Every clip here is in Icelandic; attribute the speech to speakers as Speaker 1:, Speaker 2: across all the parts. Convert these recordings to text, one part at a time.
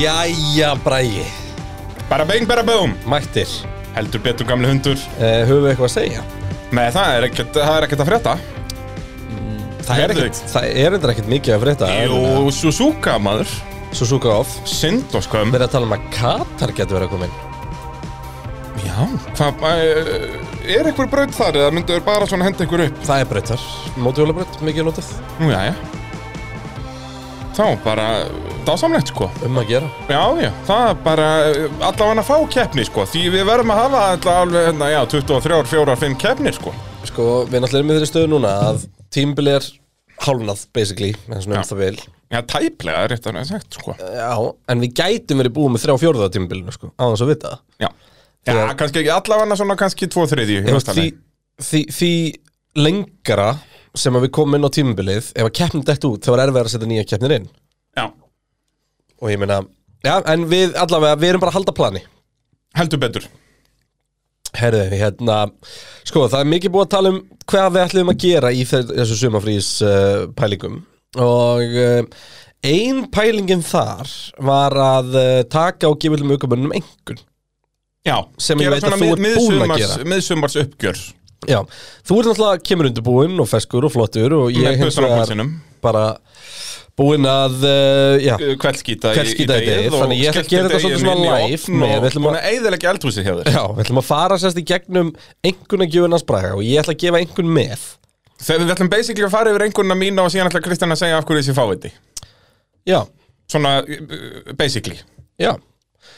Speaker 1: Jæja, Bræi,
Speaker 2: Bara bang, bara boom
Speaker 1: mættir.
Speaker 2: Heldur betur gamli hundur
Speaker 1: Uh, höfum við eitthvað að segja?
Speaker 2: Nei, það er ekkert, það er ekkert að frétta
Speaker 1: Það er
Speaker 2: Heyrðu.
Speaker 1: ekkert, það er endur ekkert mikið að frétta.
Speaker 2: Jú, Suzuka maður
Speaker 1: Suzuka off.
Speaker 2: Syndoskömm
Speaker 1: Við erum að tala um að Katar getur verið að koma inn.
Speaker 2: Já Hvað, eh, er einhver braut þar eða myndu þau bara svona henda einhver upp?
Speaker 1: Það er breytar. Mótjólabreyt, mikið notað.
Speaker 2: Nú, já, já Þá bara, eh, dásamlegt sko
Speaker 1: Um að gera.
Speaker 2: Já, já, það er bara eh, allavega að fá keppni sko Því við verðum að hafa allavega alveg, hérna, já, 23, 4, 5 keppnir sko
Speaker 1: Sko, við náttúrulega erum í þeirri stöðu núna að tímbil er hálfnað, basically, eins og
Speaker 2: Já.
Speaker 1: nefnst það vil.
Speaker 2: Já, tæplega, rétt að nefna sagt sko
Speaker 1: Já, en við gætum verið búið með þrjá fjórða tímbilinu, sko, á þess að vita það.
Speaker 2: Já, já
Speaker 1: Þegar-
Speaker 2: kannski ekki allavega svona kannski 2, 3 í
Speaker 1: Ef
Speaker 2: mesta
Speaker 1: því,
Speaker 2: lagi.
Speaker 1: því, því lengra sem að við komum inn á tímabilið ef að keppnum dætt út, þá er erfið að setja nýja keppnir inn
Speaker 2: Já,
Speaker 1: og ég meina, já, en við allavega við erum bara að halda plani
Speaker 2: heldur betur
Speaker 1: Herðu, hérna, sko, það er mikið búið að tala um hvað við ætlum að gera í þe- þessu sumafrís uh, pælingum og uh, ein pælingin þar var að uh, taka og gefa til mögumönnum engun
Speaker 2: Já,
Speaker 1: Sem ég veit að þú ert búin að gera.
Speaker 2: Miðsumars uppgjör
Speaker 1: Já, þú ert náttúrulega kemur undirbúinn og feskur og flottur og ég
Speaker 2: Með
Speaker 1: hins
Speaker 2: pussan á
Speaker 1: vegar
Speaker 2: pulsinum
Speaker 1: bara búinn að, uh, já,
Speaker 2: Kveldskýta
Speaker 1: Kveldskýta í degið, þannig ég ætla að gera þetta svolítið svona live með, við ætlum
Speaker 2: Við ætlum að eðilegja eldhúsið hjá þér
Speaker 1: Já, við ætlum að fara sérst í gegnum einhvern að gefa hans braga og ég ætla að gefa einhvern með
Speaker 2: Þegar við ætlum basically að fara yfir einhverna mína og síðan ætla Kristján að segja af hverju þessi fáviti
Speaker 1: Já,
Speaker 2: Svona, uh, basically
Speaker 1: já,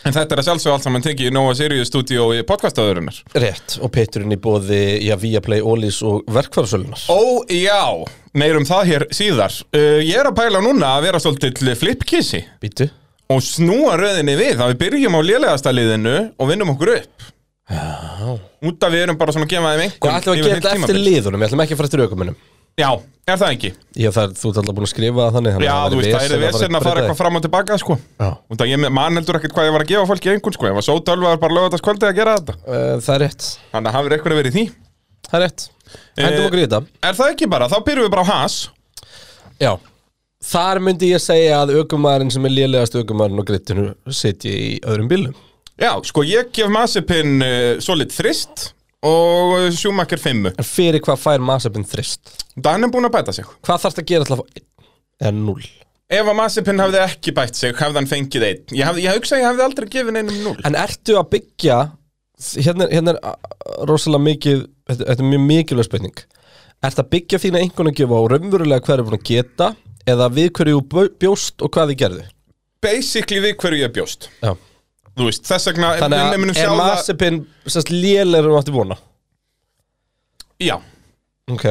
Speaker 2: En þetta er að sjálfsög allt saman tekið í Nova Sirius Studio í podcastaðurinnar
Speaker 1: rétt og Peturinn í bóði, já, Viaplay, Ólís og verkfærasölunar
Speaker 2: Ó, já, meirum það hér síðar uh, Ég er að pæla núna að vera svolítið flipkissi
Speaker 1: Býtu
Speaker 2: og snúa röðinni við að við byrjum á lélegasta liðinu og vinnum okkur upp Já. út af við erum bara svona að gefa þeim
Speaker 1: Hvað ætlum við að
Speaker 2: einhvern yfir
Speaker 1: gera þetta
Speaker 2: heilt
Speaker 1: eftir
Speaker 2: tímabil.
Speaker 1: liðunum, við ætlum ekki að fara eftir aukumunum
Speaker 2: Já, er það ekki?
Speaker 1: Já, það er, þú ert alltaf búin að skrifa það þannig
Speaker 2: Já, þú veist, það er vesinn að fara eitthvað fram og tilbaka sko.
Speaker 1: Já.
Speaker 2: út af ég man heldur ekkert hvað ég var að gefa fólki einhvern sko, ég var sótölvaður bara lögðast kvöldið að gera þetta
Speaker 1: eitthvað Eh, Það er rétt,
Speaker 2: þannig að hafið eitthvað verið í því
Speaker 1: það er rétt Hændum
Speaker 2: Eh,
Speaker 1: okkur í þetta
Speaker 2: Er það ekki bara? Þá byrjum við bara á has
Speaker 1: Já Þar myndi ég segja að aukumæðurinn sem er lélegast aukumæðurinn og grittinu sitji í öðrum bílum
Speaker 2: Já, sko, ég gef Masipin uh, solid þrist og sjúmakir fimmu
Speaker 1: En fyrir hvað fær Masapin þrist?
Speaker 2: Þannig er búin að bæta sig
Speaker 1: Hvað þarfst að gera til að fá einn eða null?
Speaker 2: Ef að Masipin hafði ekki bætt sig, hafði hann fengið einn. Ég, hafði, ég hugsa að ég hafði aldrei gefið neinum núl.
Speaker 1: En ertu að byggja hérna, er- hérna er a- rosalega mikið þetta, þetta er mjög mikilvæg spurning Ertu að byggja þína einhvern að gefa á raunverulega hverju búin að geta eða við hverju þú bjó- bjóst og hvað þið gerðu?
Speaker 2: Basically við hverju ég bjóst.
Speaker 1: Já.
Speaker 2: Þú veist, þess vegna
Speaker 1: Þannig
Speaker 2: við munum
Speaker 1: að
Speaker 2: sjá
Speaker 1: er
Speaker 2: það-
Speaker 1: Masipin sérst lélegur um átti vona
Speaker 2: Já,
Speaker 1: Ok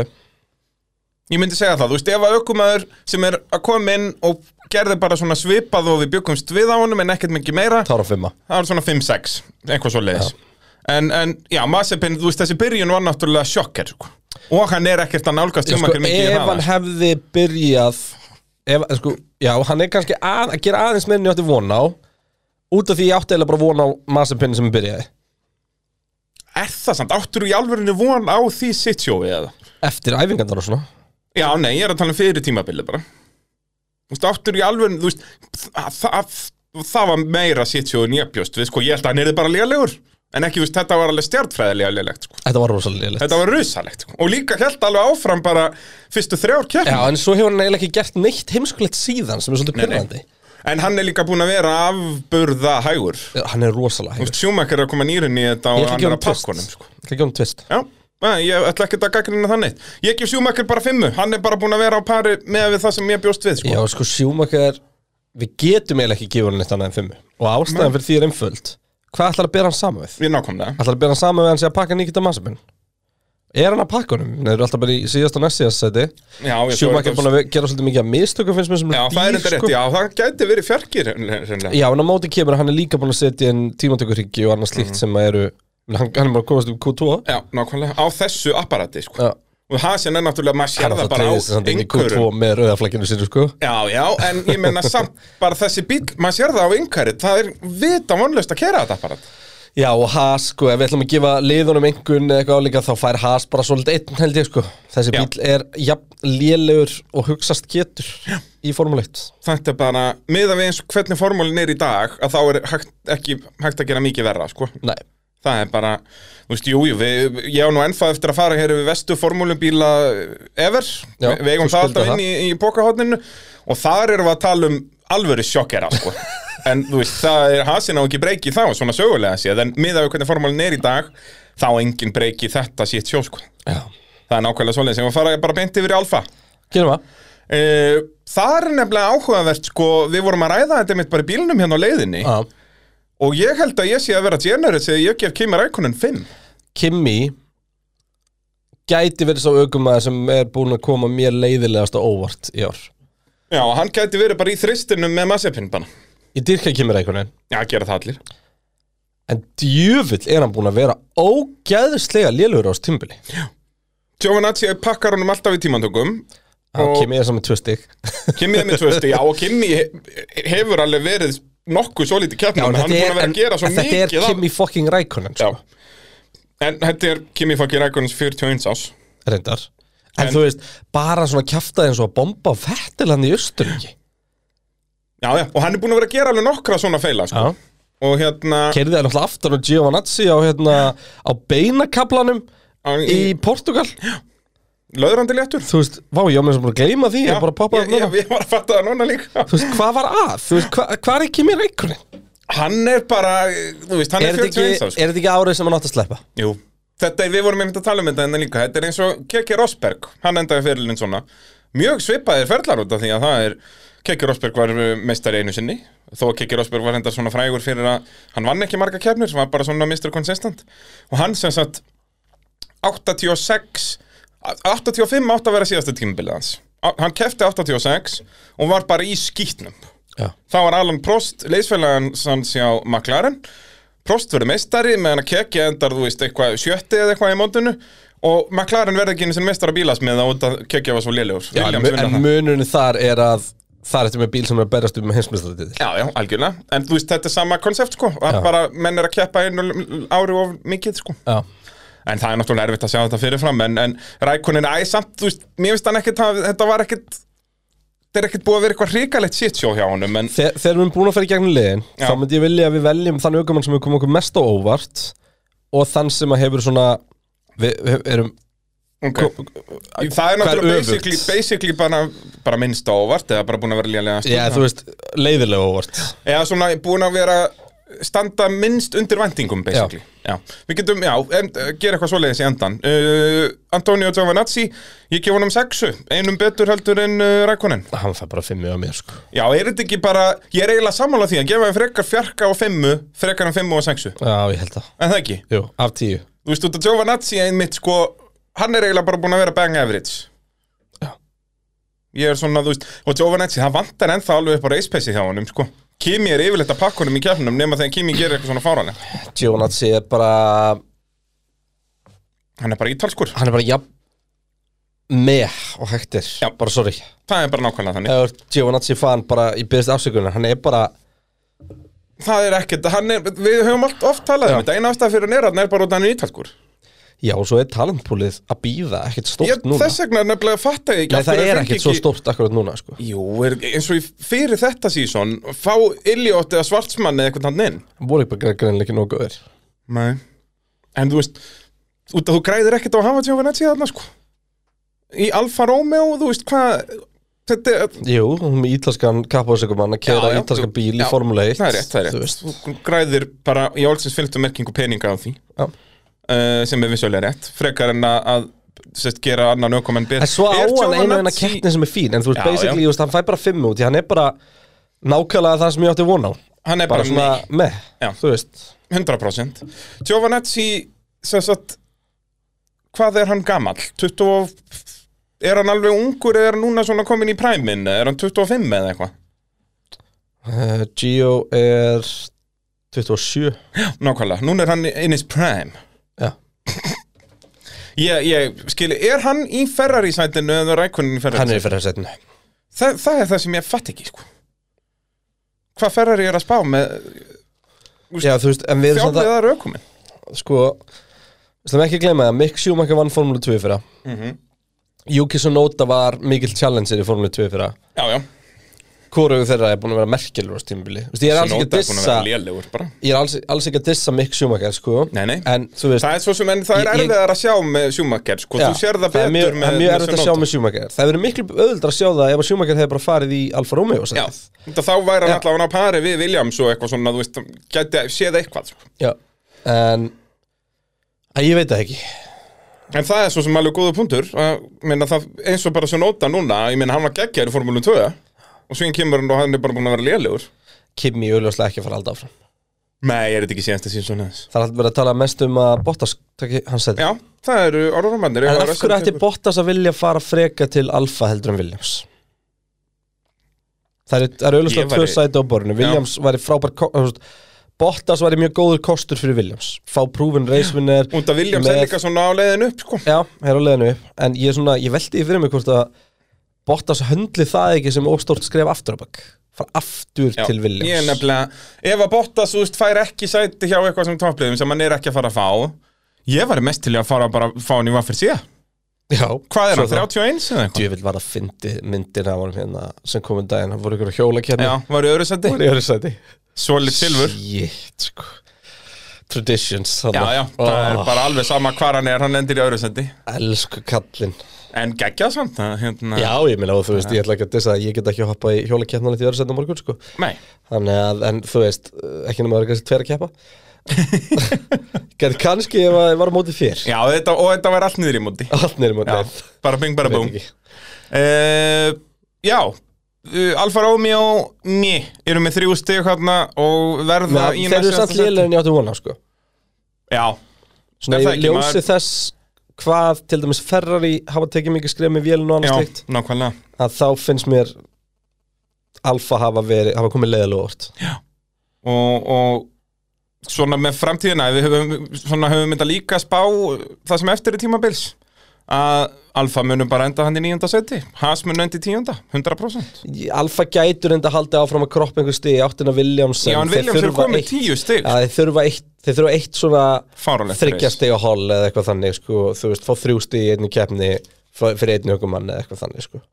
Speaker 2: ég myndi segja það. Þú veist, ef að aukumæður sem er að koma inn og gerði bara svona svipað og við byggumst við á honum en ekkert mikið meira,
Speaker 1: Tára fimma
Speaker 2: það var svona 5-6, eitthvað svo leiðis. En, en já, Masipin, þú veist, þessi byrjun var náttúrulega sjokker. sko. Og hann er ekkert að nálgast
Speaker 1: sko,
Speaker 2: sjúmakir mikið
Speaker 1: Ef
Speaker 2: í
Speaker 1: hann
Speaker 2: hraða.
Speaker 1: hefði byrjað ef, sko, Já, hann er kannski að, að gera aðeins meirinn ég átti von á Út af því ég átti eða bara von á Masipin sem byrjaði
Speaker 2: Er það samt? Áttur í alvörinu von á því sitjói eða?
Speaker 1: Eftir æfingarnar og svona
Speaker 2: Já, nei, ég er að tala um fyrir tímabilið bara Þú veist, áttur í alveg, þú veist það, það, það var meira sitjó en ég bjóst við, sko, ég held að hann er bara lélegur En ekki, þú veist, þetta var alveg stjartfræðilega lélegt, sko
Speaker 1: Þetta var rosalega lélegt
Speaker 2: Þetta var rusalegt, sko. og líka held alveg áfram bara fyrstu þrjár
Speaker 1: Já,
Speaker 2: keppnum
Speaker 1: en svo hefur hann eiginlega ekki gert neitt heimskulegt síðan sem er svolítið
Speaker 2: Nei, nei.
Speaker 1: pyrrandi
Speaker 2: En hann er líka búin að vera afburða hægur Þú
Speaker 1: Hann er rosalega hægur
Speaker 2: veist, Sjúmakar er að koma nýrin í þetta
Speaker 1: Ég
Speaker 2: og
Speaker 1: ætla að
Speaker 2: hann
Speaker 1: gefa
Speaker 2: er
Speaker 1: hann
Speaker 2: að
Speaker 1: tvist
Speaker 2: pakka honum, sko
Speaker 1: Ég ætla að gefa hann tvist
Speaker 2: Já, nei, ég ætla ekkert að gagnrýna það neitt Ég gef Sjúmakar bara fimmu, hann er bara búin að vera á pari með við það sem ég bjóst við, sko
Speaker 1: Já, sko, Sjúmakar Við getum eiginlega ekki gefa hann neitt annað en fimmu Og ástæðan fyrir því er einföld Hvað ætlar að bera hann saman við?
Speaker 2: Ég nákvæmlega
Speaker 1: Ætlar að bera hann saman við hann sé að pakka Nikita Masabin? Er hann að pakka honum? Nei, eru alltaf bara í síðast og næst síðast seti
Speaker 2: Já, ég svo
Speaker 1: Sjúmakar
Speaker 2: þetta-
Speaker 1: er búin að gera svolítið mikið að mistökum finnst mér sem
Speaker 2: Já,
Speaker 1: eru
Speaker 2: það er
Speaker 1: dýr,
Speaker 2: enda rétt,
Speaker 1: sko.
Speaker 2: já, það gæti verið fjarkir reynlega.
Speaker 1: Já, en á móti kemur að hann er líka búin að setja inn tímatökurhyggi og annars
Speaker 2: Mhm.
Speaker 1: slíkt sem að eru Hann, hann er bara að komast um Q2
Speaker 2: Já, nákvæmlega, á þessu apparati, sko
Speaker 1: Já.
Speaker 2: Og Hasin er náttúrulega, maður sér
Speaker 1: hann
Speaker 2: það
Speaker 1: alltaf
Speaker 2: bara á
Speaker 1: treyðist samt inn í Q2
Speaker 2: einhverjum
Speaker 1: með rauðaflakkinu sinu sko
Speaker 2: Já, já, en ég meina samt bara þessi bíl, maður sér það á einhverjum Það er vita vonlaust að kera þetta apparat
Speaker 1: Já, og Haas, sko, ef við ætlum að gefa liðunum einhvern eða eitthvað álíka, þá fær Haas bara svolítið einn, held ég, sko. Þessi
Speaker 2: Já.
Speaker 1: bíl er jafn lélegur og hugsast getur í Formule 1.
Speaker 2: Þetta er bara, miða við eins og hvernig formúlin er í dag að þá er hægt, ekki hægt að gera mikið verra, sko
Speaker 1: Nei,
Speaker 2: Það er bara, þú veist, jú, jú, við, ég á nú ennþá eftir að fara hér við vestu formúlumbíla ever
Speaker 1: Já,
Speaker 2: Við eigum
Speaker 1: þú
Speaker 2: það
Speaker 1: skuldar
Speaker 2: alltaf inn í, í pokahotninu og þar erum við að tala um alvöru sjokkera, sko En þú veist, það er hasin á ekki breyki þá, svona sögulega séð En miða við hvernig formúlin er í dag, þá engin breyki þetta sitt sjó, sko
Speaker 1: já.
Speaker 2: Það er nákvæmlega svoleiðis, ég var að fara bara beint yfir í alfa
Speaker 1: Gerum það.
Speaker 2: Eh, Það er nefnilega áhugavert sko, við vorum að ræða þetta mitt bara í bílnum hérna á leiðinni
Speaker 1: Já.
Speaker 2: og ég held að ég sé að vera generous eða ég gef Kimi Rækonin 5
Speaker 1: Kimi gæti verið sá aukumæður sem er búin að koma mér leiðilegast á óvart í ár.
Speaker 2: Já, og hann gæti verið bara í þristinum með massepinn bara
Speaker 1: Ég dyrka Kimi Rækonen,
Speaker 2: Já, gera það allir
Speaker 1: en djöfull er hann búin að vera ógæðislega lélegur á þessu tímbili.
Speaker 2: Giovanazzi pakkar honum alltaf í tímantökum
Speaker 1: Og...
Speaker 2: Og-
Speaker 1: Kimi er saman tvö stygg.
Speaker 2: Kimi er með tvösti, já, og Kimi he- hefur alveg verið nokkuð svo lítið keppnum en hann er búin að vera að gera svo
Speaker 1: þetta er
Speaker 2: mikið af-
Speaker 1: Kimi fucking Rækonen, sko.
Speaker 2: Já En þetta er Kimi fucking Rækonins 41 ás
Speaker 1: reyndar en,
Speaker 2: En-
Speaker 1: þú veist, bara svona kjaftaði eins og að bomba fettil hann í Östuríki
Speaker 2: Já, já, og hann er búin að vera að gera alveg nokkra svona feila sko.
Speaker 1: Já.
Speaker 2: Og hérna
Speaker 1: Keirði það náttúrulega aftur á Giovanazzi á, hérna, á beinakablanum í Portugal
Speaker 2: Löðrandi léttur
Speaker 1: Þú veist, vá, ég á mér sem búin að gleyma því
Speaker 2: Já,
Speaker 1: ég bara poppaði
Speaker 2: ég,
Speaker 1: það
Speaker 2: ég,
Speaker 1: núna
Speaker 2: ég var að fatta það núna líka
Speaker 1: Þú veist, hvað var að? Þú veist, hva, hvað er ekki mér reikunin?
Speaker 2: Hann er bara, þú veist, hann
Speaker 1: Er
Speaker 2: er,
Speaker 1: þetta
Speaker 2: 41
Speaker 1: ekki,
Speaker 2: árs sko.
Speaker 1: er þetta ekki árið sem hann átt að sleppa?
Speaker 2: Jú Þetta, er- við vorum einmitt að tala um þetta enna líka Þetta er eins og Kekki Rosberg, hann endaði fyrirlinn svona Mjög svipaðir ferlar út af því að það er Kekki Rosberg var uh, meistari einu sinni Þó að Kekki Rosberg var hendar svona frægur fyrir að Hann vann ekki marga kefnir, hann var bara svona Mr. Consistent Og hann sem sagt 86 85 átt að vera síðasta tímabilið hans Á- Hann kefti 86 og var bara í skýtnum
Speaker 1: Já,
Speaker 2: Þá var Alan Prost, leysfélagan hans hjá McLaren Prost verður meistari meðan að kekja endar, þú veist, eitthvað sjötti eða eitthvað í mótinu og McLaren verður ekki einu sinni meistara bílas með það út að kekja var svo lélegur
Speaker 1: Já en,
Speaker 2: Williams
Speaker 1: mu-
Speaker 2: vinna
Speaker 1: en
Speaker 2: það.
Speaker 1: munurinn þar er að það er þetta með bíl sem er að berjast um heimsmyndstæðið
Speaker 2: Já, já, algjörlega, en þú veist, þetta er sama konsept sko, að
Speaker 1: Já.
Speaker 2: bara menn er að keppa einu l- ári of mikið sko
Speaker 1: Já,
Speaker 2: En það er náttúrulega erfitt að sjá þetta fyrirfram en, en Rækonin, æ, samt, þú veist, mér finnst hann ekkit að, þetta var ekkit þetta er ekkit búið að vera eitthvað hrikalegt shit hjá honum en,
Speaker 1: Þe þegar við erum búin að fara í gegnum liðin
Speaker 2: Já.
Speaker 1: þá myndi ég vilja að við veljum þann aukumann sem hefur komið okkur mest á óvart og þann sem að hefur svona við, við erum
Speaker 2: okay. Það er
Speaker 1: hvað er
Speaker 2: náttúrulega
Speaker 1: öfugt?
Speaker 2: basically, basically bara, bara minnst á óvart eða bara búin að vera lélega
Speaker 1: já, þú veist, leiðilega óvart
Speaker 2: eða svona búin að vera standa minnst undir vendingum basically já. Við getum, já, en, uh, gera eitthvað svoleiðis í endan uh, Antonio Giovanazzi ég gef honum sexu, einum betur heldur en uh, Rækonin
Speaker 1: hann fær bara fimmu á mér sko
Speaker 2: Já, er þetta ekki bara, ég er eiginlega sammála því að gefa hann frekar fjarka og fimmu frekar en fimmu og sexu,
Speaker 1: já, ég held það,
Speaker 2: en það ekki
Speaker 1: jú, af tíu
Speaker 2: Þú veist, út að Giovanazzi einmitt sko hann er eiginlega bara búin að vera bang average
Speaker 1: Já.
Speaker 2: Ég er svona, þú veist, og Giovanazzi, það vantar ennþá alveg upp á reispessi hjá honum, sko Kimi er yfirleitt að pakka honum í kefnum nema þegar Kimi gerir eitthvað svona fáranlega
Speaker 1: Giovinazzi er bara
Speaker 2: Hann er bara ítalskur,
Speaker 1: hann er bara jafn með og hægtir,
Speaker 2: Já.
Speaker 1: bara sorry
Speaker 2: það er bara nákvæmlega þannig
Speaker 1: eða Giovinazzi fann bara í byrðist afsökunar hann er bara,
Speaker 2: Það er ekkert, hann er, við höfum allt oft talað um þetta Einn ástæða fyrir neyraðn er bara út að hann er ítalskur
Speaker 1: já, og svo er talentpúlið að býða ekkert stórt
Speaker 2: ég,
Speaker 1: núna
Speaker 2: Þess vegna er nefnilega fatta ég ekki
Speaker 1: Nei,
Speaker 2: af
Speaker 1: það
Speaker 2: hverju
Speaker 1: er
Speaker 2: fengi
Speaker 1: ekkert svo stórt akkurat núna sko.
Speaker 2: Jú, er, eins og í fyrir þetta sísón Fá Illiot eða Svartsmann eða eitthvað hann inn
Speaker 1: voru ekki bara greinlega ekki nógu góður
Speaker 2: Nei En þú veist, út að þú græðir ekkert á að hafa Giovanazzi þarna sko Í Alfa Romeo, þú veist hvað Þetta er,
Speaker 1: Jú, hún er með ítalskan kappáðsökumann að
Speaker 2: Já,
Speaker 1: kera
Speaker 2: já,
Speaker 1: ítalskan
Speaker 2: þú-
Speaker 1: bíl í
Speaker 2: já,
Speaker 1: Formule 1
Speaker 2: það er rétt, það er
Speaker 1: Þú
Speaker 2: rétt
Speaker 1: veist,
Speaker 2: Þú græðir bara í álsins fylgdu merkingu peninga á því
Speaker 1: já.
Speaker 2: uh, sem er vissulega rétt Frekar en að, að sest, gera annan ökumenn betur
Speaker 1: En svo á
Speaker 2: Er
Speaker 1: hann einu eina
Speaker 2: Giovanazzi-
Speaker 1: keppni sem er fín En þú veist,
Speaker 2: Já,
Speaker 1: basically,
Speaker 2: já.
Speaker 1: Þú veist, hann fær bara fimm út Því hann er bara nákvæmlega það sem ég átti von á
Speaker 2: Hann er
Speaker 1: Bara
Speaker 2: bara,
Speaker 1: svona, með,
Speaker 2: Já.
Speaker 1: þú veist
Speaker 2: með 100% Giovanazzi, sem sagt Hvað er hann gamall? 20 Er hann alveg ungur eða er hann núna svona komin í præmin? Er hann 25 eða eitthvað?
Speaker 1: uh, Gio er 27
Speaker 2: Nákvæmlega, núna er hann in his prime
Speaker 1: Já.
Speaker 2: Ég, ég, skil, er hann í Ferrari-sætinu eða rækunin í
Speaker 1: Hann er
Speaker 2: Ferrari-sætinu?
Speaker 1: í fyrir setinu
Speaker 2: Þa, það er það sem ég fatt ekki, sko Hvað Ferrari er að spá með Þú
Speaker 1: Já, þú veist, en við erum samt
Speaker 2: Þjálfið það raukumin
Speaker 1: að Sko, við slum ekki að gleyma það Mick Schumacher vann Formule 2 fyrra
Speaker 2: Mhm.
Speaker 1: Yuki Sonoda var mikill challenger í Formule 2 fyrra
Speaker 2: Já, já
Speaker 1: Hvorugu þeirra er búin að vera merkilur á stímubili Þú veist, ég er alls ekki að
Speaker 2: Sonoda er búin að
Speaker 1: dissa
Speaker 2: vera lélegur bara
Speaker 1: Ég er alls, alls ekki að dissa Mick Schumacher, sko
Speaker 2: Nei, nei.
Speaker 1: En, þú veist,
Speaker 2: Það er svo sem, en það er
Speaker 1: Ég- ég-
Speaker 2: erfiðar að sjá með Schumacher sko, þú sér það
Speaker 1: það er
Speaker 2: betur
Speaker 1: mjög, það
Speaker 2: með
Speaker 1: er mjög
Speaker 2: með
Speaker 1: erfitt að sjá
Speaker 2: Sonoda.
Speaker 1: með Schumacher Það verður miklu öðuldra að sjá það ef að Schumacher hefði bara farið í Alfa Romeo
Speaker 2: Já,
Speaker 1: sætið.
Speaker 2: þetta þá væri hann allavega á pari við Williams og eitthvað svona, þú veist, gæti að séð eitthvað sko.
Speaker 1: Já. En að ég veit það ekki
Speaker 2: En það er svo sem alveg góða punktur að, minna, það, eins og bara svo nota núna ég meina hann var geggjær í formúlu 2 og svo kemur hann og hann er bara búin að vera lélegur
Speaker 1: Kimi auðljóslega ekki að fara alltaf áfram
Speaker 2: Nei, er þetta ekki síðansta sínsson hans
Speaker 1: Það er alltaf verið að tala mest um að Bottas taki hans sæti
Speaker 2: Já, það eru orðrumannir
Speaker 1: En af hverju ætti Bottas að vilja fara freka til Alfa heldur en Williams? Það eru- það eru
Speaker 2: Ég
Speaker 1: auðvitað
Speaker 2: væri-
Speaker 1: tvö sæti á borðinu Williams væri frábær ko- þú veist, Bottas væri mjög góður kostur fyrir Williams Fá prúfin reisvinner
Speaker 2: Únda Williams er
Speaker 1: Með-
Speaker 2: líka svona á leiðin upp sko.
Speaker 1: Já, hér á leiðinu upp En ég, er svona, ég veldi í fyrir mig hvort að Bottas höndli það ekki sem óstort skref aftur á bakk Fara aftur
Speaker 2: Já,
Speaker 1: til Williams
Speaker 2: Ég er nefnilega, ef að Bottas úst, fær ekki sæti hjá eitthvað sem toppliðum sem hann er ekki að fara að fá Ég var mest til í að fara bara að fá hann í vaffir síða
Speaker 1: Já,
Speaker 2: Hvað er
Speaker 1: svo
Speaker 2: hann, 31 eða eitthvað?
Speaker 1: Ég vil bara fyndi myndir af honum hérna sem komum daginn, hann voru ykkur að hjóla
Speaker 2: Já,
Speaker 1: kérna
Speaker 2: var í öðru sæti
Speaker 1: í öðru sæti
Speaker 2: Solid silver
Speaker 1: Shit, sko Traditions þarna.
Speaker 2: Já, já, það er
Speaker 1: Ó,
Speaker 2: bara alveg sama hvar hann er, hann endir í öðru sæti
Speaker 1: Elsku kallinn
Speaker 2: En geggjað samt, það, hérna
Speaker 1: Já, ég meina, og þú veist, ég ætla ekki að dissa að ég get ekki að hoppa í hjóla kérna í öðru sæti á morgun, sko
Speaker 2: Nei,
Speaker 1: Þannig að, en þú veist, ekki nema að vera kannski tver að keppa Gerði kannski ef að ég var á móti þér
Speaker 2: já, þetta, og þetta var allt niður í móti
Speaker 1: Allt neyri móti
Speaker 2: Já,
Speaker 1: þér
Speaker 2: bara bing, bara
Speaker 1: Veit
Speaker 2: búm
Speaker 1: ekki.
Speaker 2: Uh, já uh, Alfa Romeo Ný, eru með þrjú stig hérna og verða
Speaker 1: Ná, Þeir eru samt lélega en ég átti vona, sko
Speaker 2: Já,
Speaker 1: Svona
Speaker 2: Er það
Speaker 1: ég
Speaker 2: ekki,
Speaker 1: ljósi
Speaker 2: maður-
Speaker 1: þess hvað til dæmis Ferrari hafa tekið mikið skrif með vélun og
Speaker 2: já,
Speaker 1: annars slikt
Speaker 2: nákvæmlega
Speaker 1: að þá finnst mér Alfa hafa, verið, hafa komið leiðalega orð
Speaker 2: og, og svona með framtíðina við höfum, svona höfum þetta líka að spá það sem eftir er tímabils að Alfa munum bara enda hann í nýjunda seti Haas mun enda í tíunda, 100%
Speaker 1: Alfa gætur enda haldið áfram að kroppa einhver stið í áttina Williams
Speaker 2: Já, en
Speaker 1: þeir
Speaker 2: Williams eru
Speaker 1: þurfa
Speaker 2: komið
Speaker 1: eitt-
Speaker 2: tíu stig
Speaker 1: Já, þeir þurfa eitt, þeir þurfa eitt svona
Speaker 2: Fáránlegt
Speaker 1: þryggja
Speaker 2: race.
Speaker 1: stiga hol eða eitthvað þannig sko, þú veist, fá þrjú stig í einni keppni f- fyrir einni ökumann eða eitthvað þannig sko.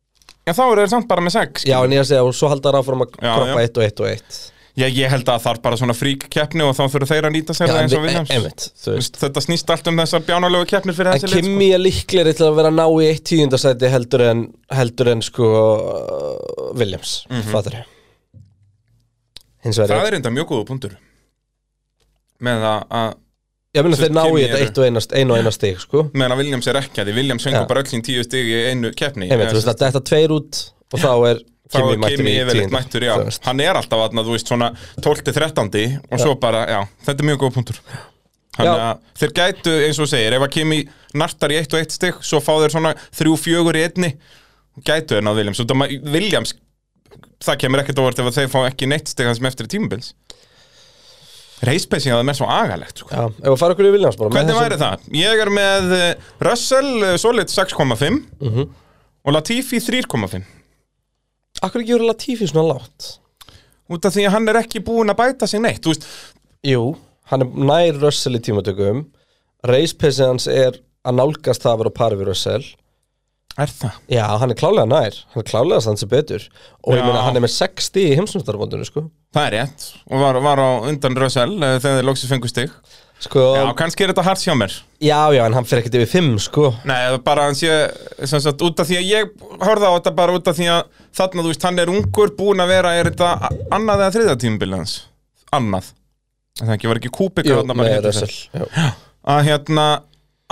Speaker 2: Já, þá eru þeir samt bara með sex
Speaker 1: já en ég að segja og svo halda þar áfram að
Speaker 2: Já,
Speaker 1: kroppa
Speaker 2: já.
Speaker 1: eitt og eitt og eitt
Speaker 2: Já, ég held að það er bara svona frík keppni og þá þurfa þeir að nýta sér
Speaker 1: já,
Speaker 2: það
Speaker 1: en,
Speaker 2: eins og
Speaker 1: vi-
Speaker 2: Williams
Speaker 1: en, einmitt, þú
Speaker 2: Þú
Speaker 1: veist,
Speaker 2: veist, þetta snýst allt um þessar bjánulegu keppnir fyrir
Speaker 1: en
Speaker 2: þessi lið, sko.
Speaker 1: Kimi er líklegri til að vera að ná í eitt tíundasæti heldur en heldur en sko uh, Williams, mm -hmm. fattur hins
Speaker 2: sko.
Speaker 1: vegar
Speaker 2: Mhm. það er enda mjög góða punktur með að, að
Speaker 1: ég meina þeir ná
Speaker 2: Kimi
Speaker 1: í þetta
Speaker 2: eru-
Speaker 1: eitt og einast ein og einast stig sko
Speaker 2: meðan að Williams er ekki að því Williams hengur
Speaker 1: Já.
Speaker 2: bara öll sín tíu stig í einu keppni
Speaker 1: einmitt, þú veist að þetta tveir út og þá er
Speaker 2: þá er
Speaker 1: Kimi mættur
Speaker 2: Kimi
Speaker 1: í
Speaker 2: yfirleitt
Speaker 1: tíunda
Speaker 2: mættur, já
Speaker 1: þú veist.
Speaker 2: hann er alltaf aðna, þú veist, svona 12-13 og svo bara, já, þetta er mjög góða punktur þannig
Speaker 1: Já.
Speaker 2: að þeir gætu, eins og þú segir, ef að Kimi nartar í 1 og 1 stig, svo fá þeir svona 3-4 í einni, gætu þeir náð Williams, Út af ma- Williams það kemur ekkert óvart ef að þeir fá ekki neitt stig það sem eftir er tímabils reispacing að það er með svo agalegt sko.
Speaker 1: já, ef að fara okkur í Williams bara með
Speaker 2: Hvernig
Speaker 1: þessum-
Speaker 2: væri það? Ég er með eh, Russell eh, solid 6,5
Speaker 1: Mhm.
Speaker 2: og Latifi 3,5
Speaker 1: Akkur ekki voru Latifi svona látt?
Speaker 2: út af því að hann er ekki búinn að bæta sig neitt Þú veist,
Speaker 1: Jú, hann er nær Russell í tímatökum Race hans er að nálgast það að vera á pari við Russell
Speaker 2: er það?
Speaker 1: Já, hann er klálega nær, hann er klálega stann sem betur Og ég
Speaker 2: Já.
Speaker 1: meina, hann er með 60 í heimsumstarfbóndinu, sko
Speaker 2: Það er rétt og var, var á undan Russell eh, þegar þeir loksins fengu stig
Speaker 1: Sko,
Speaker 2: Já,
Speaker 1: já,
Speaker 2: kannski er þetta hart hjá mér
Speaker 1: já, en hann fyrir ekkert yfir 5, sko
Speaker 2: Nei, það er bara að hann sé sem sagt, út af því að ég horfði á þetta bara út af því að þarna, þú veist, hann er ungur búinn að vera, er þetta a- annað eða þriðja tímabilið hans? Annað Það ekki, var ekki kúbika
Speaker 1: Jú,
Speaker 2: þarna bara
Speaker 1: með
Speaker 2: hérna sér.
Speaker 1: Russell já.
Speaker 2: að hérna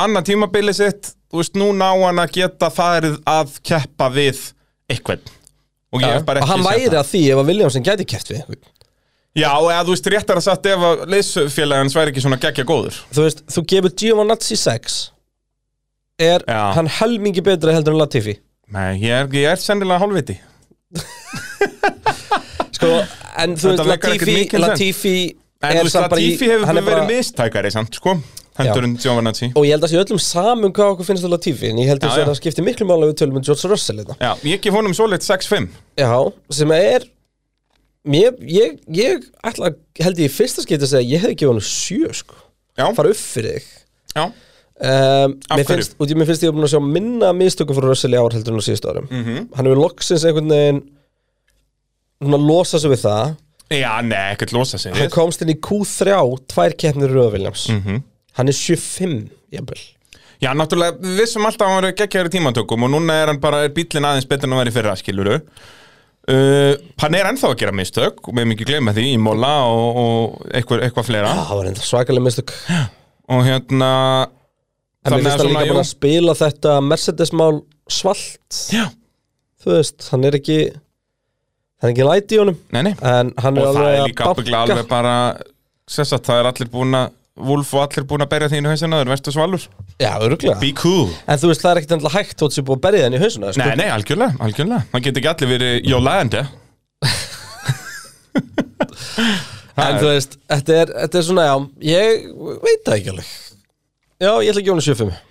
Speaker 2: annað tímabilið sitt, þú veist, nú ná hann að geta farið að keppa við eitthvað og ég hef bara
Speaker 1: Og
Speaker 2: ekki
Speaker 1: hann
Speaker 2: séð
Speaker 1: væri
Speaker 2: það.
Speaker 1: að því ef að Williamson gæti kæft við einhvern.
Speaker 2: Já, eða þú veist, réttar að sagt ef að leysfélagans væri ekki svona geggja góður
Speaker 1: Þú veist, þú gefur Giovanazzi 6 Er
Speaker 2: Já.
Speaker 1: hann helmingi betra heldur en Latifi
Speaker 2: Nei, ég er, ég er sennilega hálfviti
Speaker 1: Sko, en þú
Speaker 2: Þetta
Speaker 1: veist,
Speaker 2: virkar ekkert
Speaker 1: Latifi,
Speaker 2: mikið
Speaker 1: Latifi
Speaker 2: sens. En þú veist,
Speaker 1: samt bara í-
Speaker 2: Latifi hefur
Speaker 1: hann er
Speaker 2: verið bara... mistækari samt, sko Hendurinn Giovanazzi
Speaker 1: Og ég held að sé öllum saman hvað okkur finnst á Latifi En ég held að
Speaker 2: Já,
Speaker 1: það
Speaker 2: já.
Speaker 1: skiptir miklu mála við tölum með George Russell þetta
Speaker 2: Já, ég gef honum svo leitt 6-5
Speaker 1: Já, sem hérna. er mér, ég, ég ætla að- held ég í fyrsta skipti að segja ég hefði gefið hann sjö sko
Speaker 2: Já,
Speaker 1: fara upp fyrir þig
Speaker 2: já,
Speaker 1: um,
Speaker 2: Af
Speaker 1: mér
Speaker 2: hverju?
Speaker 1: finnst, út í mér finnst ég búin að sjá minna mistökum frá Russell í ár heldur en á síðustu árum -hmm.
Speaker 2: Mhm.
Speaker 1: hann hefur loksins einhvern veginn hún að losa sig við það
Speaker 2: já, nei, ekkert losa sig
Speaker 1: hann
Speaker 2: við
Speaker 1: komst inn í Q3 tvær keppnir Röða Williams
Speaker 2: Mhm.
Speaker 1: hann er 75 jafnvel
Speaker 2: Já, náttúrulega, við vissum alltaf að hann var geggjæri tímantökum og núna er hann bara, er bíllinn aðeins betur en að vera í fyrra, skiluru uh, Hann er ennþá að gera mistök og við mikið gleyma því í Móla og, og eitthvað, eitthvað fleira
Speaker 1: það var enda svakalega mistök
Speaker 2: og hérna
Speaker 1: en mér
Speaker 2: Þannig að
Speaker 1: finnst hann
Speaker 2: svona,
Speaker 1: líka
Speaker 2: jú.
Speaker 1: búin að spila þetta Mercedes-mál svalt
Speaker 2: Já,
Speaker 1: þú veist, hann er ekki hann er ekki læti í honum
Speaker 2: nei, nei
Speaker 1: en hann er
Speaker 2: og það
Speaker 1: alveg
Speaker 2: er
Speaker 1: að
Speaker 2: líka ábygglega alveg bara sem sagt, það er allir búin að Wolf og allir búin að berja þínu hausinn aður, verstu svalur
Speaker 1: já, örgulega
Speaker 2: Be cool
Speaker 1: en þú veist, það er ekkit endla hægt þótt sem búið að berja þenni í hausuna sko.
Speaker 2: Nei, nei, algjörlega, algjörlega Man get ekki allir verið eh? Jolanda
Speaker 1: en þú veist, þetta er, þetta er svona já, ég veit það ekki alveg já, ég ætla að gefa hann 75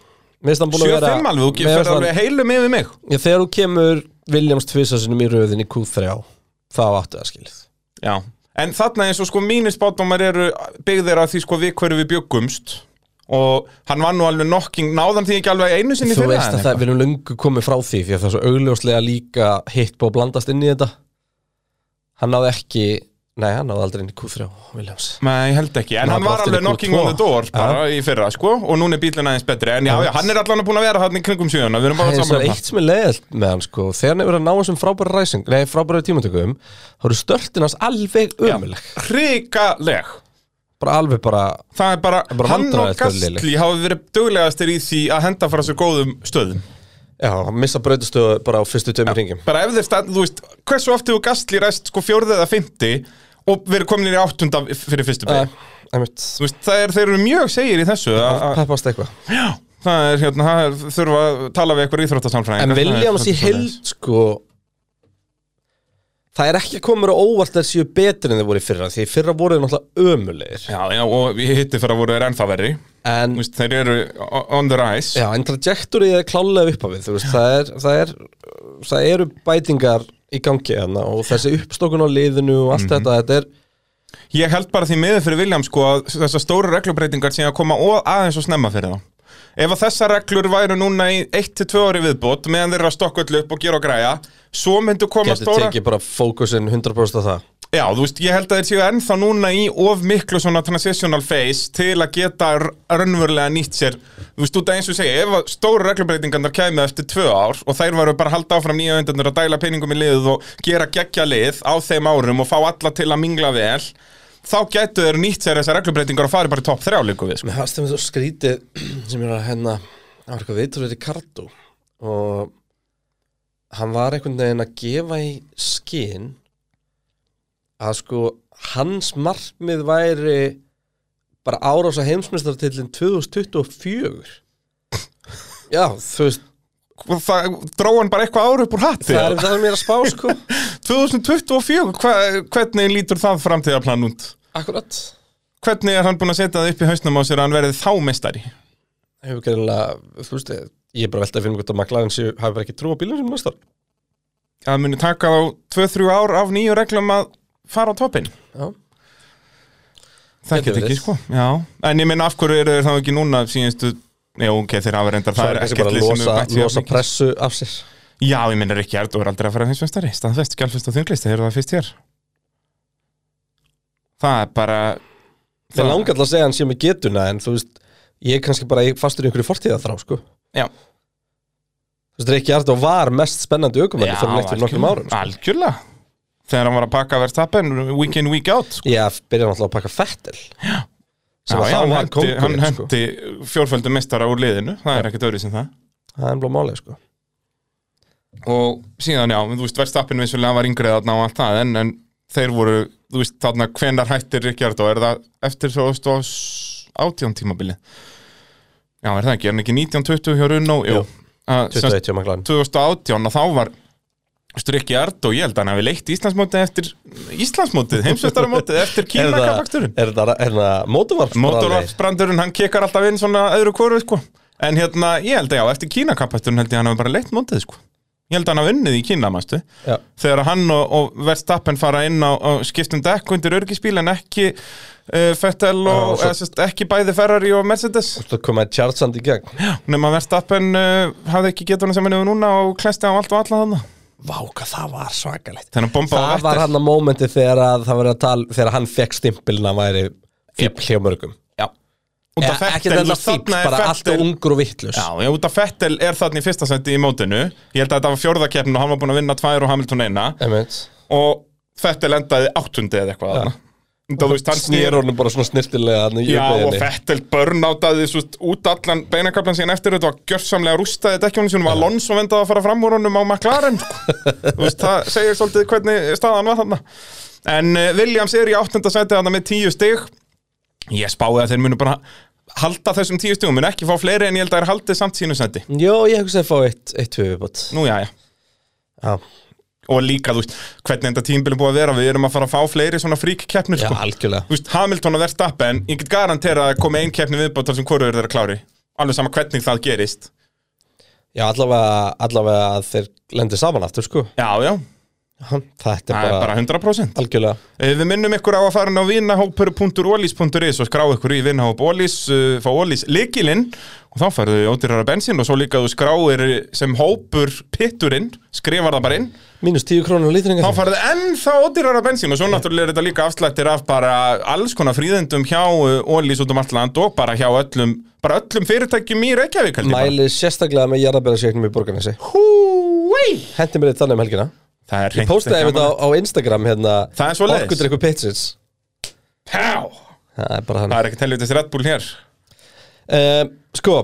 Speaker 1: Mér finnst hann búin að vera
Speaker 2: 7-5 alveg, þú
Speaker 1: Mér finnst
Speaker 2: fyrir
Speaker 1: hann-
Speaker 2: alveg heilum yfir mig
Speaker 1: Já, þegar þú kemur Williams tvisasinum í röðin í Q3 þá áttu það skilið
Speaker 2: Já En þarna eins og sko mínir spátdómar eru byggðir að því sko við hverju við bjöggumst og hann var nú alveg nokking náðan því ekki alveg einu sinni
Speaker 1: Þú
Speaker 2: fyrir
Speaker 1: veist að það við erum löngu komið frá því því að það er svo augljóslega líka hitt búið að blandast inn í þetta Hann náði ekki Nei, hann náði aldrei inn í Q3 Williams
Speaker 2: Nei, ég held ekki, en
Speaker 1: Hann
Speaker 2: hann
Speaker 1: var
Speaker 2: var
Speaker 1: aftur í
Speaker 2: alveg knocking on
Speaker 1: Q2.
Speaker 2: the door bara í fyrra, sko, og núna er bílun aðeins betri en já,
Speaker 1: Já.
Speaker 2: já, hann er allan að búin að vera þarna í kringum sjöðuna, við erum
Speaker 1: Það
Speaker 2: bara
Speaker 1: er svo
Speaker 2: saman um það
Speaker 1: eitt sem er leiðilt með hann sko Þegar hann hefur að ná þessum frábæra ræsing Nei, frábæra tímatökum þá eru störtin hans alveg ömuleg
Speaker 2: Hrikaleg
Speaker 1: Bara alveg bara
Speaker 2: Það er bara,
Speaker 1: bara
Speaker 2: hann og
Speaker 1: vandræðalegt að vera
Speaker 2: Gastli hafa verið duglegastir í því að henda frá svo góðum stöðum
Speaker 1: Já, hann missa brautastöðu bara á fyrstu tveimur hringum
Speaker 2: Bara ef þeir standa, þú veist, hversu oft hefur Gastli ræst sko fjórðið eða fymti og verið komin í áttunda fyrir fyrstu
Speaker 1: Nei,
Speaker 2: beig
Speaker 1: einmitt
Speaker 2: Þú veist, það er, þeir eru mjög segir í þessu að, að,
Speaker 1: Peppast eitthvað
Speaker 2: Já, það er hérna, það er, þurfa að tala við eitthvað íþróttasamfræðing
Speaker 1: En Williams í hild sko Það er ekki að koma mér á óvart að séu betri en þeir voru í fyrra Því í fyrra voru þeir náttúrulega ömulegir
Speaker 2: Já, já, og ég hitti fyrir að voru þeir ennþá verri
Speaker 1: En,
Speaker 2: Þú veist, Þeir eru o- on the rise
Speaker 1: já, en trajectory er klálega upp á við veist, það, er, það, er, það eru bætingar í gangi hérna Og þessi uppstokkun á liðinu og allt þetta Þetta er,
Speaker 2: Ég held bara því miður fyrir William sko að þessar stóru reglubreitingar sem að koma og aðeins og snemma fyrir þá Ef að þessar reglur væru núna í 1-2 ári viðbót meðan þeir eru að stokka öll upp og gera og græja svo myndu koma
Speaker 1: getur
Speaker 2: stóra
Speaker 1: tekið bara fókusinn 100% á það
Speaker 2: Já, þú veist, ég held að þeir séu ennþá núna í of miklu svona transitional phase til að geta r- raunverulega nýtt sér Þú veist, út að eins og segja, ef að stóru reglubreitingarnar kæmi eftir tvö ár og þær varu bara að halda áfram nýja undanur að dæla peningum í liðið og gera geggja lið á þeim árum og fá alla til að mingla vel þá getur þeir nýtt sér þessar reglubreitingar og farið bara í topp þrjá líku við, sko
Speaker 1: Mér fannst þeim þú skrítið sem ég var að hérna Það var eitthvað viðtur Ricardo og hann var einhvern veginn að gefa í skinn að sko hans markmið væri bara árása heimsmyndstartillin 2024 Já, þú veist
Speaker 2: Og Það dróðan bara eitthvað ára upp úr hatti
Speaker 1: það er það sem ég er að spá sko
Speaker 2: 2024, hva, hvernig lítur það framtíðarplan út?
Speaker 1: Akkurat
Speaker 2: Hvernig er hann búin að setja það upp í hausnum á sér að hann verði þá mestari?
Speaker 1: Hefur gerðinlega, þú veist ég er bara veltað að finna hvort að makla en hafi bara ekki trú á bílum sem næstar
Speaker 2: að muni taka þá 2-3 ár af nýju reglum að fara á toppin
Speaker 1: Já,
Speaker 2: það
Speaker 1: Getur
Speaker 2: get ekki
Speaker 1: verið.
Speaker 2: sko Já. en ég minna af hverju eru þeir þá ekki núna síðanstu, já ok þeir hafa reyndar
Speaker 1: það
Speaker 2: það
Speaker 1: er
Speaker 2: er
Speaker 1: kannski bara
Speaker 2: ekkert um
Speaker 1: að
Speaker 2: lið sem
Speaker 1: losa,
Speaker 2: hefur bætt sig jafn
Speaker 1: losa
Speaker 2: mikið.
Speaker 1: pressu af sér
Speaker 2: já ég minna Rikki Erdó er aldrei að fara heimsveistari staðfest, gjálfest og þunglist, þeir eru það fyrst hér það er bara
Speaker 1: Mér langar alltaf að segja hann sé með getuna en þú veist, ég er kannski bara í- fastur í einhverju fortíða þrá, sko
Speaker 2: Já.
Speaker 1: Þú veist, Reykjavík Ardó var mest spennandi aukumæri fyrir neitt fyrir nokkrum árum sko.
Speaker 2: algjörlega þegar hann var að pakka verðstappen week in week out sko.
Speaker 1: Ég byrja náttúrulega að pakka Fettel Já sem
Speaker 2: já,
Speaker 1: að
Speaker 2: já,
Speaker 1: þá
Speaker 2: hann
Speaker 1: var
Speaker 2: hendi, hann
Speaker 1: kóngurinn, sko
Speaker 2: hendi fjórföldu mistara úr liðinu það er ekkert öðru sem það
Speaker 1: Það er blá málið, sko
Speaker 2: og síðan já, þú veist, verðstappin vissulega var yngri þarna og allt það en, en þeir voru, þú veist, þarna hvenar hættir Ríkjard og er það eftir 2018 tímabili já, er það ekki, er hann ekki 1920 hjá Runó, jú
Speaker 1: Jú.
Speaker 2: Að, sem sagt,
Speaker 1: 21 hjá McLaren
Speaker 2: 2018 og þá var Ríkjard og ég held að hann hafi leitt Íslandsmótið eftir Íslandsmótið, heimsveistaramótið eftir
Speaker 1: Er það-
Speaker 2: kýrnakapaksturinn
Speaker 1: Er það, er það mótorvarp?
Speaker 2: Mótorvarpsbrandurinn, hann kekar alltaf inn svona öðru hvoru sko En hérna, ég held að já, eftir Kína kapasturinn held ég að hann hafa bara leitt mótið sko Ég held að hann hafa unnið í Kína, manstu
Speaker 1: Já.
Speaker 2: Þegar hann og, og Verstappen fara inn á, á skiptum dekk undir örgisbíl en ekki uh, Fettel og,
Speaker 1: og svo-
Speaker 2: eða, sest, ekki bæði Ferrari og Mercedes
Speaker 1: Þú komaði Charlesand í gegn
Speaker 2: Nefn að Verstappen uh, hafði ekki getað hann sem hann hefur núna og klesti á allt og alla þannig
Speaker 1: Vá, hvað það var svakalegt
Speaker 2: Þannig að bomba á
Speaker 1: Það var
Speaker 2: Vettel.
Speaker 1: hann að mómenti þegar að það var að tala þegar hann fekk stimpilin að væri fíbl hjá mörgum
Speaker 2: Já Út af
Speaker 1: Eða, Ekki
Speaker 2: Fettel,
Speaker 1: þetta
Speaker 2: þú
Speaker 1: fíbl,
Speaker 2: safnaði
Speaker 1: bara
Speaker 2: Vettel-
Speaker 1: alltaf ungur og vittlus
Speaker 2: Já, já, út af Fettel er þarna í fyrsta sendi í mótinu Ég held að þetta var fjórðakeppnin og hann var búinn að vinna tvær og Hamilton eina Og Fettel endaði áttundi eða eitthvað þarna. Þú veist, hann snýr
Speaker 1: Snýr honum bara svona snirtilega hann í
Speaker 2: Já, og
Speaker 1: uppleiðinni.
Speaker 2: Fettel börnátaði svo út allan beinakaplan síðan eftir þetta var gjörsamlega rústaði dekkjónu sínum og Alonso vendaði að fara fram úr honum á McLaren sko. Þú veist, það segir svolítið hvernig staðan var þarna En uh, Williams er í áttunda seti þarna með tíu stig Ég spáði að þeir munu bara halda þessum tíu stigum mun ekki fá fleiri en ég held að þeir haldið samt sínu seti
Speaker 1: Jó, ég hugsaði að fá eitt, eitt höfubot
Speaker 2: Nú já, já
Speaker 1: Já,
Speaker 2: Og líka, þú veist, hvernig enda tímbilið búið að vera Við erum að fara að fá fleiri svona frík keppnir
Speaker 1: já
Speaker 2: sko.
Speaker 1: algjörlega
Speaker 2: Þú veist, Hamilton að versta appen Ég get garantera að koma ein keppni viðbóttar sem hvoru eru þeirra klári Alveg sama hvernig það gerist
Speaker 1: Já, allavega, allavega að þeir lendir saman aftur, sko
Speaker 2: Já, já,
Speaker 1: Ha, Þetta
Speaker 2: það
Speaker 1: er
Speaker 2: er
Speaker 1: bara
Speaker 2: bara 100%
Speaker 1: algjörlega
Speaker 2: Eh, Við minnum ykkur á að fara inn á vinahópur.olís.is og skrá ykkur í vinahóp Olís, uh, fá Olís likilinn og þá færðu ódýrara bensín og svo líka þú skráir sem hópur pitturinn, skrifar það bara inn
Speaker 1: Mínus tíu krónur lítringa
Speaker 2: þá færðu ennþá ódýrara bensín og svo náttúrulega er þetta líka afslættir af bara alls konar fríðendum hjá uh, Olís út um allt land og bara hjá öllum, bara öllum fyrirtækjum í Reykjavík held ég bara.
Speaker 1: Mæli sérstaklega með jarðabæðarsjöknum í borgarnesi
Speaker 2: Húi!
Speaker 1: Hendi mér eitt þannig um helgina
Speaker 2: Það er hreint
Speaker 1: Póstaði
Speaker 2: ekki
Speaker 1: þetta á,
Speaker 2: gaman.
Speaker 1: á Instagram hérna
Speaker 2: Það er svoleiðis.
Speaker 1: Orkudrykku Pitsits
Speaker 2: Pá!
Speaker 1: Það er bara
Speaker 2: Það
Speaker 1: þannig
Speaker 2: er ekkert helvitist Red Bull hér
Speaker 1: uh, Sko,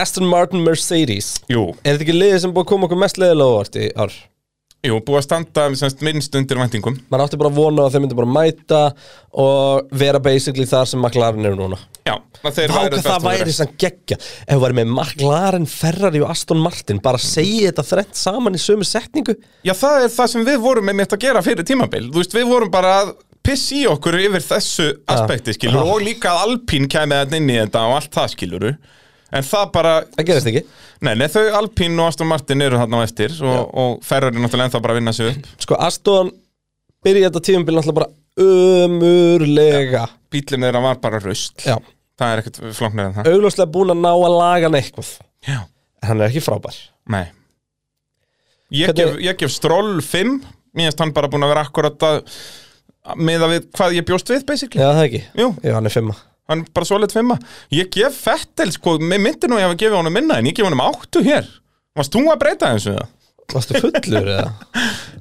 Speaker 1: Aston Martin Mercedes
Speaker 2: Jú,
Speaker 1: Er þetta ekki liðið sem búið að koma okkur mest leiðilega á óvart í ár?
Speaker 2: Jú, búið að standa semst, minnst undir vendingum
Speaker 1: Man átti bara að vona að þeir myndi bara mæta og vera basically þar sem McLaren eru núna
Speaker 2: Já, að þeir
Speaker 1: Váka
Speaker 2: best að
Speaker 1: það væri
Speaker 2: vera.
Speaker 1: sann geggja Ef við væri með McLaren, Ferrari og Aston Martin bara segi þetta þrennt saman í sömu setningu
Speaker 2: Já, það er það sem við vorum með mitt að gera fyrir tímabil Þú veist, við vorum bara að pissi í okkur yfir þessu aspekti, skilur
Speaker 1: Já.
Speaker 2: Og líka að Alpín kæmi þarna inn í þetta og allt það, skilur En það bara,
Speaker 1: Það gerist ekki
Speaker 2: nei, nei, þau Alpín og Aston Martin eru þarna á eftir og, og Ferrari náttúrulega ennþá bara að vinna sig upp
Speaker 1: Sko, Aston byrja þetta tímabil náttúrulega bara ömurlega
Speaker 2: Bílum þeirra var bara rusl
Speaker 1: Já,
Speaker 2: Það er ekkert flóknir en það
Speaker 1: augljóslega búin að ná að laga hann eitthvað
Speaker 2: Já,
Speaker 1: En Hann er ekki frábær
Speaker 2: nei Ég,
Speaker 1: Hvernig-
Speaker 2: gef, ég gef stról 5 Mér finnst hann bara búin að vera akkurat að meða við hvað ég bjóst við, basically
Speaker 1: Já, það ekki
Speaker 2: Jú,
Speaker 1: Já, hann er fimma
Speaker 2: hann er bara svolít fimma ég gef Fettel, sko, mér myndi nú ég hafa gefið honum minna en ég gef honum áttu hér varst þú að breyta þessu það?
Speaker 1: Varstu fullur eða?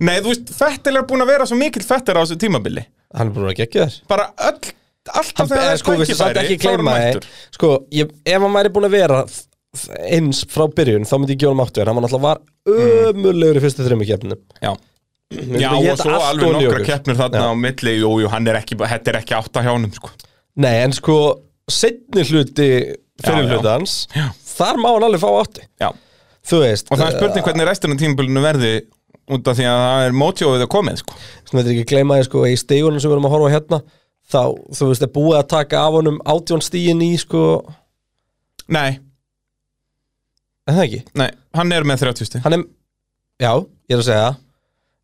Speaker 2: Nei, þú veist, Fettel er búin að vera svo mikill Fettel á þessu tímabili
Speaker 1: Hann er búin að geggja þér
Speaker 2: bara öll, alltaf
Speaker 1: Hann
Speaker 2: þegar það
Speaker 1: er
Speaker 2: er
Speaker 1: sko, við sem samt ekki
Speaker 2: tækifæri þá er hann
Speaker 1: gleyma
Speaker 2: mættur.
Speaker 1: þið Sko, ég, ef hann væri búin að vera þ- eins frá byrjun, þá myndi ég gefa hann áttu en hann náttúrulega var ömurlegur í fyrstu þrejum keppnum
Speaker 2: Já,
Speaker 1: Myndi
Speaker 2: Já
Speaker 1: bara
Speaker 2: og
Speaker 1: éta
Speaker 2: svo
Speaker 1: allt
Speaker 2: alveg
Speaker 1: ofan í
Speaker 2: nokkra
Speaker 1: okkur.
Speaker 2: keppnir þarna
Speaker 1: Já.
Speaker 2: á milli jú, jú, hann er ekki, þetta er ekki átta hjá honum sko.
Speaker 1: Nei, en sko, setni hluti
Speaker 2: Já,
Speaker 1: fyrir
Speaker 2: já.
Speaker 1: hluti hans
Speaker 2: Já.
Speaker 1: þar má hann alveg fá áttu
Speaker 2: Já.
Speaker 1: Þú veist,
Speaker 2: og það er spurning hvernig resturinn af tímabilinu verði út af því að það er mótjóðið að komið sko.
Speaker 1: sem þetta ekki gleyma því sko, í stegunum sem við erum að horfa á hérna þá, þú veist, er búið að taka af honum átjón stíin í, sko
Speaker 2: Nei,
Speaker 1: en það ekki,
Speaker 2: nei, hann er með 30 stig
Speaker 1: hann er já, ég er að segja það.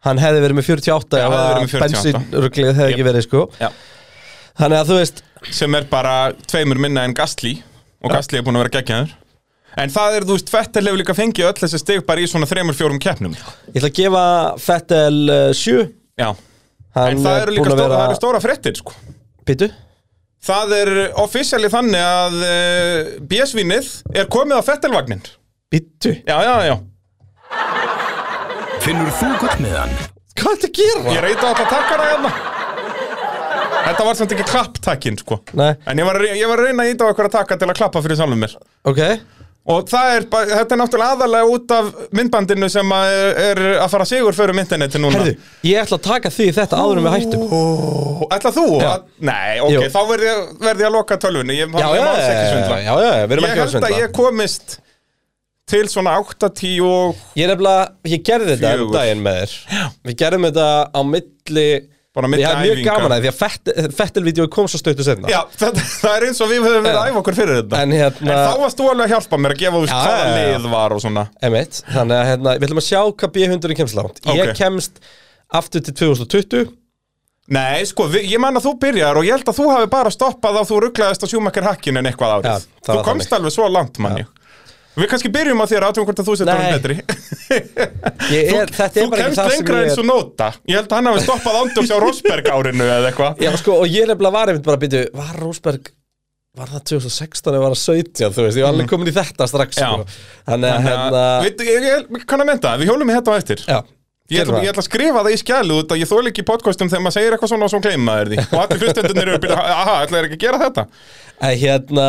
Speaker 1: hann hefði verið með 48
Speaker 2: Já,
Speaker 1: ef
Speaker 2: hefði verið
Speaker 1: að
Speaker 2: með 48.
Speaker 1: bensínruglið hefði ekki verið, sko
Speaker 2: Já.
Speaker 1: þannig að þú veist,
Speaker 2: sem er bara tveimur minna en Gastli og Gastli er búin að vera geggjaður en það er, þú veist, Fettel hefur líka fengið öll þessi stig bara í svona þreimur, fjórum keppnum já,
Speaker 1: ég ætla að gefa Fettel uh, 7
Speaker 2: en það eru líka stóra, það eru stóra fréttir sko.
Speaker 1: Pítu?
Speaker 2: það er offisjali þannig að uh, BS-vinnið er komið á Fettelvagnin já,
Speaker 1: Pítu?
Speaker 2: já, já,
Speaker 3: Finnur þú gullmiðan?
Speaker 1: Hvað er þetta að gera?
Speaker 2: ég reyta þetta takkara hérna Þetta var samt ekki klapptakkin, sko
Speaker 1: Nei.
Speaker 2: En ég var, að re- ég var að reyna að íta á eitthvað að taka til að klappa fyrir sjálfum mér
Speaker 1: Ok,
Speaker 2: Og það er, bara- þetta er náttúrulega aðalega út af myndbandinu sem að er að fara sigur fyrir interneti núna
Speaker 1: herðu, ég ætla að taka því þetta áður en við hættum
Speaker 2: Ó, ætla þú?
Speaker 1: Já.
Speaker 2: Að, nei, ok,
Speaker 1: Jú.
Speaker 2: þá verði ég, verð ég að loka tölvunni Ég,
Speaker 1: Já, já,
Speaker 2: ég má alls ekki
Speaker 1: já,
Speaker 2: svindla
Speaker 1: já, já, við erum
Speaker 2: Ég
Speaker 1: ekki að
Speaker 2: held að
Speaker 1: svindla
Speaker 2: ég komist til svona 8-10 og
Speaker 1: Ég er nefnilega, ég gerði þetta um
Speaker 2: Fjögur.
Speaker 1: daginn með þér Við gerðum þetta á milli
Speaker 2: bara
Speaker 1: Ég
Speaker 2: milli
Speaker 1: hef mjög
Speaker 2: æfinga.
Speaker 1: gaman að því að Fettel- Fettel-vídeói kom svo stöttu setna
Speaker 2: Já, þetta, það er eins og við höfum verið að æfa okkur fyrir þetta
Speaker 1: En hérna-
Speaker 2: þá varst þú alveg að hjálpa mér að gefa þú
Speaker 1: Já,
Speaker 2: hvaða
Speaker 1: já, já.
Speaker 2: lið var og svona
Speaker 1: Emitt, þannig að hérna, við ætlum að sjá hvað B100 kemst langt Ég
Speaker 2: Ok.
Speaker 1: kemst aftur til 2020
Speaker 2: Nei, sko, við, ég man að þú byrjar og ég held að þú hafi bara stoppað að þú rugglaðist á sjúmakar hakkin en eitthvað árið
Speaker 1: Já, það
Speaker 2: Þú
Speaker 1: var
Speaker 2: komst alveg svo langt, manni Við kannski byrjum á þér aðtum hvort að þú setjar
Speaker 1: Nei.
Speaker 2: hann betri
Speaker 1: ég er, Þetta
Speaker 2: Þú
Speaker 1: er bara ekki
Speaker 2: kemst
Speaker 1: það sem
Speaker 2: lengra
Speaker 1: ég
Speaker 2: eins
Speaker 1: er
Speaker 2: og nota Ég held að hann hafi stoppað ándjóks á Rosberg árinu eða eitthvað
Speaker 1: Já, sko, og ég er nefnilega var einmitt bara að byrja Var Rósberg, var það 2016 eða var það 17, þú veist, ég var alveg komin í þetta strax
Speaker 2: Mm. Já.
Speaker 1: sko. Þannig að hérna
Speaker 2: Við, ég, ég, ég kann að mynda, við hjólum í þetta á eftir
Speaker 1: Já,
Speaker 2: Ég ætla,
Speaker 1: gerum það.
Speaker 2: ég ætla að skrifa það í skjælu út að ég þóli ekki í podcastum þegar maður segir eitthvað svona og svo gleyma þér því og allir hlustendurnir eru að byrja, aha, ætla þér ekki að gera þetta
Speaker 1: En hérna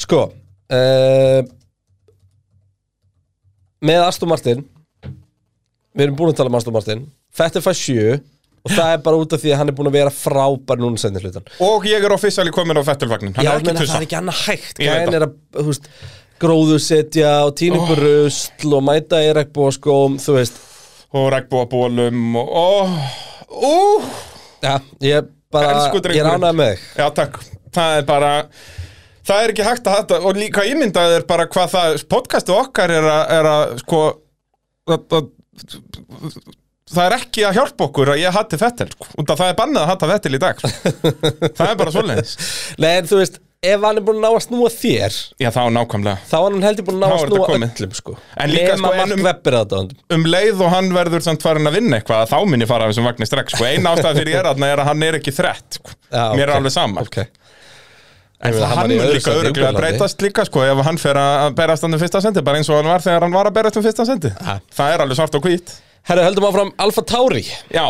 Speaker 1: Sko uh, Með Aston Martin Við erum búin að tala um Aston Martin Fettel fær 7 Og það er bara út af því að hann er búin að vera frábær núna senni hlutan
Speaker 2: og ég er officially komin á fettilvagnin, hann
Speaker 1: Já,
Speaker 2: er
Speaker 1: menn,
Speaker 2: ekki
Speaker 1: það
Speaker 2: tussa
Speaker 1: er ekki annað hægt
Speaker 2: Ég veit
Speaker 1: Gæðin
Speaker 2: það.
Speaker 1: er að, þú veist, gróðu setja og tína ykkur rusl og mæta í regnbóskóm, þú veist
Speaker 2: og regnbúabólum og oh, uh,
Speaker 1: Já, ég bara,
Speaker 2: Elsku drengurinn.
Speaker 1: ég ránaði með þig
Speaker 2: Já, takk, það er bara það er ekki hægt að þetta og líka ímyndað er bara hvað það podcastu okkar er að, er að sko að, að, það er ekki að hjálpa okkur að ég hatti fettil, sko, út að það er bannað að hatta fettil í dag, sko. það er bara svoleiðis
Speaker 1: Nei, en þú veist, ef hann er búin að ná að snúa þér
Speaker 2: Já, þá nákvæmlega
Speaker 1: þá var hann heldur búin að ná að
Speaker 2: Þá er þetta
Speaker 1: snúa
Speaker 2: komið.
Speaker 1: öllum sko.
Speaker 2: En líka, sko,
Speaker 1: Mark
Speaker 2: en um-
Speaker 1: Webber þetta
Speaker 2: um leið og hann verður samt farin að vinna eitthvað að þá minni fara af þessum vagnir strax sko. eina ástæða fyrir ég er þarna er að hann er ekki þrett sko.
Speaker 1: Já,
Speaker 2: mér er
Speaker 1: ok.
Speaker 2: alveg sama
Speaker 1: Ok.
Speaker 2: sko.
Speaker 1: En
Speaker 2: Það hann
Speaker 1: var í
Speaker 2: mun
Speaker 1: öðru
Speaker 2: líka
Speaker 1: sæti í
Speaker 2: öruglega að
Speaker 1: Ungverjalandi.
Speaker 2: breytast líka sko, ef hann fer að að berast hann um fyrsta sendi bara eins og hann var þegar hann var að berast um fyrsta sendi
Speaker 1: Ha.
Speaker 2: það er alveg svart og hvít
Speaker 1: Herra, höldum áfram Alfa Tauri
Speaker 2: Já,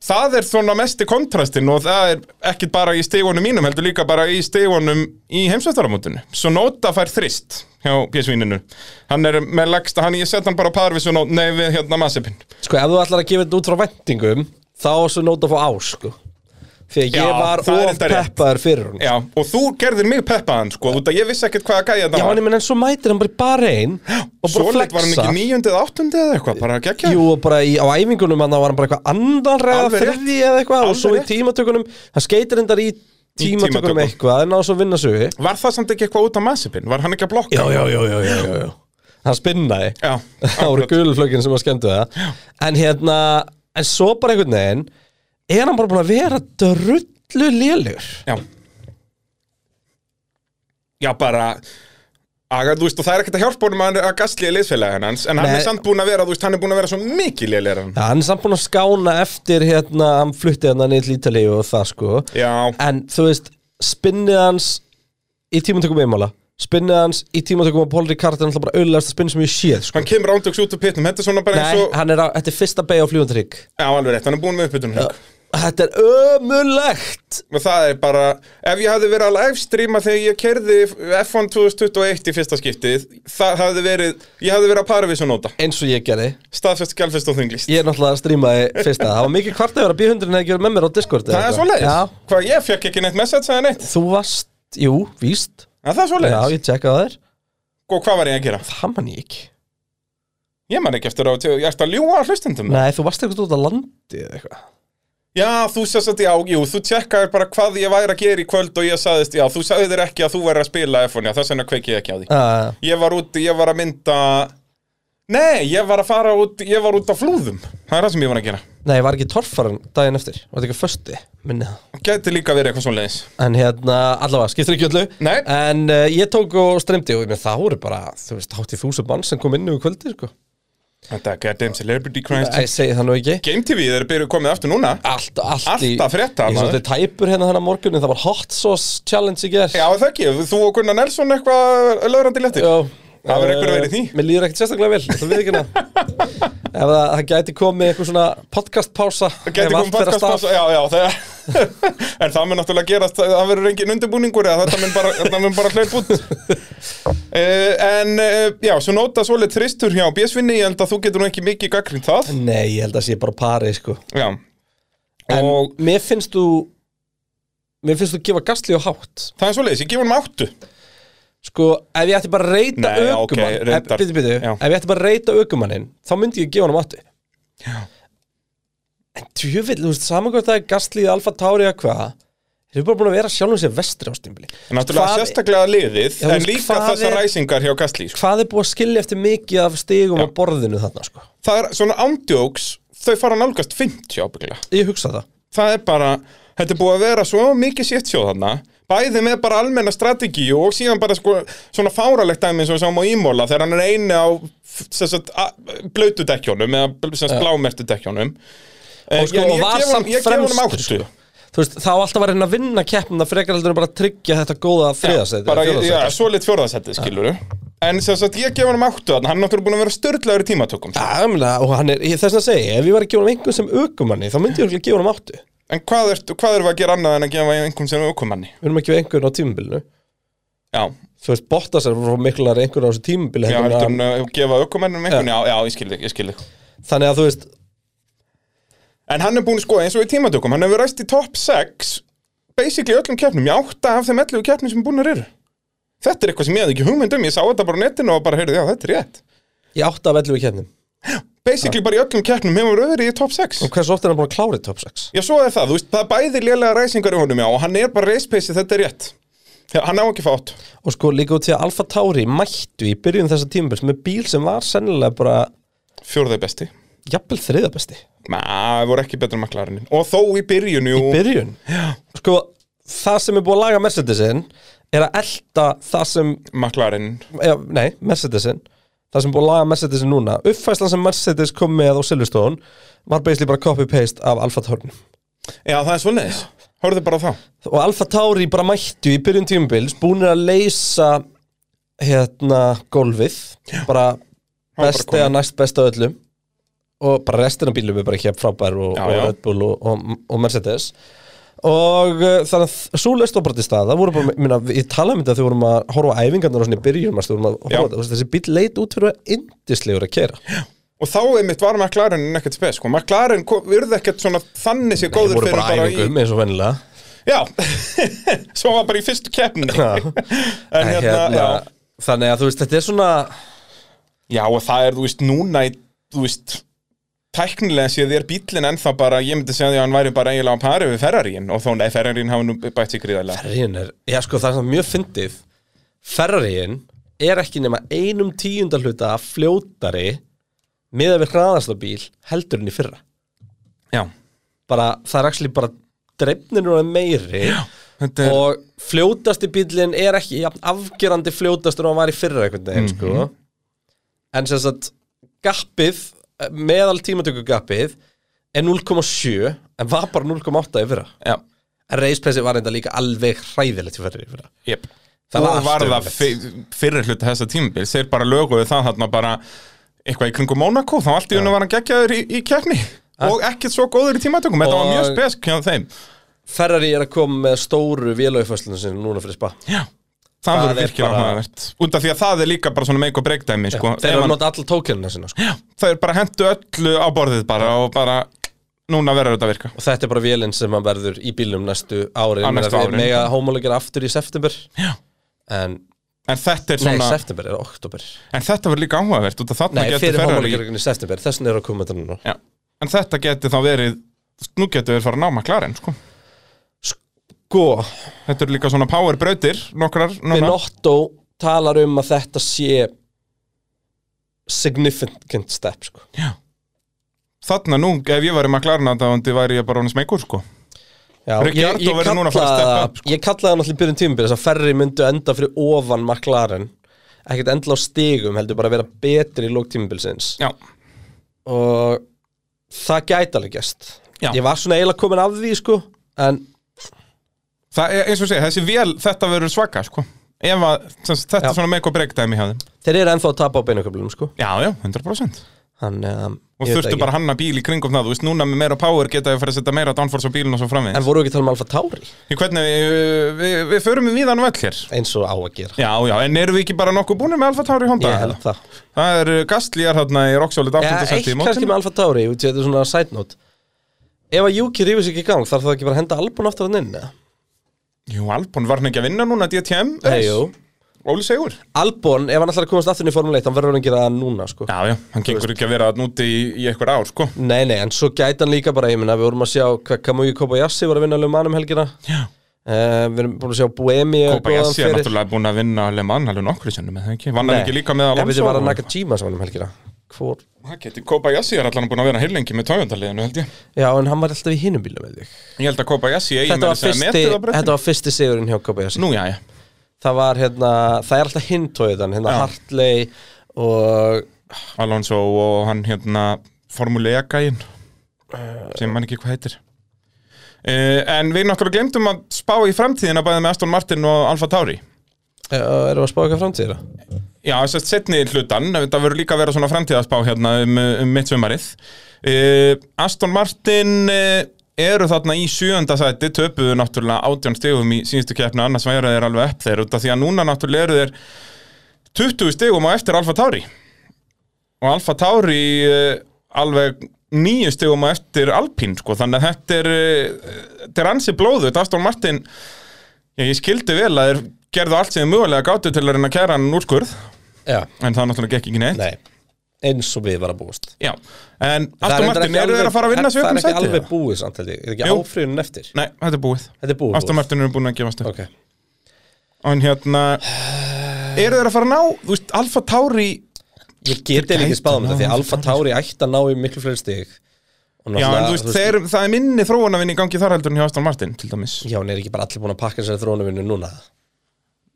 Speaker 2: það er svona mesti kontrastin og það er ekkit bara í stegunum mínum heldur líka bara í stegunum í heimsvæstaramótinu svo Nóta fær þrist hjá pjessvíninu hann er með legsta, hann ég set hann bara á par við svo Nóta, nei við hérna Massipin
Speaker 1: Sko, ef þú ætlar að gefa þetta út frá vendingum þá er svo nót að fá á sko. Því að
Speaker 2: Já,
Speaker 1: ég var
Speaker 2: það er
Speaker 1: of
Speaker 2: enda rétt.
Speaker 1: peppaður fyrir hún
Speaker 2: Já, og þú gerðir mig peppaðan, sko, út að ég vissi ekkert hvaða gæja
Speaker 1: Já,
Speaker 2: þetta
Speaker 1: en, ég meina, en svo mætir hann bara í bara einn og bara
Speaker 2: Svoleitt var hann
Speaker 1: flexa
Speaker 2: ekki níundi eða áttundi eða eitthvað, bara geggja
Speaker 1: Jú, og bara í, á æfingunum hann var hann bara eitthvað andanra eða
Speaker 2: Alveg rétt.
Speaker 1: þriði eða eitthvað og
Speaker 2: Alveg
Speaker 1: svo í
Speaker 2: rétt.
Speaker 1: tímatökunum hann skeitir endar í tímatökunum
Speaker 2: tímatökum.
Speaker 1: eitthvað en á svo vinna sögu
Speaker 2: Var það samt ekki eitthvað út af massipin? Var hann ekki að blokka?
Speaker 1: Já, já, já, já, já, já, já. Hann spinnaði
Speaker 2: Já,
Speaker 1: Það voru gulflökin sem var skemmtu það En hérna, en svo bara einhvern veginn Er hann bara búin að vera drullu lélugur
Speaker 2: já Já, bara Aga, þú veist, og það er ekkert að hjálpa honum að, hann- að gastlíða liðfélagi hans En hann
Speaker 1: Nei.
Speaker 2: er samt búin að vera, þú veist, hann er búin að vera svo mikið liðlega hann
Speaker 1: Það hann er samt búin að skána eftir hérna Hann flutti hérna niður til Ítalíu og það sko
Speaker 2: Já,
Speaker 1: En þú veist, spinnið hans Í tímantökum einmála Spinnið hans í tímantökum á Paul Ricard Er alltaf bara auðlegast að spinna sem ég séð sko
Speaker 2: hann kemur ándöks út úr pitnum Þetta er svona bara
Speaker 1: Nei,
Speaker 2: eins og
Speaker 1: hann er á, þetta er fyrsta beig á fljóðantrygg
Speaker 2: Já, alveg rétt, hann er búin með uppbytunum
Speaker 1: Þetta er ömulegt
Speaker 2: og það er bara, ef ég hafði verið að livestreama þegar ég kerði F1 2021 í fyrsta skiptið það hafði verið, ég hafði verið að para við svo nota
Speaker 1: Eins og ég gerði
Speaker 2: staðfest, gælfest og þunglist
Speaker 1: Ég er náttúrulega að strímaði fyrsta Það var mikið kvart að vera B100 hefði gjörð með mér á Discord eða
Speaker 2: það er
Speaker 1: eitthvað.
Speaker 2: svoleiðis,
Speaker 1: Já,
Speaker 2: hvað ég fekk ekki neitt message eða neitt,
Speaker 1: þú varst, jú, víst
Speaker 2: en það er
Speaker 1: Já,
Speaker 2: svoleiðis
Speaker 1: ég tjekkaði þér
Speaker 2: og hvað var ég að gera?
Speaker 1: Það man ég ekki
Speaker 2: Ég man ekki eftir á, ég eftir að ljúga að hlustendum
Speaker 1: Nei, þú varst eitthvað út á landi eða eitthvað
Speaker 2: já, þú sérst að, já, jú, þú tjekkaðir bara hvað ég væri að gera í kvöld og ég sagðist, já, þú sagðir ekki að þú væri að spila F1, já, þess vegna kveiki ég ekki á því
Speaker 1: uh,
Speaker 2: Ég var úti, ég var að mynda Nei, ég var að fara út, ég var út á flúðum Það er það sem ég var að gera
Speaker 1: Nei, var ekki torfarinn daginn eftir Var þetta ekki fösti, minni það
Speaker 2: Gæti líka verið eitthvað svoleiðis
Speaker 1: En hérna, allavega, skiptir ekki öllu
Speaker 2: Nei.
Speaker 1: En uh, ég tók og streymdi og ég meina, það voru bara, þú veist, hátti þúsund mann sem kom inn í kvöldi, sko
Speaker 2: Þetta er goddamn celebrity crimes
Speaker 1: Ég segi það nú ekki
Speaker 2: Game TV, þeir eru byrjuð komið aftur núna
Speaker 1: Allt, allt í
Speaker 2: Allt að frétta,
Speaker 1: Ég
Speaker 2: maður.
Speaker 1: svolítið tæpur hérna þannig að morgunin Það var hot sauce challenge í ger
Speaker 2: Já, er það ekki, þú og Gunnar Nelson eitthvað lögrandi lettir
Speaker 1: Já Eh,
Speaker 2: Það verður einhver að vera í því.
Speaker 1: Mér líður ekkert sérstaklega vel, það við ekki hana Ef það, það gæti komið eitthvað svona podcastpása
Speaker 2: Gæti komið podcast pása, já, já það, En það mun náttúrulega gerast Það verður engin undirbúningur eða þetta mun bara, þetta mun bara hlaup út uh, En, uh, já, svo nota svolít þristur hjá BSvinni Ég held að þú getur nú ekki mikið gaggrind það
Speaker 1: Nei, ég held að sé bara pari, sko
Speaker 2: Já
Speaker 1: En
Speaker 2: Og
Speaker 1: mér finnst þú Mér finnst þú gefa gasli og hátt
Speaker 2: það er svolítið, ég gef honum áttu
Speaker 1: Sko, ef ég ætti bara að reyta
Speaker 2: Nei, já, ok,
Speaker 1: ökumann
Speaker 2: reyndar.
Speaker 1: Býtu, býtu,
Speaker 2: Já.
Speaker 1: ef ég ætti bara að reyta ökumanninn Þá myndi ég gefa hann um átti en tjöfill, þú veist, saman hvað það er gastlíð Alfa Tauri að hvað þeir eru bara búin að vera sjálfum sér vestri ástýmbli
Speaker 2: En náttúrulega sérstaklega liðið,
Speaker 1: Já, þú
Speaker 2: en
Speaker 1: veist,
Speaker 2: líka
Speaker 1: hvað
Speaker 2: þessar
Speaker 1: er-
Speaker 2: ræsingar hjá Gastlí sko.
Speaker 1: hvað er búið að skilja eftir mikið af stigum á borðinu þarna sko
Speaker 2: Það er svona ándjóks, þau fara nálgast 50 ábyggla
Speaker 1: ég hugsa það
Speaker 2: Það er bara, þetta er búið að vera svo mikið sétt sjóð þarna Bæði með bara almenna strategíu og síðan bara sko, svona fáralegt dæmi eins og við sáum á Ímóla þegar hann er einu á sem sagt, a- blautu dekkjónum eða bl- sem sagt, blámertu dekkjónum Eh,
Speaker 1: og, sko,
Speaker 2: en
Speaker 1: og
Speaker 2: ég
Speaker 1: var
Speaker 2: gef honum-
Speaker 1: samt
Speaker 2: ég gef honum
Speaker 1: fremstur
Speaker 2: áttu.
Speaker 1: sko. Þú veist, þá alltaf var henni að vinna keppnum það frekar heldur en bara að tryggja þetta góða þriðasæti
Speaker 2: bara,
Speaker 1: eða
Speaker 2: já,
Speaker 1: fjórðasæti.
Speaker 2: svo lit fjórðasætti, skilur En sem sagt, ég gef hann áttu þarna, hann er náttúrulega búin að vera störðlegur í tímatökum sko.
Speaker 1: Já, ég meina, og hann er, ég- þess að segja, ef ég var að gefa hann einhvern sem aukumanni, þá myndi ég örugglega gefa hann áttu Við
Speaker 2: En hvað ertu, hvað erum við að gera annað en að gefa einhvern sem aukumanni?
Speaker 1: erum að gefa einhvern á tímubilinu
Speaker 2: Já,
Speaker 1: Þú veist, Bottas er frá miklar einhvern á þessu tímubili
Speaker 2: já
Speaker 1: heldur
Speaker 2: heldur
Speaker 1: en
Speaker 2: en að gefa aukumannum einhvern, já, já, ég skil þig, ég skil þig
Speaker 1: að- Þannig að þú veist,
Speaker 2: En hann er búin, sko, eins og í tímatökum, hann hefur ræst í top 6 basically öllum keppnum, ég átta af þeim 11 keppnum sem búinir eru Þetta er eitthvað sem ég hefði ekki hugmynd um, ég sá þetta bara á netinu og bara heyrði, já, þetta er rétt
Speaker 1: ég átta af 11 keppnum
Speaker 2: Basically bara í öllum keppnum hefur verið í top 6
Speaker 1: Og hversu oft er hann búin að klára í top 6?
Speaker 2: Já, svo er það, þú veist, það er bæði lélega ræsingar í honum, já, og hann er bara race pace, þetta er rétt Já, Hann á ekki að fá 8
Speaker 1: Og sko, líka út til að Alfa Tauri mættu í byrjun þessa tímubils með bíl sem var sennilega bara
Speaker 2: Fjórði besti
Speaker 1: jafnvel þriðabesti
Speaker 2: Ma, það voru ekki betur en maklarinn Og þó í byrjun, jú
Speaker 1: Byrjun? Já Sko, það sem er búið að laga Mercedesin er að elta það sem
Speaker 2: maklarinn
Speaker 1: já, nei, Mercedesin það sem er búið að laga Mercedesin núna uppfæslan sem Mercedes kom með á Silverstone var basically bara copy-paste af Alfa Tauri
Speaker 2: Já, það er svoleiðis Hörðu bara á það
Speaker 1: og Alfa Tauri bara mættu í byrjun tímubils búinir að leysa hérna golfið bara
Speaker 2: Hann var bara
Speaker 1: best
Speaker 2: kominn.
Speaker 1: eða næst best á öllum og bara restin af bílum er bara ekki frábær og,
Speaker 2: Já,
Speaker 1: og
Speaker 2: já.
Speaker 1: Red Bull og, og, og Mercedes og uh, þannig að svo löst var bara til stað það voru bara, minna, ég talaði um þetta þegar við vorum að horfa á æfingarnar og svona í byrjum manstu, við vorum að
Speaker 2: Já.
Speaker 1: horfa, á þetta, þú veist, þessi bíl leit út fyrir að vera yndislegur að kera
Speaker 2: Og þá einmitt var maklarinn ekkert spes sko. Maklarinn virði ekkert svona þannig sér
Speaker 1: það
Speaker 2: góður
Speaker 1: voru
Speaker 2: fyrir
Speaker 1: bara æfingum eins og vennilega
Speaker 2: Já, svo hann var bara í fyrstu keppni
Speaker 1: Já.
Speaker 2: En hérna, já
Speaker 1: þannig að þú veist þetta er svona
Speaker 2: Já, og það er, þú veist, núna í, Þú veist, tæknilega séð er bíllinn ennþá bara Ég myndi segja því að hann væri bara eiginlega á pari við Ferrarín Og þó, nei, Ferrarín hafa nú bætt sér gríðarlega
Speaker 1: Ferrarín er, já sko það er svona mjög fyndið Ferrarín er ekki nema einum tíundahluta fljótari miðað við hraðastabíl heldur enn í fyrra
Speaker 2: Já,
Speaker 1: bara, það er actually bara dreifninur og meiri
Speaker 2: þetta er
Speaker 1: og fljótasti bílinn er ekki jafn, afgerandi fljótastur en hann var í fyrra einhvern veginn sko. en sem sagt gappið, meðal tímatöku gappið er 0,7 en var bara 0,8 í fyrra
Speaker 2: Já,
Speaker 1: en reispressi var enda líka alveg hræðilegt í fyrra, í fyrra.
Speaker 2: jep
Speaker 1: Það
Speaker 2: Það
Speaker 1: var allt
Speaker 2: var það
Speaker 1: ömurlegt.
Speaker 2: fyr- fyrir hluta þessa tímabil Þeir bara löguðu það þarna bara Eitthvað í kringum Monaco Þá allt í unna var hann geggjaður í, í keppni Og ekkert svo góður í tímatökum Þetta var mjög
Speaker 1: Og-
Speaker 2: spesk hjá þeim
Speaker 1: Ferrari er að koma með stóru vélaufæslunum sinni núna fyrir spa
Speaker 2: Já Það
Speaker 1: Það
Speaker 2: verður
Speaker 1: er
Speaker 2: virkilega
Speaker 1: bara-
Speaker 2: áhugavert Út af því að það er líka bara svona meik og breakdæmi sko.
Speaker 1: Þeir
Speaker 2: Ef
Speaker 1: eru að
Speaker 2: hann-
Speaker 1: nota alla tókenina sinna sko.
Speaker 2: Það er bara hendu öllu á borðið bara Og bara Núna verður þetta að virka
Speaker 1: Og þetta er bara vélinn sem að verður í bílum næstu ári
Speaker 2: Á næstu árin.
Speaker 1: Mega homologera aftur í september
Speaker 2: Já.
Speaker 1: En,
Speaker 2: En þetta er
Speaker 1: nei,
Speaker 2: svona
Speaker 1: september er oktober
Speaker 2: En þetta verður líka áhugavert Út af þarna
Speaker 1: Nei,
Speaker 2: getur
Speaker 1: fyrir
Speaker 2: Ferrari
Speaker 1: homologera í september, þessin er að koma þetta núna
Speaker 2: Já. En þetta getur þá verið Nú getur við fara að náma klaren sko.
Speaker 1: Sko,
Speaker 2: Þetta eru líka svona power brautir Nokkrar núna
Speaker 1: Benotto talar um að þetta sé significant step sko.
Speaker 2: þarna nú, ef ég væri maklarinn aðdáðandi væri ég bara honum smeykur sko
Speaker 1: Já,
Speaker 2: Ricciardo
Speaker 1: ég, ég,
Speaker 2: verður núna að fara að
Speaker 1: kallaði
Speaker 2: steppa
Speaker 1: það-
Speaker 2: upp, sko.
Speaker 1: ég kallaði hann allir byrjun tímubil þess að ferri myndu enda fyrir ofan McLaren ekkert endla á stigum heldur bara að vera betri í lók tímubilsins
Speaker 2: Já,
Speaker 1: og það gæti alveg gæst
Speaker 2: Já.
Speaker 1: ég var svona eiginlega komin af því sko en
Speaker 2: það er eins og segja, þessi vél, þetta verður svaka sko Ef að, sem sagt, þetta
Speaker 1: Já.
Speaker 2: er svona make or break dæmi hjá þeim
Speaker 1: þeir eru ennþá að tapa á beinuköflum sko
Speaker 2: Já, já, 100%
Speaker 1: hann, um,
Speaker 2: Og þurftu bara að hanna bíl í kringum það, þú veist, núna með meira power geta við fara að setja meira downforce á bílinn og svo framvið
Speaker 1: en voru ekki að tala um Alfa Tauri
Speaker 2: Í hvernig, við, við, við förum við víðan völl hér
Speaker 1: eins og á að gera
Speaker 2: Já, já, en erum við ekki bara nokkuð búinir með Alfa Tauri Honda?
Speaker 1: ég held það
Speaker 2: Það er gastlýjar hérna í Roxolid
Speaker 1: ja,
Speaker 2: 8.
Speaker 1: eitt
Speaker 2: seti í
Speaker 1: kannski
Speaker 2: mótinu
Speaker 1: með Alfa Tauri út í þetta er svona side note ef að Juki rífur sig ekki í gang þarf það ekki bara að henda albún aftur hann inn eða?
Speaker 2: Jú, Albon var hann ekki að vinna núna DTM
Speaker 1: Nei, jú
Speaker 2: Óli segur
Speaker 1: Albon, ef hann ætlar að komast aftur inn í Formule 1 hann verður hann að gera það núna sko.
Speaker 2: Já, já, hann gengur ekki að vera að núti í, í eitthvað ár, sko
Speaker 1: Nei, nei, en svo gæti hann líka bara ég minna, við vorum að sjá hvað Kamugi Kobayassi var að vinna alveg mannum helgina
Speaker 2: Já
Speaker 1: uh, við erum búin að sjá Buemi
Speaker 2: Kópa Jassi er náttúrulega búin að vinna Le Mans alveg nokkru sinnum, eða ekki? Vann hann ekki líka með
Speaker 1: Alonso
Speaker 2: Alonso?
Speaker 1: var Eh, að Nakajima sem var um helgina Hvor?
Speaker 2: Það geti, Kópa Jassi er allan búin að vera heillengi með Toyota-liðinu, held ég
Speaker 1: Já, en hann var alltaf í hinum bílum með þig
Speaker 2: Ég held að Kópa Jassi eigi
Speaker 1: Þetta
Speaker 2: meira
Speaker 1: var,
Speaker 2: að segja
Speaker 1: fyrsti,
Speaker 2: metið á brautinni.
Speaker 1: þetta var fyrsti sigurinn hjá Kobayassi
Speaker 2: Nú, já, já
Speaker 1: Það var hérna, það er alltaf hinn tóðan hérna
Speaker 2: Já.
Speaker 1: Hartley og
Speaker 2: Alonso og hann hérna formuleakæin
Speaker 1: Eh,
Speaker 2: sem mann ekki hvað heitir uh, en við náttúrulega glemdum að spá í framtíðina bæði með Aston Martin og Alfa Tauri
Speaker 1: uh, erum við að spá eitthvað framtíðir
Speaker 2: já, þess að setni hlutan þetta verður líka að vera svona framtíðaspá hérna um, um mitt sumarið uh, Aston Martin uh, eru þarna í sjöunda sæti töpuðu náttúrulega átján stegum í síðustu keppnu annars væru þeir alveg upp þeir út af því að núna náttúrulega eru þeir 20 stegum á eftir Alfa Tauri og Alfa Tauri uh, alveg nýju stegum á eftir Alpín sko, þannig að þetta er uh, þetta er ansi blóðu, Aston Martin já, ég skildi vel að þeir gerðu allt sem þeir mögulega gáttu til að reyna að kæra hann úr skurð
Speaker 1: Já,
Speaker 2: en það náttúrulega gekk ekki neitt
Speaker 1: nei, eins og við var að búast
Speaker 2: já, en
Speaker 1: Það
Speaker 2: Aston
Speaker 1: reyndar
Speaker 2: Martin
Speaker 1: ekki
Speaker 2: eru þeir
Speaker 1: alveg-
Speaker 2: að fara að vinna
Speaker 1: Það
Speaker 2: sjöfum
Speaker 1: er ekki
Speaker 2: sæti
Speaker 1: alveg
Speaker 2: eða?
Speaker 1: búið samt held ég Er ekki
Speaker 2: Jú.
Speaker 1: áfrýjun eftir
Speaker 2: nei, þetta er búið
Speaker 1: Þetta er búið
Speaker 2: Aston Martin eru búin að gefast upp
Speaker 1: Ok
Speaker 2: en hérna, eru þeir að fara að ná þú veist, Alfa Tauri
Speaker 1: Ég geti
Speaker 2: gætu
Speaker 1: ekki spáð um
Speaker 2: náð
Speaker 1: þetta Því
Speaker 2: þessu
Speaker 1: Alfa Tauri ætti að ná í miklu fleiri stig Og
Speaker 2: Já, en
Speaker 1: náttúrulega,
Speaker 2: þú veist, þeir, það er minni þróunavinn í gangi þar heldur en hjá Aston Martin, til dæmis.
Speaker 1: Já, en er ekki bara allir búin að pakka sér þróunavinu núna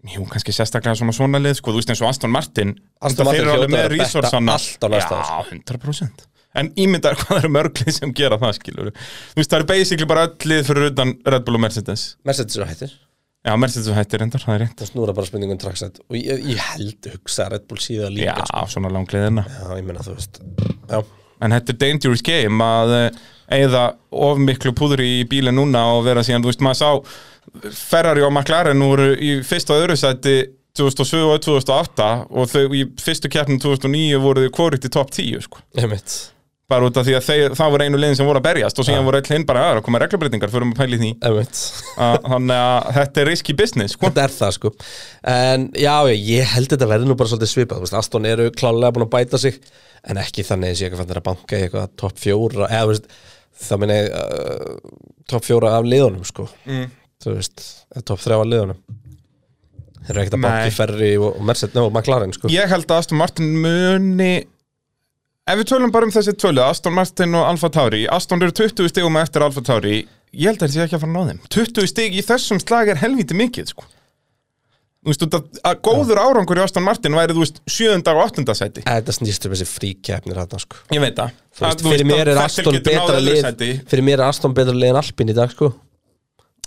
Speaker 2: Jú, kannski sérstaklega svona svona lið, sko, þú veist eins og Aston Martin.
Speaker 1: Aston
Speaker 2: þetta
Speaker 1: Martin
Speaker 2: þeir eru
Speaker 1: hljóta
Speaker 2: alveg
Speaker 1: að
Speaker 2: með
Speaker 1: vera betta
Speaker 2: resursana.
Speaker 1: allt á næsta ári, sko.
Speaker 2: Já, 100%. En ímyndaður hvað það eru mörglið sem gera það, skilur Þú veist, það eru basically bara öll lið fyrir utan Red Bull og Mercedes.
Speaker 1: Mercedes er hættir
Speaker 2: Já, Mercedes og hættir endar, það er rétt.
Speaker 1: Það snúra bara spurningum traksætt Og ég, ég held hugsa að Red Bull síða
Speaker 2: Já,
Speaker 1: líka sko.
Speaker 2: svona langliðina.
Speaker 1: Já, ég meina þú veist Já,
Speaker 2: En þetta er dangerous game að eða of miklu púðri í bílinn núna og vera síðan, þú veist, maður sá Ferrari og McLaren voru í fyrsta og öðru sæti 2007 og 2008 og þau í fyrstu keppnum 2009 voru þau kvorugt í top 10 sko.
Speaker 1: ég mitt
Speaker 2: bara út af því að þeir, það voru einu liðin sem voru að berjast og síðan voru öll hinn bara aðra að koma reglubreitingar fyrir að pæli því
Speaker 1: Ég mitt
Speaker 2: að, þannig að þetta er risky business sko.
Speaker 1: Þetta er það sko En já, já, ég held þetta verði nú bara svolítið svipað þú veist, Aston eru klálega búin að bæta sig En ekki þannig eins ég ekki fann þeirra banka í eitthvað Top fjóra, eða þú veist Það minni uh, top fjóra af liðunum sko mm. Þú veist, eða top þrjá af liðunum Þeir eru ekkert að banka
Speaker 2: Nei.
Speaker 1: í ferri og, og Mercedes og McLaren sko
Speaker 2: ég held að Aston Martin muni ef við tölum bara um þessi tölu Aston Martin og Alfa Tauri Aston eru 20 stigum eftir Alfa Tauri ég held að þessi ekki að fara að ná þeim 20 stig í þessum slag er helviti mikið sko. þú veist, út að, að góður árangur í Aston Martin væri þú veist 7. og 8. sæti
Speaker 1: Þetta snýst um þessi fríkeppnir hérna sko
Speaker 2: ég veit það
Speaker 1: Þú
Speaker 2: Að,
Speaker 1: veist,
Speaker 2: þú
Speaker 1: fyrir mér er
Speaker 2: Vettel
Speaker 1: Aston
Speaker 2: getur náð
Speaker 1: betra
Speaker 2: öðru
Speaker 1: lið
Speaker 2: sæti.
Speaker 1: Fyrir mér er Aston betra lið en Alpin í dag sko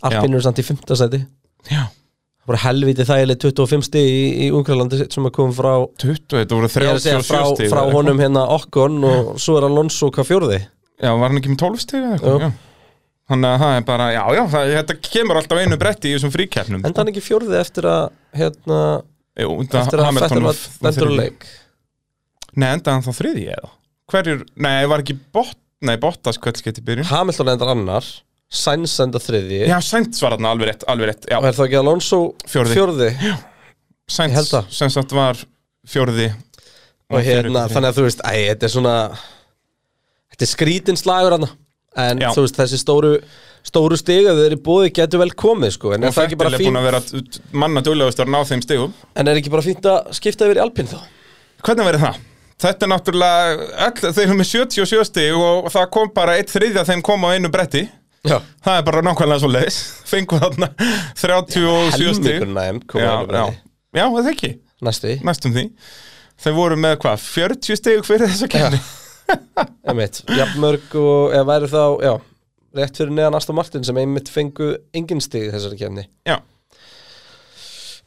Speaker 1: Alpin eru samt í fymta sæti
Speaker 2: já
Speaker 1: Það voru helviti þægileg 25 stig í, í Ungralandi sem að kom frá
Speaker 2: 20, þetta voru
Speaker 1: Ég er að segja
Speaker 2: 37
Speaker 1: frá,
Speaker 2: stig
Speaker 1: frá
Speaker 2: eða eitthvað.
Speaker 1: honum hérna Okkon og svo er Alonso hvað fjórði
Speaker 2: Já, var hann ekki með 12 stig eða
Speaker 1: Jú.
Speaker 2: eitthvað? Já. Þannig að það er bara, já, já, það, þetta kemur alltaf einu bretti í þessum fríkeppnum.
Speaker 1: Enda hann ekki fjórði eftir að hérna,
Speaker 2: Jú, enda
Speaker 1: eftir að
Speaker 2: Hamilton
Speaker 1: Fettur var
Speaker 2: var- var
Speaker 1: bendur á
Speaker 2: þriðji.
Speaker 1: leik
Speaker 2: Nei, enda hann þá þriðji eða? Hverjur, nei, var ekki bot, nei, Bottas kvelds geti byrjun
Speaker 1: Hamilton endar annar Sainz endar þriðji
Speaker 2: Já, Sainz var hann alveg rétt, alveg rétt Já,
Speaker 1: og er það ekki Alonso
Speaker 2: Fjórði.
Speaker 1: ég
Speaker 2: Sainz,
Speaker 1: held það.
Speaker 2: sem sagt var fjórði
Speaker 1: og hérna, þannig að þú veist, æ, þetta er svona þetta er skrítin slagur hann en
Speaker 2: Já.
Speaker 1: þú veist, þessi stóru stóru stig að þeir eru búið getur vel komið sko, en,
Speaker 2: Og
Speaker 1: er það ekki
Speaker 2: Fettil
Speaker 1: bara
Speaker 2: er búin
Speaker 1: fínt,
Speaker 2: að vera t- manna duglegust að ná þeim stigum
Speaker 1: en er ekki bara fínt að skipta yfir í Alpin þá?
Speaker 2: Hvernig verið það? Þetta er náttúrulega, all, þeir eru með 77 stig og það kom bara eitt þriðja þeim kom á einu bretti
Speaker 1: Já,
Speaker 2: Það er bara nákvæmlega svo leiðis Fengu þarna 37 stig
Speaker 1: helmingur næm
Speaker 2: Já, já, já, það ekki
Speaker 1: næstu í
Speaker 2: næstum því þeir voru með hvað, 40 stegu fyrir þessa kemni
Speaker 1: einmitt, jafnmörg og eða væri þá, já, rétt fyrir neðan Aston Martin sem einmitt fengu engin stig í þessari kemni.
Speaker 2: já.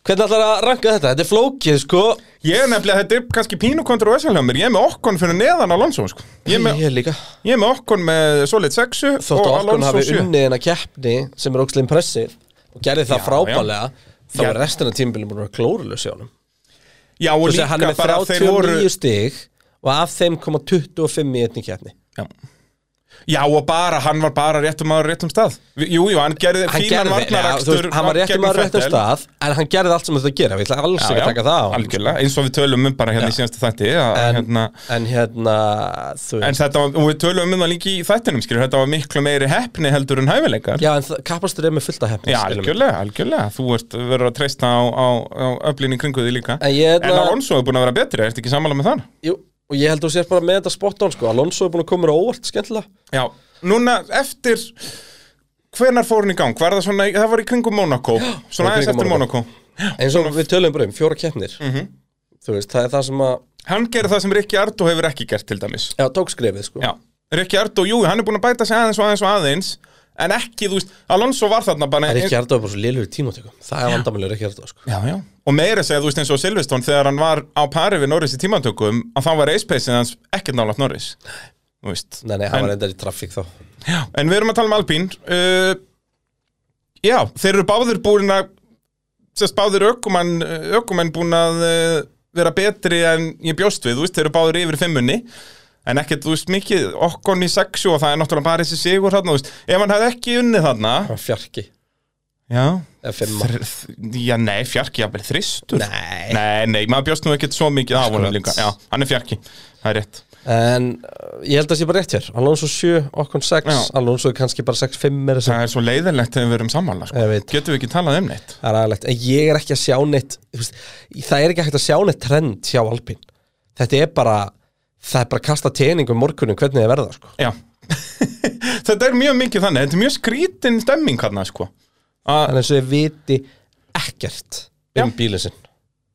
Speaker 1: Hvernig ætlar að ranka þetta? Þetta er flókið sko
Speaker 2: ég er nefnilega, þetta er kannski pínu kontroversial hjá mér, ég er með okkon fyrir neðan Alonso sko. ég, er með,
Speaker 1: Ég líka
Speaker 2: ég er með okkon með solid 6
Speaker 1: Þótt
Speaker 2: og
Speaker 1: að okkur
Speaker 2: Alonso
Speaker 1: hafi
Speaker 2: 7
Speaker 1: unnið en að keppni sem er ógstlega impressiv og gerði það
Speaker 2: Já,
Speaker 1: frábælega þá
Speaker 2: Já.
Speaker 1: er restina tímbilin búin að glórulega sjá honum
Speaker 2: já og
Speaker 1: Þú sé, hann er
Speaker 2: líka
Speaker 1: með
Speaker 2: bara þeir
Speaker 1: 39
Speaker 2: voru
Speaker 1: stig og af þeim koma 25 í einni keppni
Speaker 2: já. Já, og bara, hann var bara réttum maður á réttum stað Vi- Jú, jú, hann gerði
Speaker 1: hann
Speaker 2: fínan
Speaker 1: gerði, neða, þú
Speaker 2: varnarakstur
Speaker 1: veist, hann var réttum
Speaker 2: gegnum
Speaker 1: að réttum
Speaker 2: Vettel.
Speaker 1: stað en hann gerði allt sem þetta gera, við ætla alls
Speaker 2: Já,
Speaker 1: ekki
Speaker 2: já,
Speaker 1: að taka það á hann
Speaker 2: Algjörlega, eins og við tölum um bara hérna í síðanstu þætti að,
Speaker 1: En-
Speaker 2: hérna,
Speaker 1: en hérna, þú
Speaker 2: En
Speaker 1: veist
Speaker 2: þetta var, og við tölum um það líka í þættinum skilur, þetta var miklu meiri heppni heldur en hæfileikar
Speaker 1: já, en það- kappastur er með fullt að hefna
Speaker 2: Já, algjörlega, algjörlega Þú ert verður að treysta á, á, á öflinni kringu því líka
Speaker 1: En ég,
Speaker 2: En
Speaker 1: hérna,
Speaker 2: Alonso er búin að vera betri, ertu ekki sammála með þann?
Speaker 1: jú, og ég held að þú sér bara með þetta spot on sko. Alonso er búin að koma mér á óvart, skemmtilega
Speaker 2: Já, núna eftir Hvenar fór hann í gang? Var það svona, í- það var í kringum Monaco Svona
Speaker 1: var í kringum
Speaker 2: aðeins eftir Monaco
Speaker 1: eins og við tölum bara um, fjóra keppnir
Speaker 2: Mhm.
Speaker 1: þú veist, það er það sem að,
Speaker 2: Hann gerir það sem Rikki Ardó hefur ekki gert til dæmis
Speaker 1: já, tók skrefið sko.
Speaker 2: Já, Rikki Ardó, jú, hann er búin að bæta sig aðeins og aðeins og aðeins En ekki, þú veist, Alonso var þarna bara e-
Speaker 1: Það er ekki hægt að bara svo lélur í tímatökum Það er vandamælur ekki hægt að sko
Speaker 2: Já, já Og meira að segja, þú veist, eins og Silveston Þegar hann var á pari við Norris í tímantökum Að þá var racepacein hans ekkert nálaft Norris Þú veist
Speaker 1: Nei, nei, hann
Speaker 2: En-
Speaker 1: var endar í traffík þá
Speaker 2: Já, en við erum að tala um Alpín uh, Já, þeir eru báðir búin að Sérst báðir ökumann, ökumann búin að uh, vera betri en ég bjóst við, þú veist, þeir eru báðir yfir fimmunni En ekkert, þú veist, mikið okkon í sexu og það er náttúrulega bara þessi sigur þarna, þú veist Ef hann hefði ekki unnið þarna
Speaker 1: Hann var fjarki,
Speaker 2: Já,
Speaker 1: eða fimm
Speaker 2: þr, já nei, fjarki, jafnvel þristur
Speaker 1: Nei
Speaker 2: Nei, nei, maður bjóst nú ekkert svo mikið af honum
Speaker 1: Akkurat.
Speaker 2: líka Já, hann er fjarki, það er rétt
Speaker 1: En uh, ég held að það sé bara rétt hér Alonso 7, Okkon 6
Speaker 2: Já.
Speaker 1: Alonso er kannski bara 6-5 er
Speaker 2: Það er svo leiðilegt þegar við erum sammála sko.
Speaker 1: Ég veit.
Speaker 2: Getum við ekki talað um neitt
Speaker 1: Það er aðalegt, en ég er ekki að sjá neitt þú veist, Það er ekki hægt að sjá neitt trend hjá Alpín Þetta er bara Það er bara að kasta teningum morgunum hvernig þið verða sko.
Speaker 2: Já Þetta er mjög mikið þannig, þetta er mjög skrítin stemming hérna sko að
Speaker 1: Þannig að þið viti ekkert um
Speaker 2: Já.
Speaker 1: bílinn sinn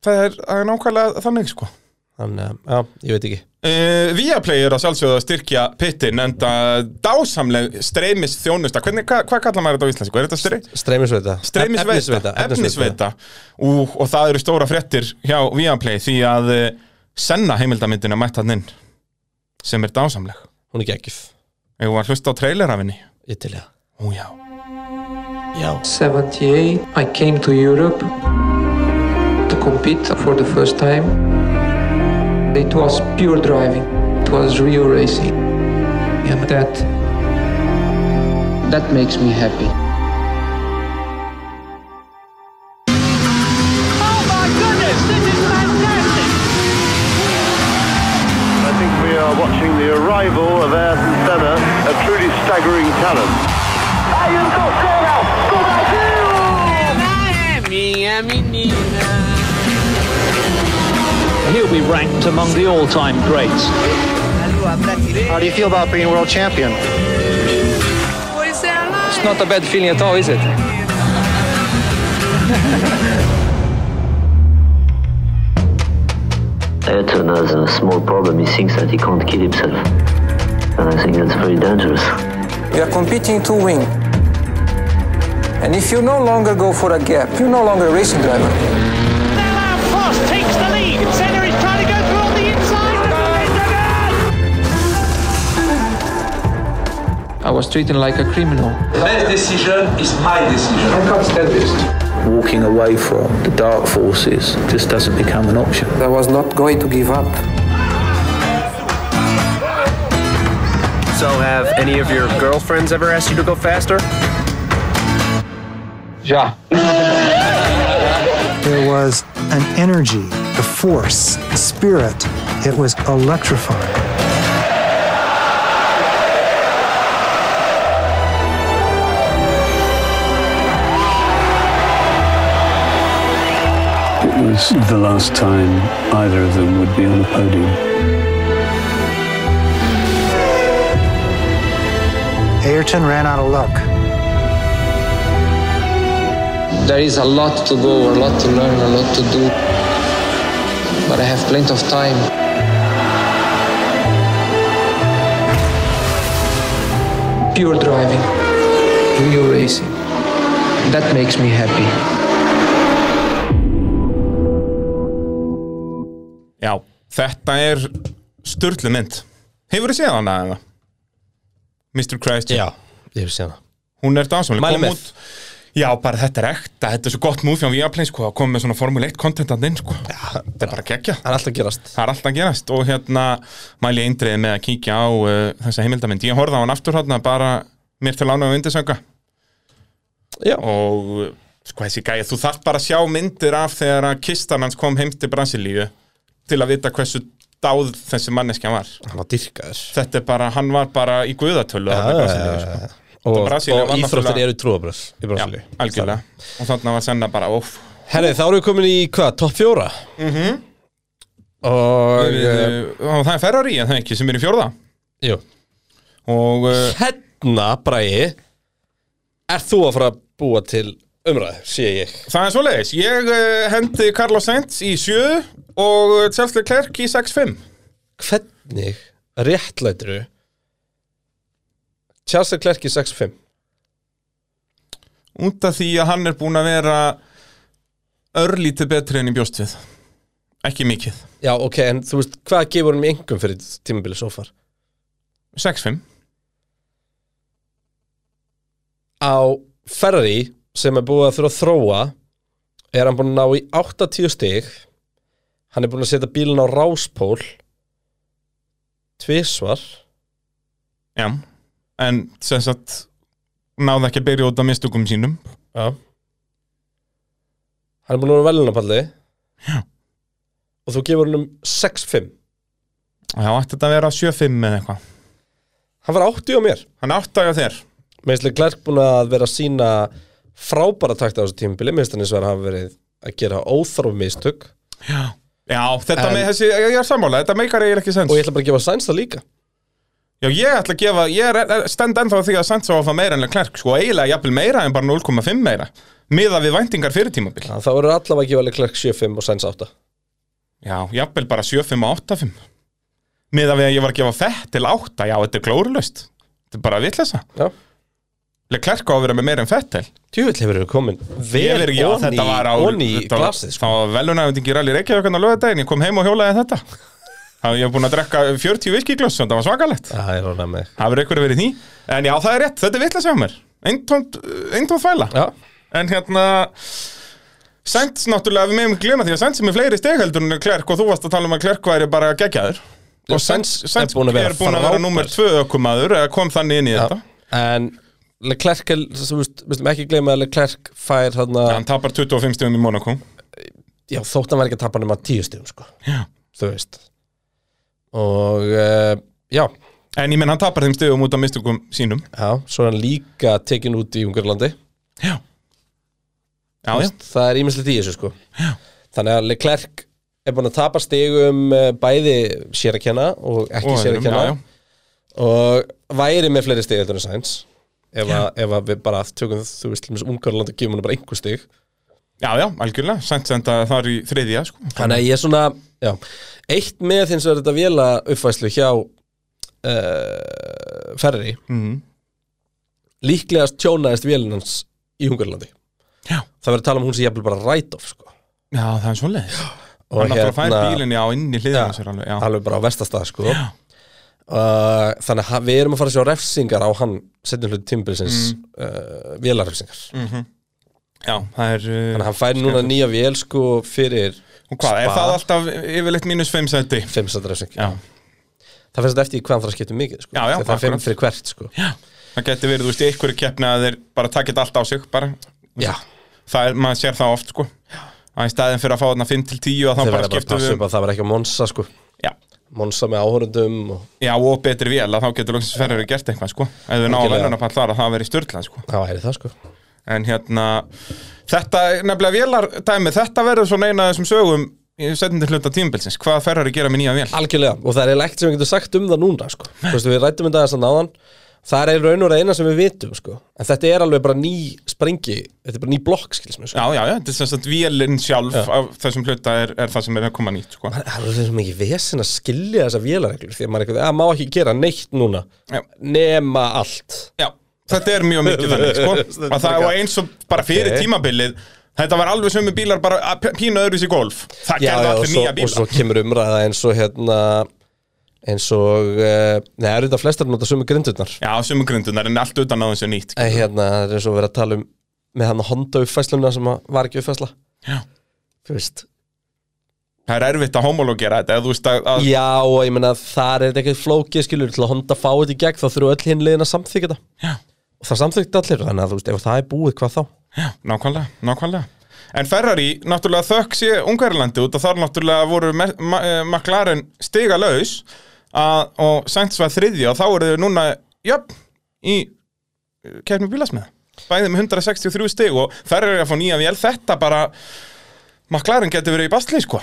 Speaker 2: Það er, það er nákvæmlega þannig sko
Speaker 1: Þannig að, já, ég veit ekki
Speaker 2: Uh, Viaplay er að sjálfsögðu að styrkja pittin en það dásamleg streymis þjónusta, hvernig, hva, hvað kallar maður þetta á íslensku? Er þetta strey,
Speaker 1: Streymisveita
Speaker 2: streymisveita?
Speaker 1: Efnisveita
Speaker 2: Efnisveita Ú, og það eru stóra fréttir hjá Viaplay því að uh, senna heimildamyndin að mætta hann inn sem er dásamleg
Speaker 1: Hún er geggjöf
Speaker 2: Ég var hlusta á trailer af henni
Speaker 1: Ég til ég
Speaker 2: Ú já,
Speaker 1: Já
Speaker 3: 78, I came to Europe to compete for the first time. It was pure driving. It was real racing. And that that makes me happy.
Speaker 4: Oh my goodness, this is fantastic!
Speaker 5: I think we are watching the arrival of Ayrton Senna, a truly staggering talent.
Speaker 4: He'll be ranked among the all-time greats.
Speaker 6: How do you feel about being world champion?
Speaker 3: It's not a bad feeling at all, is it?
Speaker 7: Ayrton has a small problem. He thinks that he can't kill himself. And I think that's very dangerous.
Speaker 3: We are competing to win. And if you no longer go for a gap, you're no longer a racing driver.
Speaker 4: Alain Prost takes the lead. Senna is trying to go through on the inside.
Speaker 3: I was treated like a criminal.
Speaker 8: best decision is my decision.
Speaker 3: I can't stand this.
Speaker 9: walking away from the dark forces just doesn't become an option.
Speaker 3: I was not going to give up.
Speaker 6: So, have any of your girlfriends ever asked you to go faster?
Speaker 3: Ja.
Speaker 10: There was an energy, a force, a spirit. It was electrifying.
Speaker 11: It was the last time either of them would be on the podium.
Speaker 10: Ayrton ran out of luck.
Speaker 3: There is a lot to go, a lot to learn, a lot to do. But I have plenty of time. Pure driving, real racing. That makes me happy.
Speaker 2: já, þetta er störlu mynd Hefur þið séð hana eða? Mr. Christian
Speaker 1: Já, ég hef séð hana
Speaker 2: Hún er dásamlega
Speaker 1: Mælum
Speaker 2: kom
Speaker 1: með.
Speaker 2: út- Já, bara þetta er ekta, þetta er svo gott múfi á Viaplay, sko, að koma með svona Formule 1 kontentandinn, sko. Já, þetta er bara geggja.
Speaker 1: Það er alltaf að gerast.
Speaker 2: Það er alltaf að gerast og hérna mæli ég eindriði með að kíkja á uh, þessa heimildamind. Ég horfði á hann aftur hérna bara mér til ánum og undirsanga.
Speaker 1: Já.
Speaker 2: Og uh, sko þessi gæja, þú þarft bara að sjá myndir af þegar að kistan hans kom heim til Brasilíu til að vita hversu dáð þessi manneskja var.
Speaker 1: Hann var dyrkaður.
Speaker 2: Þetta er bara, hann var bara í guðatölu ja,
Speaker 1: Já, já,
Speaker 2: Brasilíu,
Speaker 1: já.
Speaker 2: sko.
Speaker 1: Og,
Speaker 2: Þetta Brasilía
Speaker 1: og
Speaker 2: var
Speaker 1: íþróttir
Speaker 2: náttúrulega-
Speaker 1: eru trúabröð í
Speaker 2: Já,
Speaker 1: Brasilíu.
Speaker 2: algjörlega. Og þannig var senna bara, óf,
Speaker 1: Herri, þá erum við komin í hvað, topp fjóra?
Speaker 2: mhm.
Speaker 1: Og,
Speaker 2: Við,
Speaker 1: uh,
Speaker 2: og það er Ferrari, en það er ekki sem er í fjórða
Speaker 1: jú.
Speaker 2: og uh,
Speaker 1: Hérna, Bræði, er þú að fara að búa til umræðu, sé ég.
Speaker 2: það er svoleiðis ég uh, hendi Carlos Sainz í 7 og uh, Chelsea Clerk í 6-5
Speaker 1: Hvernig réttlætiru Charles Leclerc í 6-5?
Speaker 2: út af því að hann er búin að vera örlítið betri enn í bjóst við ekki mikið
Speaker 1: Já, ok, en þú veist, hvað gefur hann í engum fyrir tímabilið svo far?
Speaker 2: 6-5
Speaker 1: Á Ferrari, sem er búið að þurfa að þróa, er hann búin að ná í 80 stig, hann er búin að setja bílinn á ráspól, tvisvar,
Speaker 2: já, en sem sagt náði ekki að byrja út af mistökum sínum
Speaker 1: Já Hann er búin að vera velunapalli Já Og þú gefur hann um 6-5
Speaker 2: og þá ætti þetta að vera 7-5 eða eitthvað
Speaker 1: Hann var 80 á mér
Speaker 2: hann áttaði á þér
Speaker 1: Meðslega Glerk búin að vera að sína frábæra takt á þessu tímabili Meðslega eins og hann hafa verið að gera óþarf mistök
Speaker 2: já, þetta
Speaker 1: En-
Speaker 2: með þessi, ég ég er sammála, þetta meikar eiginlega ekki sens
Speaker 1: Og ég ætla bara að gefa sæns það líka
Speaker 2: Já, ég ætla að gefa, ég er- er stend ennþá að því að Sancho á að fá meira en Leclerc, sko, eiginlega jafnvel meira en bara 0,5 meira, miða við væntingar fyrir tímabil.
Speaker 1: Það verður allavega að gefa Glerk 7-5 og sæns 8
Speaker 2: Já, jafnvel bara 7,5 og 8,5. Miða við að ég var að gefa fett til 8, já, þetta er glórulaust. Þetta er bara vitleysa.
Speaker 1: Já
Speaker 2: Leclerc á að vera með meira en fett til.
Speaker 1: Djúvill hefur við komin
Speaker 2: Ég
Speaker 1: vel
Speaker 2: verið, já,
Speaker 1: onni
Speaker 2: þetta var á,
Speaker 1: onni í
Speaker 2: þetta var-
Speaker 1: glasið
Speaker 2: það
Speaker 1: sko.
Speaker 2: var velunæfendingi rally Reykjavík hann á lögadaginn, ég kom heim og hjólaði þetta. Það ég var búin að drekka 40 viskiglöss, þetta var svakalegt.
Speaker 1: Það er rána með
Speaker 2: Það verið eitthvað verið í því. En já, það er rétt, þetta er vitleysa hjá mér. Eintómt, eh, eintómt þvæla.
Speaker 1: Já
Speaker 2: En hérna Sainz náttúrulega, við meðum ekki glemma því að Sainz er með fleiri stegheldur en Klerk og þú varst að tala um að Klerk væri bara geggjaður og Sainz,
Speaker 1: Sainz er
Speaker 2: Sainz
Speaker 1: búinn að vera
Speaker 2: er búin að vera
Speaker 1: frábær.
Speaker 2: nummer tvö ökumaður eða kom þannig inn í
Speaker 1: Já,
Speaker 2: þetta
Speaker 1: en Leclerc, er- þú veist, við skulum ekki gleyma að Leclerc fær hann að,
Speaker 2: Hann tapar 25 stegum í Monaco
Speaker 1: já þótt hann var ekki að tapa nema tíu stíðum sko,
Speaker 2: Já.
Speaker 1: þú veist og uh, já,
Speaker 2: En ég menn hann tapar þeim stegum út af mistökum sínum
Speaker 1: já, svo er hann líka tekin út í Ungarlandi,
Speaker 2: Já Já, já,
Speaker 1: það er ímislegt í þessu sko já. þannig að Leclerc er búin að tapa stigum eh, bæði sér að kenna og ekki
Speaker 2: Og
Speaker 1: sér
Speaker 2: öðrum,
Speaker 1: að kenna
Speaker 2: já, já.
Speaker 1: og væri með fleiri stig heldur en Sainz ef, að, ef að við bara tökum þú veist, Ungarlandi og gefum hann bara einhver stig
Speaker 2: já, já, algjörlega Sainz enda þar í þriðja sko.
Speaker 1: Þannig að ég er svona, já, eitt með þins er þetta vela uppfæslu hjá uh, Ferri
Speaker 2: Mhm.
Speaker 1: líklegast tjónaðist vélinans í Ungarlandi
Speaker 2: Já.
Speaker 1: Það verður að tala um hún sem jafnvel bara ræt of sko.
Speaker 2: Já, það er svoleiðis
Speaker 1: Og hérna-
Speaker 2: Hann náttúrulega fær bílinni á inn í
Speaker 1: Já,
Speaker 2: hliðina sér alveg Já,
Speaker 1: alveg bara á vestastað sko. uh, Þannig að ha- við erum að fara að sjá refsingar á hann setjum hluti tímbilsins mm. uh, vélarefsingar
Speaker 2: já það er uh,
Speaker 1: Þannig að hann fær núna nýja vél sko, fyrir
Speaker 2: Og hvað, er
Speaker 1: Spa.
Speaker 2: það alltaf yfirleitt mínus 5 seti?
Speaker 1: fimmstættarefsing
Speaker 2: Já,
Speaker 1: Það finnst eftir í hvað hann þarf að skipta um mikið sko.
Speaker 2: Já, já,
Speaker 1: Þegar það er fimm
Speaker 2: akkurat.
Speaker 1: fyrir hvert sko. já.
Speaker 2: það geti verið, þú veist, í einhverju keppni að þeir bara takja þetta allt á sig bara. Það er, maður sér það oft, sko að í staðin fyrir að fá þarna 5 til 10
Speaker 1: þeir
Speaker 2: að þá
Speaker 1: verða
Speaker 2: bara
Speaker 1: bara að
Speaker 2: skiptu
Speaker 1: passa
Speaker 2: við um-
Speaker 1: upp að það var ekki á Monsa sko.
Speaker 2: já,
Speaker 1: Monsa með áhörundum og
Speaker 2: já, og betri vél að þá getur loksins ferður að gert eitthvað, sko ef við náum
Speaker 1: Algjörlega.
Speaker 2: velunarpall þar að það verið störtla, sko
Speaker 1: það væri það sko
Speaker 2: en hérna, þetta, er nefnilega vélardæmi, þetta verður svona eina af þessum sögum í setjandi hluta tímabilsins hvað ferður að gera með nýja vél?
Speaker 1: Algjörlega, og það er eiginlega ekkert sem við getum sagt um það núna sko. Þú veist, Við rættum þetta þess að náðan Það er í raun og reyna sem við vitum sko. En þetta er alveg bara ný sprengi Þetta er bara ný blokk skils mér sko.
Speaker 2: Já, já, já, þetta er sem sagt vélinn sjálf af þessum hluta er, er það sem er að koma nýtt, sko
Speaker 1: Það er svo mikið vesen að skilja þessa vélareglur Því að maður er eitthvað, að má ekki gera neitt núna
Speaker 2: Já.
Speaker 1: Nema allt
Speaker 2: Já, þetta er mjög mikið þannig sko. að það var eins og bara fyrir
Speaker 1: Ok.
Speaker 2: tímabilið þetta var alveg sömu bílar bara að p- pína öðruvísi golf það
Speaker 1: já,
Speaker 2: gerði
Speaker 1: já, og
Speaker 2: allir
Speaker 1: svo,
Speaker 2: nýja
Speaker 1: og
Speaker 2: bílar
Speaker 1: svo kemur umræða eins og hérna eins og uh, Nei, það eru þetta flestar nota sömu grindurnar
Speaker 2: Já, sömu grundunar en allt utan á þessu nýtt
Speaker 1: En hérna, það er eins og verið að tala um með hann Honda uppfæsluna sem að var ekki uppfæsla
Speaker 2: Já.
Speaker 1: þú veist
Speaker 2: Það er erfitt að homologera þetta, eða þú veist að, að
Speaker 1: Já, og ég meina þar er þetta ekkert flókið skilur til að Honda fá þetta í gegn þá þurfa öll hinn liðin að samþykja þetta
Speaker 2: Já.
Speaker 1: og það samþykja allir þannig að þú veist, ef það er búið hvað þá
Speaker 2: Já, nákvæmlega, nákvæmlega En Ferrari, náttúrulega þökk sé Ungarlandi út og þar náttúrulega voru Me- Ma- eh, McLaren stiga laus að, og Sainz var þriðja og þá eru þau núna, jöfn í eh, kefni bílasmið bæðið með 163 stig og Ferrari að fá nýja vél þetta bara McLaren getur verið í bastli sko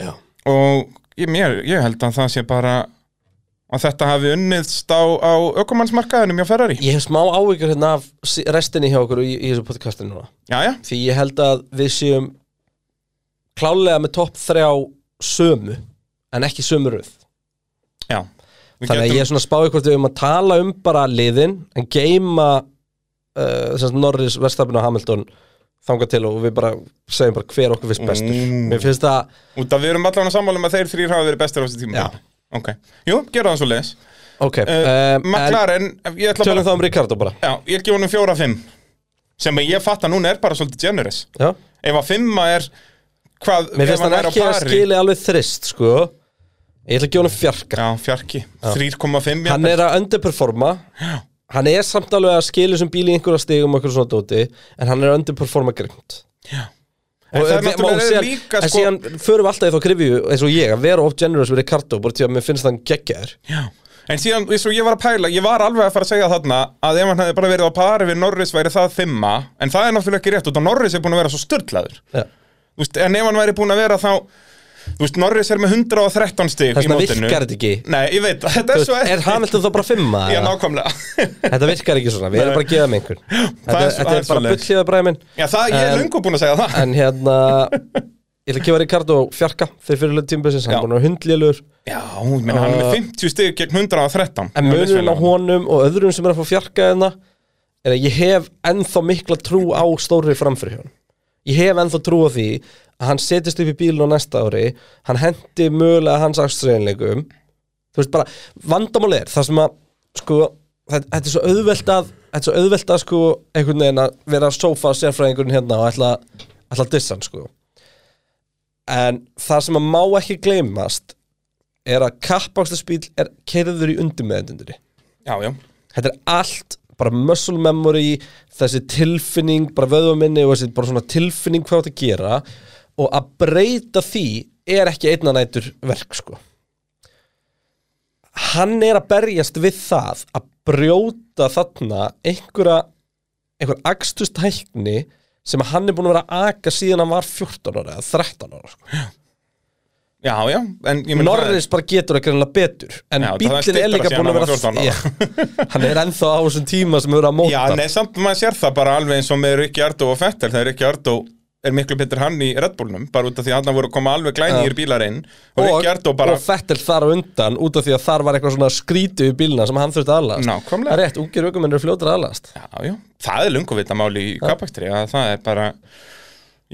Speaker 1: Já.
Speaker 2: og ég, mér, ég held að það sé bara að þetta hafi unniðst á, á ökumannsmarkaðunum hjá Ferrari
Speaker 1: Ég hef smá ávíkjur hérna af si- restinni hjá okkur í, í þessu podcastinu núna
Speaker 2: Jæja,
Speaker 1: því ég held að við séum klálega með topp þrjá sömu, en ekki sömu röð
Speaker 2: já Við
Speaker 1: Þannig að
Speaker 2: getum-
Speaker 1: ég er svona að spá ykkur við um að tala um bara liðin en geima uh, Norris, Verstafin og Hamilton þangað til og við bara segjum bara hver okkur finnst bestur.
Speaker 2: Mm.
Speaker 1: Mér finnst það
Speaker 2: Út af við erum allan að sammála um að þeir þrýr hafa verið bestir á þessu tíma
Speaker 1: Já.
Speaker 2: Ok, jú, gera það svo leiðis
Speaker 1: ok,
Speaker 2: uh,
Speaker 1: um, en
Speaker 2: McLaren, ég ætla
Speaker 1: tölum
Speaker 2: bara
Speaker 1: það um Ricardo bara
Speaker 2: Já, ég gef honum fjóra fimm Sem að ég fatt að núna er bara svolítið generous
Speaker 1: Já.
Speaker 2: Ef að fimma er hvað,
Speaker 1: Mér
Speaker 2: ef
Speaker 1: finnst hann
Speaker 2: er á
Speaker 1: ekki að
Speaker 2: pari-
Speaker 1: skili alveg þrist sko, ég ætla að gefa hann fjarka
Speaker 2: Já, fjarki, 3,5
Speaker 1: Hann er að underperforma Hann er samt alveg að skilja sem bíl í einhverja stigum og einhverju svona dóti en hann er að underperforma grimt
Speaker 2: En
Speaker 1: og,
Speaker 2: það er
Speaker 1: við-
Speaker 2: náttúrulega
Speaker 1: og síðan,
Speaker 2: líka,
Speaker 1: en
Speaker 2: sko-
Speaker 1: síðan förum við alltaf í þá krifju eins og ég að vera of generous við Ricardo bara til að mér finnst hann geggjaður
Speaker 2: Já, en síðan, eins og ég var að pæla, ég var alveg að fara að segja þarna að ef hann hefði bara verið á pari við Norris væri það fimma, en það er náttúrulega ekki rétt út að Norris er búin að vera svo störtlaður.
Speaker 1: Já.
Speaker 2: Veist, en ef hann væri búin að vera þá, þú veist, Norris er með 113 stig í
Speaker 1: þess að
Speaker 2: mótinu.
Speaker 1: virkar þetta ekki
Speaker 2: Nei, ég veit, þetta
Speaker 1: Þú
Speaker 2: er
Speaker 1: veist,
Speaker 2: svo
Speaker 1: er Hamilton þá bara fimma?
Speaker 2: Já,
Speaker 1: eða?
Speaker 2: nákvæmlega.
Speaker 1: þetta virkar ekki svona, við erum
Speaker 2: Nei.
Speaker 1: bara að gefa með einhvern þetta,
Speaker 2: er svo-
Speaker 1: þetta er
Speaker 2: það
Speaker 1: bara
Speaker 2: er svoleiðis.
Speaker 1: bullíða bræði minn
Speaker 2: Já, það, ég er
Speaker 1: En-
Speaker 2: lungu búin að segja það.
Speaker 1: en hérna ég ætla að gefa Ricardo fjarka fyrir fyrirlega tímbilsins, hann
Speaker 2: Já.
Speaker 1: er búin að hundlélur
Speaker 2: Já, menn, hann er með 50 stig gegn 113.
Speaker 1: Ah. En
Speaker 2: Hann er
Speaker 1: munurinn á
Speaker 2: vissulega-
Speaker 1: honum og öðrum sem er að fá fjarka hérna er að ég hef ennþá mikla trú á stórri framfyrir hjá hann. Ég hef ennþá trú á því að hann setjast upp í bílun á næsta ári, hann hendi mögulega hans ástriðinleikum. Þú veist bara, vandamál er það sem að, sko, þetta þetta er svo auðvelt að, þetta er svo auðvelt að, sko, einhvern veginn að vera að sófa sérfræðingurinn hérna og ætla, ætla að dissa hann, sko. En það sem að má ekki gleymast er að kappákstasbíl er keirður í undir
Speaker 2: Já, já.
Speaker 1: þetta er allt bara muscle memory, þessi tilfinning bara vöðvaminni og þessi bara svona tilfinning hvað þú átt að gera og að breyta því er ekki einna nætur verk sko hann er að berjast við það að brjóta þarna einhverja einhver akstustækni sem að hann er búin að vera að aka síðan hann var 14 ára eða 13 ára sko.
Speaker 2: Já, já, en ég meina það er-
Speaker 1: Norris bara getur ekki reynilega betur en
Speaker 2: Já, það er
Speaker 1: bíllinn er
Speaker 2: styttra
Speaker 1: líka
Speaker 2: síðan
Speaker 1: búin að
Speaker 2: hann var
Speaker 1: vera
Speaker 2: 14 ára.
Speaker 1: Já, hann er ennþá á þessum tíma sem hefur að móta
Speaker 2: Já, nei, samt maður sér það bara alveg eins og með Rikki Ardó og Fettel þegar Rikki Ardó er miklu betur hann í Red Bullnum bara út af því að hann voru að koma alveg glænýr bílar inn og,
Speaker 1: og,
Speaker 2: Rikki Ardó bara
Speaker 1: og Fettel þar á undan út af því að þar var eitthvað svona skrítið í bíluna sem hann þurfti að aðlast
Speaker 2: Nákvæmlega.
Speaker 1: Það er rétt, ungir aukumennir er fljótur að aðlast
Speaker 2: Já, já, það er lunguvita máli í kapakstri að það er bara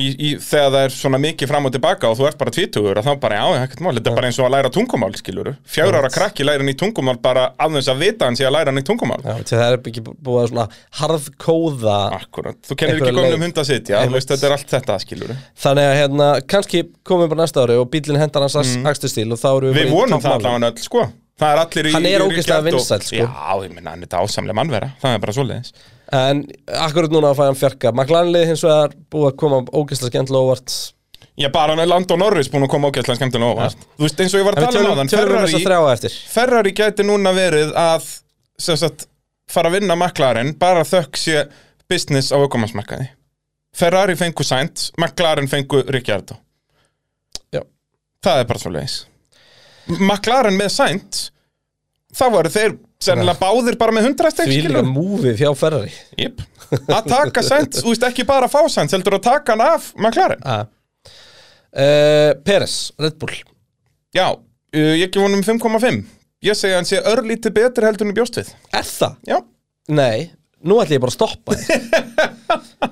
Speaker 2: í, í, þegar það er svona mikið fram og tilbaka og þú ert bara tvítugur að þá bara, já, já, ekkert mál þetta er bara eins og að læra tungumál, skilur fjár ára krakki læra nýtt tungumál bara af þess að vita hann sé að læra nýtt tungumál
Speaker 1: Já, til það er ekki búið að svona harðkóða
Speaker 2: Akkurat, þú kennir
Speaker 1: Einhverja
Speaker 2: ekki
Speaker 1: leið.
Speaker 2: góðnum hund að sitja þú
Speaker 1: Einmitt.
Speaker 2: veist, þetta er allt þetta, skilur
Speaker 1: Þannig að hérna, kannski komum við bara næsta ári og bílinn hendar hans mm. akstustíl og þá eru
Speaker 2: Mhm.
Speaker 1: bara
Speaker 2: Við
Speaker 1: í
Speaker 2: vonum það
Speaker 1: toppmálum.
Speaker 2: allavega öll, sko Það er allir í
Speaker 1: Hann er
Speaker 2: í- í
Speaker 1: ógeðslega
Speaker 2: Ríkjardó.
Speaker 1: vinsæll, sko.
Speaker 2: Já, ég minna, hann er þetta ásamlega mannvera Það er bara svoleiðis
Speaker 1: En akkurat núna að fæða hann fjarka McLanlið hins vegar búið að koma ógeðslega skemmtilega óvart
Speaker 2: Ég bara hann er Land og Norris búin að koma ágætlega skemmtilega óvart Þú veist, eins og ég var
Speaker 1: En
Speaker 2: að
Speaker 1: við
Speaker 2: tala um
Speaker 1: tölum,
Speaker 2: áðan
Speaker 1: tölum við þess að
Speaker 2: Ferrari,
Speaker 1: þrjá eftir
Speaker 2: Ferrari gæti núna verið að sem sagt, fara að vinna McLaren bara þökk sé business á aukomansmarkaði Ferrari fengu Sainz, McLaren fengu Ricciardo
Speaker 1: Já.
Speaker 2: Það er bara svoleiðis McLaren með Sainz þá voru þeir sennilega báðir bara með 100 steg
Speaker 1: Því líka múfið hjá Ferrari
Speaker 2: Jep. Að taka Sainz, þú veist ekki bara að fá Sainz, heldur að taka hann af McLaren.
Speaker 1: uh, Peres, Eh, Red Bull
Speaker 2: Já, uh, ég gef honum 5,5. Ég segi að hann sé örlítið betur heldur en ég bjóst við.
Speaker 1: Er það?
Speaker 2: Já,
Speaker 1: Nei, nú ætlum ég bara að stoppa þig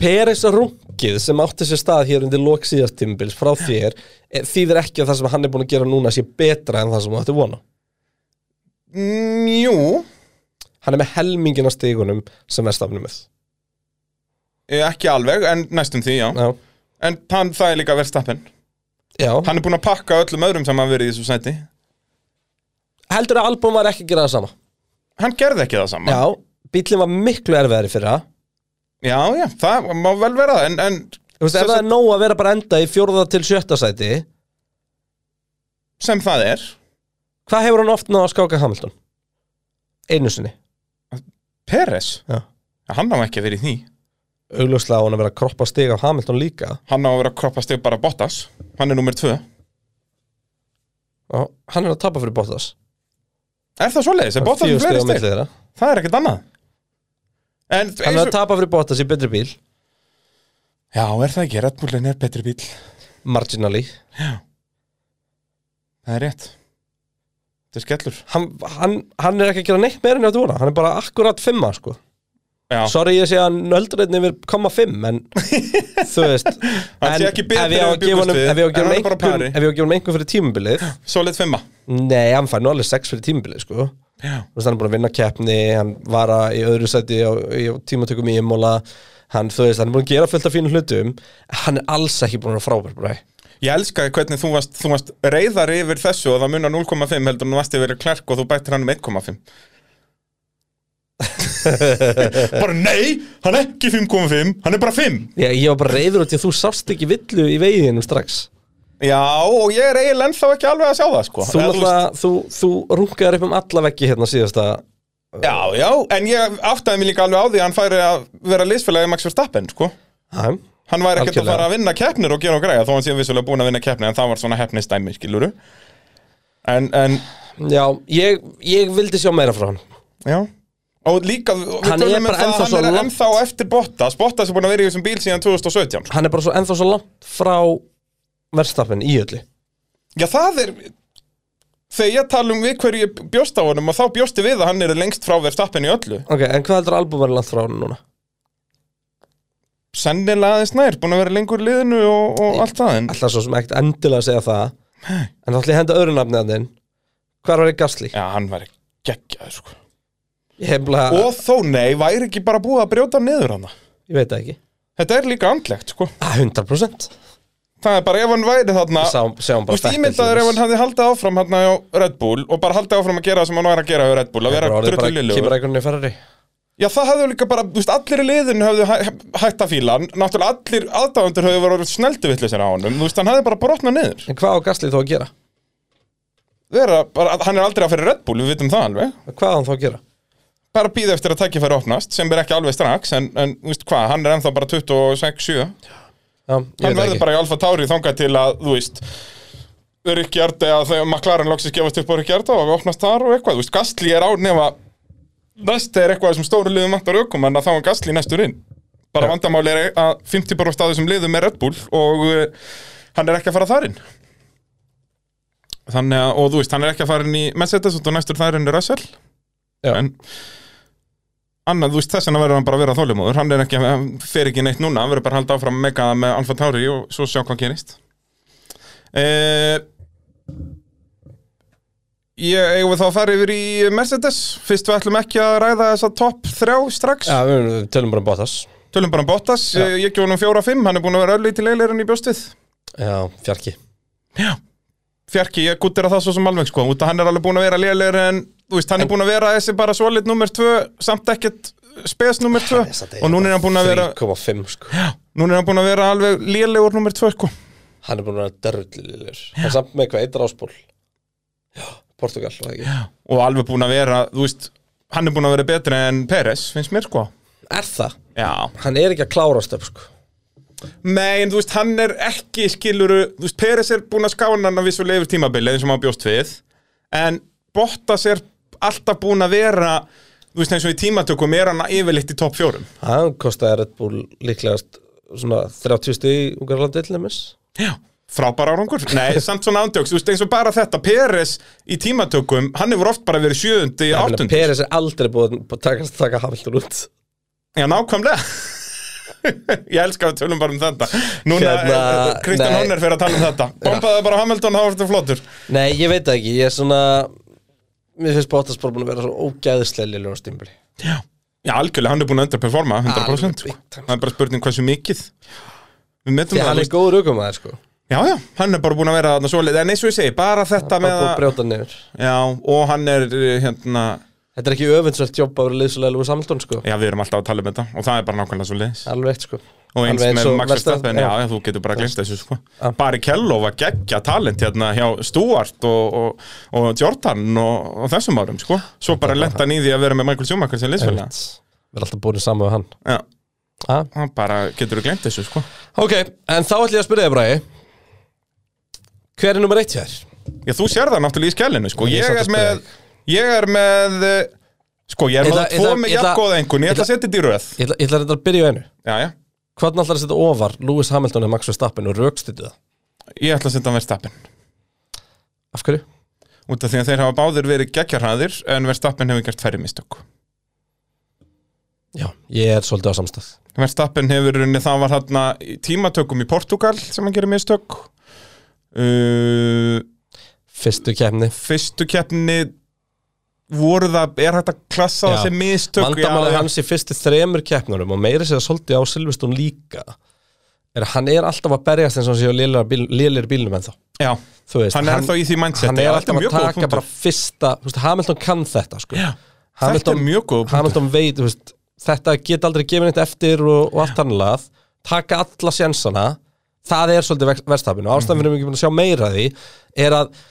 Speaker 1: Peres rungið sem átti sér stað hér undir lok síðast tímbils frá þér eh, þýðir ekki að það sem hann er búin að gera núna sé betra en það sem þú ætti vona
Speaker 2: mm, jú, Mm,
Speaker 1: Hann er með helmingin af stigunum sem verðstafnum með
Speaker 2: Eh, Ekki alveg, en næstum því, já,
Speaker 1: Já.
Speaker 2: En hann, það er líka Verstappen
Speaker 1: Já.
Speaker 2: Hann er búinn að pakka öllum öðrum sem hann verið í þessu sæti
Speaker 1: Heldur að Albon var ekki að gera það sama?
Speaker 2: Hann gerði ekki það sama
Speaker 1: Já, bíllinn var miklu erfiðari fyrir það
Speaker 2: já, já, það má vel vera það, En, en
Speaker 1: Þú veist, ef
Speaker 2: sem,
Speaker 1: það er nóg að vera bara enda í fjórða til sjötta sæti
Speaker 2: sem það er
Speaker 1: Hvað hefur hann oft náð að skáka Hamilton? Einu sinni
Speaker 2: Peres,
Speaker 1: Já.
Speaker 2: hann á ekki verið í því
Speaker 1: Augljóslega á hann að vera að kroppa stig af Hamilton líka
Speaker 2: Hann á að vera að kroppa stið bara Bottas Hann er nummer tvö
Speaker 1: og hann er að tapa fyrir Bottas
Speaker 2: Er það svoleiðis? Er Bottas
Speaker 1: Fjögur
Speaker 2: með
Speaker 1: stig
Speaker 2: fleiri
Speaker 1: á milli
Speaker 2: stið?
Speaker 1: þeirra.
Speaker 2: Það er ekkert annað En
Speaker 1: Hann
Speaker 2: eins
Speaker 1: er
Speaker 2: og-
Speaker 1: að tapa fyrir Bottas í betri bíl
Speaker 2: Já, er það ekki? Red Bullin er betri bíl
Speaker 1: Marginally
Speaker 2: Það er rétt Þetta er skellur
Speaker 1: hann, hann, hann er ekki að gera neitt meira en að dúna Hann er bara akkurat fimma sko
Speaker 2: Já.
Speaker 1: Sorry ég sé að nöldreitni yfir koma fimm En þú veist
Speaker 2: Hann
Speaker 1: en
Speaker 2: sé ekki betri
Speaker 1: ef ég á
Speaker 2: en
Speaker 1: að
Speaker 2: við
Speaker 1: gefa
Speaker 2: bjuggumst
Speaker 1: honum-
Speaker 2: við,
Speaker 1: Ef ég á að gefa
Speaker 2: en hann
Speaker 1: honum
Speaker 2: er
Speaker 1: einhvern-
Speaker 2: bara pari.
Speaker 1: ef ég á að gefa honum einhvern fyrir tímabilið
Speaker 2: Solid fimma
Speaker 1: Nei, hann fær nú alveg sex fyrir tímabilið sko
Speaker 2: Já.
Speaker 1: Þú veist, hann er búin að vinna keppni, hann var að í öðru sæti á, í tímatökum í Imola hann, þú veist, hann er búin að gera fullt af fínum hlutum hann er alls ekki búin að vera frábær bræ.
Speaker 2: Ég elska hvernig þú varst, þú varst reyðar yfir þessu og það munar 0,5 heldur en þú varst yfir klerk og þú bættir hann um 1,5 Bara nei, hann er ekki 5,5 hann er bara 5
Speaker 1: ég, ég var bara reyður út í að þú sást ekki villu í veginum strax
Speaker 2: Já, og ég er eiginlega ennþá ekki alveg að sjá það sko
Speaker 1: þú,
Speaker 2: Eða, þú
Speaker 1: náttúrulega, þú, þú rungaðar upp um alla veggi hérna síðasta
Speaker 2: veist- Já, já, en ég áttaði mér líka alveg á því að hann færi að vera liðsfélagi Max Verstappen sko
Speaker 1: Hæ?
Speaker 2: Hann væri ekkert að
Speaker 1: Algjörlega.
Speaker 2: fara að vinna keppnir og gera og græja þó hann sé vissulega búin að vinna keppnir en það var svona heppnistæmi, skiluru En, en,
Speaker 1: Já, ég, ég vildi sjá meira frá hann
Speaker 2: já Og líka, við
Speaker 1: Hann er
Speaker 2: tölum um
Speaker 1: bara
Speaker 2: það að
Speaker 1: ennþá svo
Speaker 2: hann er
Speaker 1: langt.
Speaker 2: ennþá á eftir Bottas Bottas er búin að vera í þessum bíl síðan 2017 sko.
Speaker 1: hann er bara svo, ennþá svo langt frá verðstappin í öllu
Speaker 2: Já, það er Þegar ég tala um við hverju ég bjóst á honum og þá bjósti við að hann er lengst frá verðstappin í öllu
Speaker 1: Ok, en hvað heldur albúm verið langt frá hann núna?
Speaker 2: Sennilega aðeins nær, búin að vera lengur í liðinu og, og allt það en
Speaker 1: Alltaf svo sem ekkert endilega að segja það En þá ætlum ég að henda öðru nafni að þinn Hvar var ég gasli?
Speaker 2: Já, hann væri geggjaður sko
Speaker 1: Ég hef bara,
Speaker 2: Og þó nei, væri ekki bara búið að brjóta hann niður hann
Speaker 1: ég veit það ekki
Speaker 2: Þetta er líka andlegt sko
Speaker 1: Ah, 100%
Speaker 2: Það er bara ef hann væri þarna
Speaker 1: Sá, Sjáum
Speaker 2: Þú
Speaker 1: bara
Speaker 2: veist, ímyndaður ef hann hafði haldið áfram hérna á Red Bull og bara haldið áfram að gera það sem hann var að gera á Red Bull að vera drullilegur
Speaker 1: Kemur einhvern veginn í ferri
Speaker 2: Já, það hafði líka bara, þú veist, allir í liðinu hafði hægt að fíla hann Náttúrulega allir aðdáðundur hafði verið sneldu vittlisir á honum Þú veist, hann hafði bara brotnað niður
Speaker 1: En hvað á gasli þá að gera?
Speaker 2: Vera, bara, Hann er aldrei að fyrir Red Bull, við vitum það alveg
Speaker 1: Hvað á hann þá að gera?
Speaker 2: Bara býða eftir að tækifæri opnast, sem er ekki alveg strax En, en þú veist hvað, hann er ennþá bara 26-7
Speaker 1: Já, ég
Speaker 2: Hann
Speaker 1: veit það
Speaker 2: verður
Speaker 1: ekki
Speaker 2: bara í Alfa Tauri þangað til að, þú veist Ríkjard eða þegar McLaren loksist gefast upp á Ríkjard og opnast þar og eitthvað, þú veist, Gastli er á nema Næst er eitthvað sem stóru liðum vantar ökum en þá er Gastli næstur inn bara vandamáli er að 50% af þessum liðum er Red Bull og uh, hann er ekki að fara þar inn þannig að, og þú veist, hann er ekki að fara inn í Mercedes og næstur þar inn er Russell
Speaker 1: Já.
Speaker 2: en annað, þú veist, þess vegna verður hann bara að vera þólumóður hann er ekki, hann fer ekki neitt núna hann verður bara að halda áfram að mega það með Alfa Tauri og svo sjá hvað gerist eh, Ég eigum við þá að fara yfir í Mercedes Fyrst við ætlum ekki að ræða þessa topp þrjá strax
Speaker 1: Já, við við tölum bara um Bottas
Speaker 2: Tölum bara um Bottas,
Speaker 1: Já.
Speaker 2: ég ekki honum fjóra fimm, hann er búin að vera örlítið leilir enn í bjóstið.
Speaker 1: Já, fjarki
Speaker 2: Fjarki, ég guttir að það svo sem alveg sko, út að hann er alveg búin að vera leilir en, þú veist, hann er búin að vera þessi bara solid nummer tvö, samt ekkert spes nummer tvö og núna er hann búin að vera,
Speaker 1: 3,5 sko
Speaker 2: núna er hann búin að vera alveg leilegur nummer tvö sko.
Speaker 1: Hann er búin að vera derrullilegur Hann er samt með eitthvað eitt ráspól Já, Portugal, var það ekki
Speaker 2: Og alveg búin að vera, þú veist, hann er búin að vera betri en Peres, finnst mér sko.
Speaker 1: Er það?
Speaker 2: Já.
Speaker 1: Hann er ekki að klárast upp sko
Speaker 2: Nei, en þú veist, hann er ekki skiluru Þú veist, Peres er búin að skána hann að vissulega yfir tímabili eins og maður bjóst við En Bottas er alltaf búin að vera Þú veist, eins og í tímatökum er hann yfirleitt í topp fjórum
Speaker 1: Hann kostaði Red Bull líklegast svona 30 stig í Ungarlandi til dæmis
Speaker 2: Já Frábær árangur? Nei, samt svona ándjóks Þú veist, eins og bara þetta, Peres í tímatökum Hann hefur oft bara verið sjöundi,
Speaker 1: Þannig að
Speaker 2: áttundi
Speaker 1: Peres er aldrei búin að taka, taka Hamilton út
Speaker 2: Já, nákvæmlega Ég elska að við tölum bara um þetta Núna,
Speaker 1: Hérna,
Speaker 2: eh, Kristján
Speaker 1: nei.
Speaker 2: Horner fyrir að tala um þetta Bombaði bara Hamilton, þá var þetta flottur
Speaker 1: Nei, ég veit það ekki, ég er svona Mér finnst Bottas bara búin að vera svo ógæðislega lillur á stimbli
Speaker 2: Já Já, algjörlega, hann er búin að underperforma 100% sko.
Speaker 1: Alveg
Speaker 2: Það er bara spurning hversu mikið Við metum
Speaker 1: Því
Speaker 2: það
Speaker 1: hann
Speaker 2: þú
Speaker 1: er
Speaker 2: veist.
Speaker 1: góður aukumæður sko
Speaker 2: Já, já, hann er bara búin að vera þarna svolítið En eins og ég segi, bara þetta
Speaker 1: Bara
Speaker 2: með
Speaker 1: búið að
Speaker 2: að
Speaker 1: brjóta hann niður
Speaker 2: Já, og hann er eh, hérna
Speaker 1: Þetta er ekki öfundsvært jobb að vera liðsulega Lewis Hamilton sko
Speaker 2: Já, við erum alltaf að tala um þetta Og það er bara nákvæmlega svo leiðis
Speaker 1: Alveg eitt sko
Speaker 2: Og eins
Speaker 1: Alveg
Speaker 2: með Max
Speaker 1: Verstappen,
Speaker 2: Verstappen, já, já, þú getur bara glemt þessu sko Barry Kello var geggja talent hérna hjá Stuart og, og, og Jordan og, og þessum árum sko Svo bara lent hann í því að vera með Michael Schumacher sem liðsfélag
Speaker 1: Einmitt. Við erum alltaf búin saman við hann
Speaker 2: Já,
Speaker 1: Ha?
Speaker 2: hann bara getur þú glemt þessu sko
Speaker 1: Ok, en þá ætlum ég að spyrja þig Bragi Hver er nummer eitt hér?
Speaker 2: Já, þú sér það náttúrulega í skellinu, sko.
Speaker 1: Ég er
Speaker 2: Ég
Speaker 1: samt að spyrja
Speaker 2: er með, ég er með, eh, sko, ég er
Speaker 1: Ég
Speaker 2: með
Speaker 1: ætla- ég
Speaker 2: tvo
Speaker 1: ætla-
Speaker 2: með
Speaker 1: ég ætla-
Speaker 2: jafngóða engun. Ég ætla að setja þetta í röð.
Speaker 1: Ég ætla, ég ætla reyndar að byrja á einu
Speaker 2: Já, já.
Speaker 1: Hvernig ætlar að setja ofar Lewis Hamilton eða Max Verstappen og raukstýttu það?
Speaker 2: Ég ætla að setja hann verðstappin.
Speaker 1: Af hverju?
Speaker 2: Út af því að þeir hafa báðir verið geggjarhraðir, en verðstappin hefur gert færri mistök.
Speaker 1: Já, ég er svolítið á samstæð
Speaker 2: Verðstappin hefur runni, það var þarna í tímatökum í Portugal sem hann gerir mistök. Uh,
Speaker 1: Fyrstu kemni
Speaker 2: fyrstu keppni voru það, er hægt að klassa
Speaker 1: Já.
Speaker 2: það sem mistök?
Speaker 1: Vandamálið hans í fyrstu þremur keppnunum og meira sér svolítið á Silvestón líka er að hann er alltaf að berjast eins og hann sé á lélir bíl, lélegri bílnum ennþá
Speaker 2: Já,
Speaker 1: Þú veist,
Speaker 2: Hann er ennþá í því mindseti,
Speaker 1: hann er
Speaker 2: já, þetta er
Speaker 1: alltaf að
Speaker 2: mjög góður
Speaker 1: taka
Speaker 2: punktur.
Speaker 1: bara fyrsta þú veist, Hamilton kann þetta sko.
Speaker 2: Já, þetta
Speaker 1: Hamilton,
Speaker 2: er mjög góð.
Speaker 1: Hamilton veit þú veist, þetta get aldrei gefið neitt eftir og, og allt hann lað taka alla sjensana það er svolítið verðstafinu og ástæðan fyrir mig ekki búin að sjá meira af því er að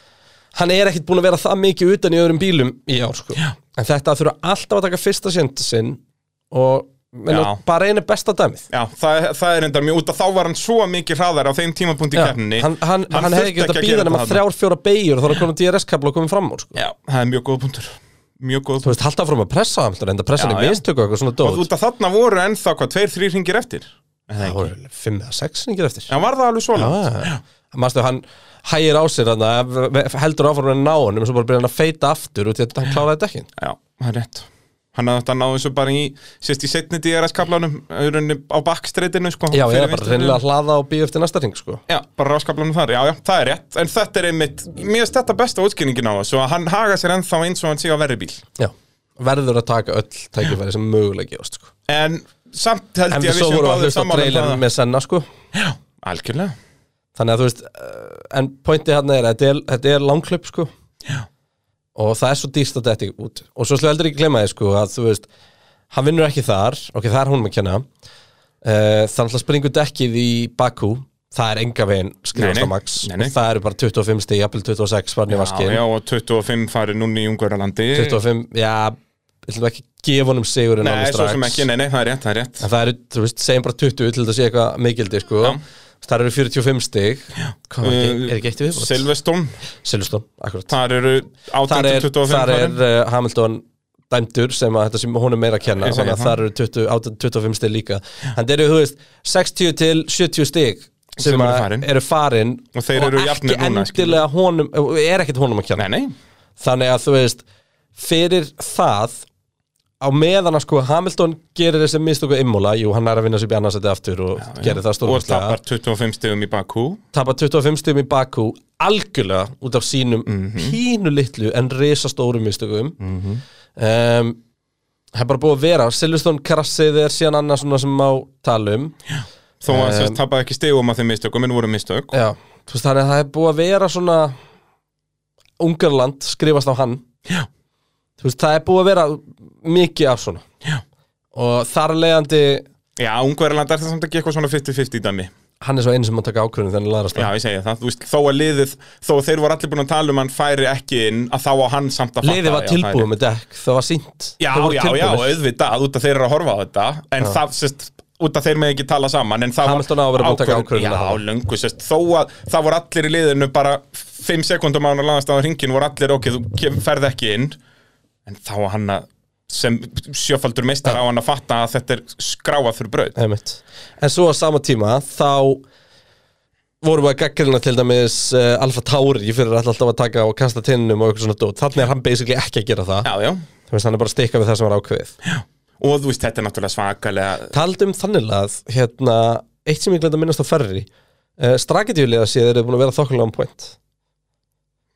Speaker 1: hann er ekkit búin að vera það mikið utan í öðrum bílum í ár sko. en þetta að þurfa alltaf að taka fyrsta sjönd sinn og menna,
Speaker 2: Já.
Speaker 1: bara einu besta dæmið
Speaker 2: Já, það, það er endar mjög út að þá var hann svo mikið hraðar á þeim tímapunkti í
Speaker 1: Já,
Speaker 2: keppninni
Speaker 1: hann, hann, hann, hefði
Speaker 2: þurfti
Speaker 1: ekki þetta
Speaker 2: að
Speaker 1: býða
Speaker 2: gera
Speaker 1: nema
Speaker 2: þetta þarna.
Speaker 1: þrjár, fjóra beigjur og þá er komin DRS-kabla og komin fram úr sko.
Speaker 2: Já, það er mjög góð punktur Mjög góð
Speaker 1: þú veist, halda fram að pressa Hamilton enda pressa hann
Speaker 2: Já,
Speaker 1: í
Speaker 2: já.
Speaker 1: mistöku og eitthvað svona
Speaker 2: punktur
Speaker 1: dót
Speaker 2: Út að þarna voru ennþá hvað, tveir, þrýr hringir eftir En það
Speaker 1: það
Speaker 2: ekki.
Speaker 1: voru fimm eða sex hringir eftir
Speaker 2: Já, var það alveg svo langt
Speaker 1: ah, manstu, hann hægir á sér hann, heldur áfram að ná honum svo bara byrja hann að feita aftur út í að hann kláraði þetta ekki
Speaker 2: Já, það er rétt Hann hafði þetta náðu þessu bara í Sérst í setni DRS-kablanum Á bakstreitinu, sko
Speaker 1: já,
Speaker 2: fyrir
Speaker 1: ég er bara
Speaker 2: vinstri
Speaker 1: reynilega
Speaker 2: hliðina.
Speaker 1: að hlaða og býja eftir næsta hring sko.
Speaker 2: Já, bara ráskablanum þar, já, já, það er rétt En þetta er einmitt, mér finnst þetta besta útskýringin á þessu að Hann haga sér ennþá eins og hann sé á verri bíl
Speaker 1: Já. verður að taka öll tækifæri sem mögulega gefast sko.
Speaker 2: En samt held
Speaker 1: en við
Speaker 2: ég að
Speaker 1: svo
Speaker 2: séum
Speaker 1: vorum að
Speaker 2: báðir
Speaker 1: hlusta á
Speaker 2: sammála um
Speaker 1: trailer
Speaker 2: það.
Speaker 1: með senna sko.
Speaker 2: Já, algjörlega
Speaker 1: þannig að þú veist eh, en pointið hann er að þetta er, þetta er langklöp sko
Speaker 2: Já.
Speaker 1: og það er svo dýrst að þetta ekki út og svo slúið aldrei ekki glemma þið sko að þú veist hann vinnur ekki þar, ok það er hún með kjanna uh, þannig að springur dekkið í Bakú það er enga veginn skrifast á
Speaker 2: Nei, nei.
Speaker 1: Max
Speaker 2: Nei, nei.
Speaker 1: og það eru bara 25 stig, jafnvel 26 varni vaskin,
Speaker 2: Já, já, og 25 farið núna í Ungverjalandi
Speaker 1: 25, já ætlum ekki að gefa honum sigurinn
Speaker 2: Nei,
Speaker 1: alveg
Speaker 2: svo
Speaker 1: strax.
Speaker 2: sem ekki, nei, nei, það er rétt, það er rétt
Speaker 1: En það eru, þú veist, segjum bara 20 til þetta sé eitthvað mikildi, sko
Speaker 2: Já.
Speaker 1: Það eru 45 stig Hvað, er ekki-
Speaker 2: Uh,
Speaker 1: er ekki eitt í viðbót?
Speaker 2: Silverstone,
Speaker 1: Silveston, akkurat
Speaker 2: þar eru
Speaker 1: Þar
Speaker 2: 18
Speaker 1: er,
Speaker 2: til 25
Speaker 1: þar er
Speaker 2: farin
Speaker 1: uh, Hamilton dæmdur sem að þetta sem hún er meira að kenna
Speaker 2: Ég segi
Speaker 1: þannig að
Speaker 2: það.
Speaker 1: þar eru 20, 18, 25 stig líka en þeir eru, þú veist, 60 til 70 stig sem,
Speaker 2: Sem eru
Speaker 1: að
Speaker 2: farin.
Speaker 1: eru farin
Speaker 2: Og þeir eru
Speaker 1: ekki
Speaker 2: jafnir núna, skilur.
Speaker 1: endilega honum er ekkert honum að kenna
Speaker 2: Nei, nei,
Speaker 1: þannig að þú veist fyrir það á meðan að sko Hamilton gerir þessi mistöku immúla, jú hann er að vinna sér bjarnasæti aftur og gerir það
Speaker 2: og
Speaker 1: stórkostlega
Speaker 2: tapar 25 stegum í Bakú
Speaker 1: tapar 25 stum í Bakú algjörlega út af sínum
Speaker 2: Mhm.
Speaker 1: pínu litlu en risastórum mistökum um, það er bara búið að vera Silveston krassið er síðan annars svona sem má tala um
Speaker 2: Þó að þess tapaði ekki stegum að þeim mistökum, en voru mistök
Speaker 1: Já, þú veist þannig að það er búið að vera svona Ungarland skrifast á hann
Speaker 2: Já.
Speaker 1: Þú veist það er búið að vera mikið af svona
Speaker 2: Já.
Speaker 1: Og þar af leiðandi
Speaker 2: Já, Ungverjaland er það samt ekki eitthvað svona 50-50 dæmi
Speaker 1: Hann er svo einu sem að taka ákvörðin þannig laðrast
Speaker 2: Já, ég segja það, þú veist, þó að liðið Þó að þeir voru allir búin að tala um hann færi ekki inn Að þá á hann samt að fatta
Speaker 1: Liðið var
Speaker 2: að færi.
Speaker 1: tilbúið með dekk, það var sínt
Speaker 2: Já, já, já, auðvitað, út af þeir eru að horfa á þetta En það, sérst, út af þeir með ekki tala saman En það
Speaker 1: Hamilton á að vera búinn að taka ákvörðun að hafa.
Speaker 2: Já, löngu, sérst, þó að það voru allir í liðinu Bara 5 sekundum á hann að laðast á hringin Voru allir, ok, þú kem, ferð ekki inn En þá að hann að sem sjöfaldur meistar á hann að fatta að þetta er skráað fyrir braut
Speaker 1: Einmitt. En svo á sama tíma þá vorum við að gaggrina til dæmis uh, Alfa Tauri fyrir alltaf að taka og kasta tinnum og eitthvað svona dót Þannig er hann basically ekki að gera það
Speaker 2: Já, já,
Speaker 1: Þú veist, hann er bara að stikka við það sem var ákveðið
Speaker 2: og þú veist, þetta er náttúrulega svakalega
Speaker 1: Taldi um þannig að hérna, eitt sem ég glemt að minnast á ferri uh, strakitjúliða séð eru búin að vera þokkulega um point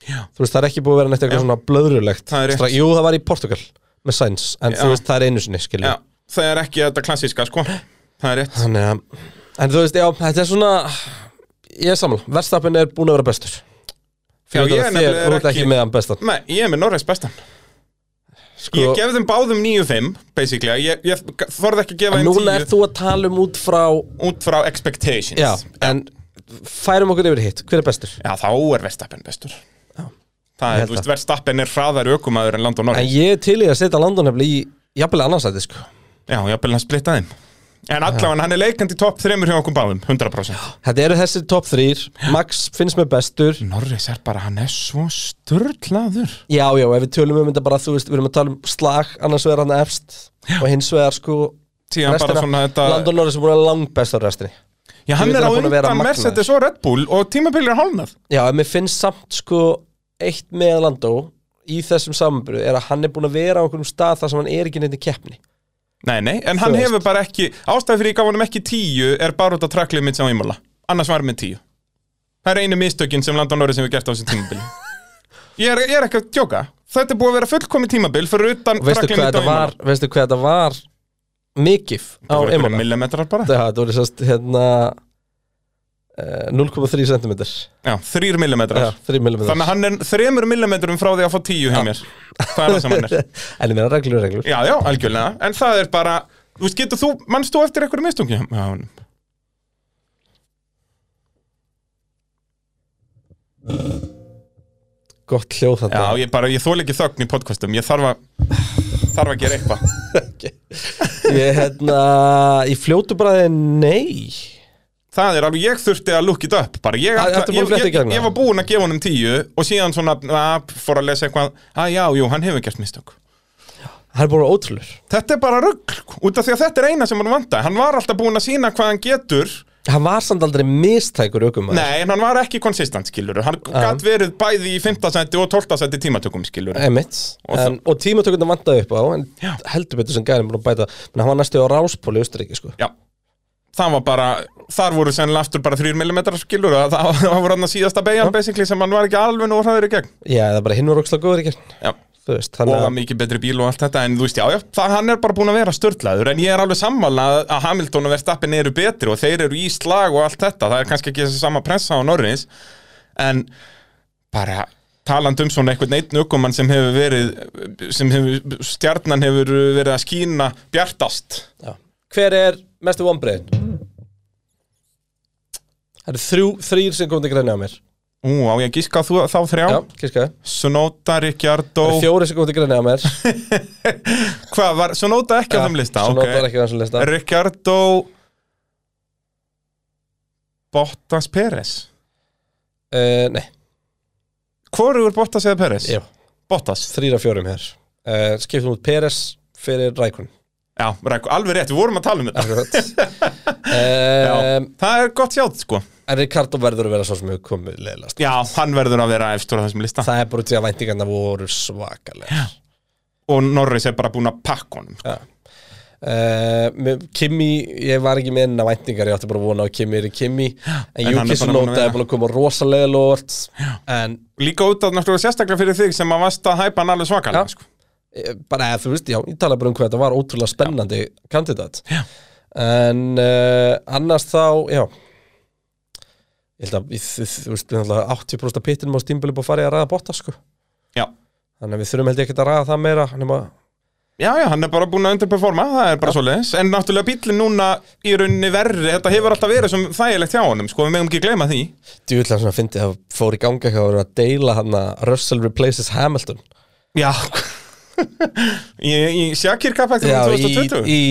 Speaker 2: Já.
Speaker 1: Þú veist, það er ekki búin að vera neitt eitthvað
Speaker 2: Já.
Speaker 1: svona blöðrulegt
Speaker 2: Það er rétt.
Speaker 1: Stra- Jú, það var í Portugal með Sainz en
Speaker 2: Já.
Speaker 1: þú veist, það er einu sinni, skilju
Speaker 2: Já, það er ekki þetta klassíska, sko Það er rétt
Speaker 1: Þannig að, en þú veist, já, þetta er svona ég er samla, verðstapin er búin að vera bestur
Speaker 2: Já, ég
Speaker 1: Fyrir
Speaker 2: er
Speaker 1: þetta þér,
Speaker 2: nefnilega
Speaker 1: þú ert ekki
Speaker 2: ekki-
Speaker 1: með hann bestan
Speaker 2: Nei, ég er með Norris bestan
Speaker 1: Sko-
Speaker 2: Ég gef þeim báðum 9-5 basically, ég, ég þorði ekki að gefa
Speaker 1: En
Speaker 2: þeim 10
Speaker 1: núna ert þú að tala um út frá
Speaker 2: Út frá expectations
Speaker 1: Já, en færum okkur yfir hitt, hver er bestur?
Speaker 2: Já, þá er Verstappen bestur Það
Speaker 1: Ég
Speaker 2: er,
Speaker 1: held
Speaker 2: þú veist,
Speaker 1: það.
Speaker 2: Verstappen er hraðar ökumæður en Landon Norris
Speaker 1: En ég er til í að setja landonefli í jafnvel annarsæti, sko
Speaker 2: Já, ég að splitta þeim En allavega, hann er leikandi topp þreymur hjá okkur báðum, 100%
Speaker 1: Þetta eru þessi topp þrýr, Max finnst mér bestur
Speaker 2: Norris er bara, hann er svo störtlaður
Speaker 1: Já, já, ef við tölum um þetta bara, þú veist, við erum að tala um slag, annars vegar hann efst og hins vegar, sko,
Speaker 2: Síðan bara svona þetta
Speaker 1: Landon Norris er búin að vera langbest á restinni
Speaker 2: Já, hann
Speaker 1: Ég veit hann
Speaker 2: er á
Speaker 1: er búin að vera
Speaker 2: undan
Speaker 1: magnaður.
Speaker 2: Mercedes og Red Bull og tímabilið er hálnað
Speaker 1: Já, en mér finnst samt, sko, eitt með Landó í þessum samanbyrðu er að hann er búin að vera á einhverjum stað þar sem hann er ekki neitt í keppni
Speaker 2: Nei, nei, en hann
Speaker 1: Þú veist.
Speaker 2: hefur bara ekki Ástæði fyrir ég gaf honum ekki 10 er bara út á track limits á Imola Annars var hann með 10 Það er einu mistökin sem Landon Norris hefur gert á þessu tímabili ég, er, ég er ekki að djóka Þetta er búið að vera fullkomi tímabil fyrir utan
Speaker 1: Og veistu
Speaker 2: track
Speaker 1: hvað
Speaker 2: limit á
Speaker 1: þetta
Speaker 2: Imola
Speaker 1: var, veistu hvað þetta var mikið á
Speaker 2: Það voru bara
Speaker 1: Imola?
Speaker 2: millimetrar bara
Speaker 1: Já, þetta voru sérst, hérna, eh, 0,3 cm Já,
Speaker 2: Já, þrýr millimetrar
Speaker 1: 3 mm
Speaker 2: Þannig að hann er þremur millimetrum frá því að fá tíu hjá mér Það er það sem hann er
Speaker 1: En ég meina reglur, reglur
Speaker 2: Já, já, algjörlega En það er bara Þú veist, getur þú Manst þú eftir eitthvað mistungi? Já, honum.
Speaker 1: Gott hljóð
Speaker 2: já
Speaker 1: þetta
Speaker 2: ég bara Ég þól ekki þögn í podcastum Ég þarf að Þarf að gera eitthvað
Speaker 1: Ég, hérna, ég fljótu bara að nei
Speaker 2: Það er alveg Ég þurfti að look it up Bara ég
Speaker 1: Það-
Speaker 2: ætla-
Speaker 1: ertu búin að
Speaker 2: ég,
Speaker 1: fletta í
Speaker 2: ég,
Speaker 1: gegnum
Speaker 2: ég var búin að gefa honum tíu Og síðan svona að, Fór að lesa eitthvað Að já, jú, hann hefur gert mistök
Speaker 1: Það er bara ótrúlur
Speaker 2: Þetta er bara rugg Út af því að þetta er eina sem hann vanda Hann var alltaf búin að sína hvað hann getur
Speaker 1: Hann var samt aldrei mistækur aukumæður
Speaker 2: Nei, en hann var ekki konsistent, skilur Hann gætt verið bæði í 15 senti og 12 senti tímatökum, skilur
Speaker 1: Emitt
Speaker 2: Og
Speaker 1: Og, en, og tímatökundar vantaði upp á En heldur betur sem gæðin búin að bæta Men hann var næstu á ráspól í Austuríki sko
Speaker 2: Já Það var bara, þar voru sennilega aftur bara 3 mm skilur Það, það voru hann að síðasta beigjan basically sem hann var ekki alveg nú hraður í gegn
Speaker 1: Já, það bara hinn var ókslega góður í gert
Speaker 2: Já
Speaker 1: Þú veist,
Speaker 2: Og
Speaker 1: þannig
Speaker 2: það
Speaker 1: að
Speaker 2: mikið betri bíl og allt þetta En þú veist, já, já, það, hann er bara búin að vera störtlaður En ég er alveg sammála að- að Hamilton og Verstappen eru betri Og þeir eru í slag og allt þetta Það er kannski ekki þessi sama pressa á Norris En bara taland um svona einhvern einn ökumann sem hefur verið sem hefur, stjarnan hefur verið að skína bjartast
Speaker 1: já. Hver er mestu vonbreiðin? Það eru þrjú, þrýr sem kom til greina á mér
Speaker 2: Ú, á ég að gíska á þú, þá þrjá
Speaker 1: Já, kískaði
Speaker 2: Sunoda, Ricciardo
Speaker 1: Það eru fjóri sem kom til greina á mér
Speaker 2: Hvað var, Sunoda ekki á þeim lista?
Speaker 1: Svo
Speaker 2: ok.
Speaker 1: notar ekki þannig lista
Speaker 2: Ricciardo Bottas Peres
Speaker 1: uh, Nei,
Speaker 2: Hvorugur Bottas eða Peres?
Speaker 1: já,
Speaker 2: Bottas
Speaker 1: þrýra fjórum hér uh, Skiptum út Peres fyrir Rækun
Speaker 2: Já, Ræk- alveg rétt, við vorum að tala um þetta
Speaker 1: Akkurat
Speaker 2: Já,
Speaker 1: um,
Speaker 2: Það er gott sjátt sko
Speaker 1: En Ricardo verður að vera svo sem hefur komið leilast
Speaker 2: Já, hann verður að vera efstur á þessum lista
Speaker 1: Það er bara út í að væntingarna voru svakalega
Speaker 2: Og Norris er bara búin að pakka honum sko.
Speaker 1: uh, Kimi, ég var ekki með enna væntingar Ég átti bara að vona á Kimi er í Kimi En
Speaker 2: en hann er
Speaker 1: Júkis
Speaker 2: bara búinn að
Speaker 1: Nóta
Speaker 2: vera.
Speaker 1: er búin að koma rosalega lort En
Speaker 2: Líka út af náttúrulega sérstaklega fyrir þig sem að vasta að hæpa hann alveg svakalega
Speaker 1: Já.
Speaker 2: sko.
Speaker 1: eh, bara eða þú veist, já, ég tala bara um hvað þetta var ótrúlega spennandi kandidat já. en uh, annars þá, já ég held að við, við, þú veist, við náttúrulega 80% af pittinum á stímbölu búið að fara í að ræða botta sko.
Speaker 2: Já.
Speaker 1: þannig að við þurfum held ég ekki að ræða það meira nema,
Speaker 2: Já, já, hann er bara búin að underperforma, það er bara svoleiðis En náttúrulega bíllinn núna í rauninni verri Þetta hefur alltaf verið sem þægilegt hjá honum Sko, við megum ekki gleyma því
Speaker 1: djúvillan svona fyndi það fór í ganga hvað voru að deila hann að Russell replaces Hamilton
Speaker 2: Já Í, í Sjakir kapaktum
Speaker 1: já, í,
Speaker 2: 2020
Speaker 1: í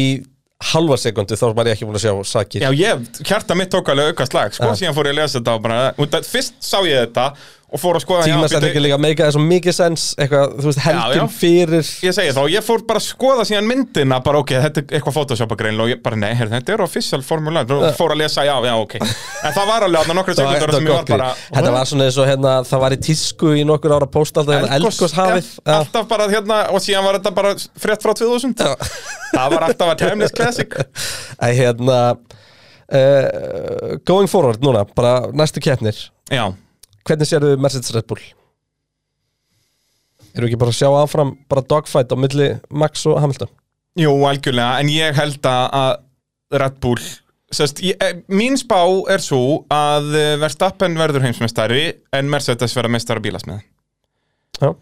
Speaker 1: halva sekundu þá var ég ekki búin að sjá sakir
Speaker 2: Já, ég, hjarta mitt tók alveg auka slag Sko,
Speaker 1: Já.
Speaker 2: síðan fór ég að lesa þetta og bara út að- Fyrst sá ég þetta og fór að skoða já,
Speaker 1: tímasendingi
Speaker 2: bíddu,
Speaker 1: líka meika þessu mikið sens eitthvað, þú veist, helgin
Speaker 2: já.
Speaker 1: fyrir
Speaker 2: Ég segi þá, ég fór bara að skoða síðan myndina Bara, ok, þetta er eitthvað photoshopa greinlega Og ég bara, nei, heyrðu, þetta er official formula Fór að lesa, já, já, ok En það var alveg að nokkra
Speaker 1: Það var-
Speaker 2: sekundur
Speaker 1: þetta
Speaker 2: sem ég
Speaker 1: var
Speaker 2: var bara
Speaker 1: gott grín. Þetta var svona eins og hérna, það var í tísku í nokkur ára póst alltaf hérna eldgós hafið
Speaker 2: já,
Speaker 1: Já.
Speaker 2: Sko, Alltaf bara hérna, og síðan var þetta bara frétt frá 2000 Það var alltaf að timeless classic
Speaker 1: Æ, hérna uh, Going forward núna, bara næstu keppnir
Speaker 2: Já,
Speaker 1: Hvernig sérðu Mercedes Red Bull? Erum við ekki bara að sjá áfram bara dogfight á milli Max og Hamilton?
Speaker 2: Jú, algjörlega, en ég held að- að Red Bull sest, ég, eh, Mín spá er svo að eh, Verstappen verður heimsmeistari en Mercedes verða meistari að bílasmið
Speaker 1: Já.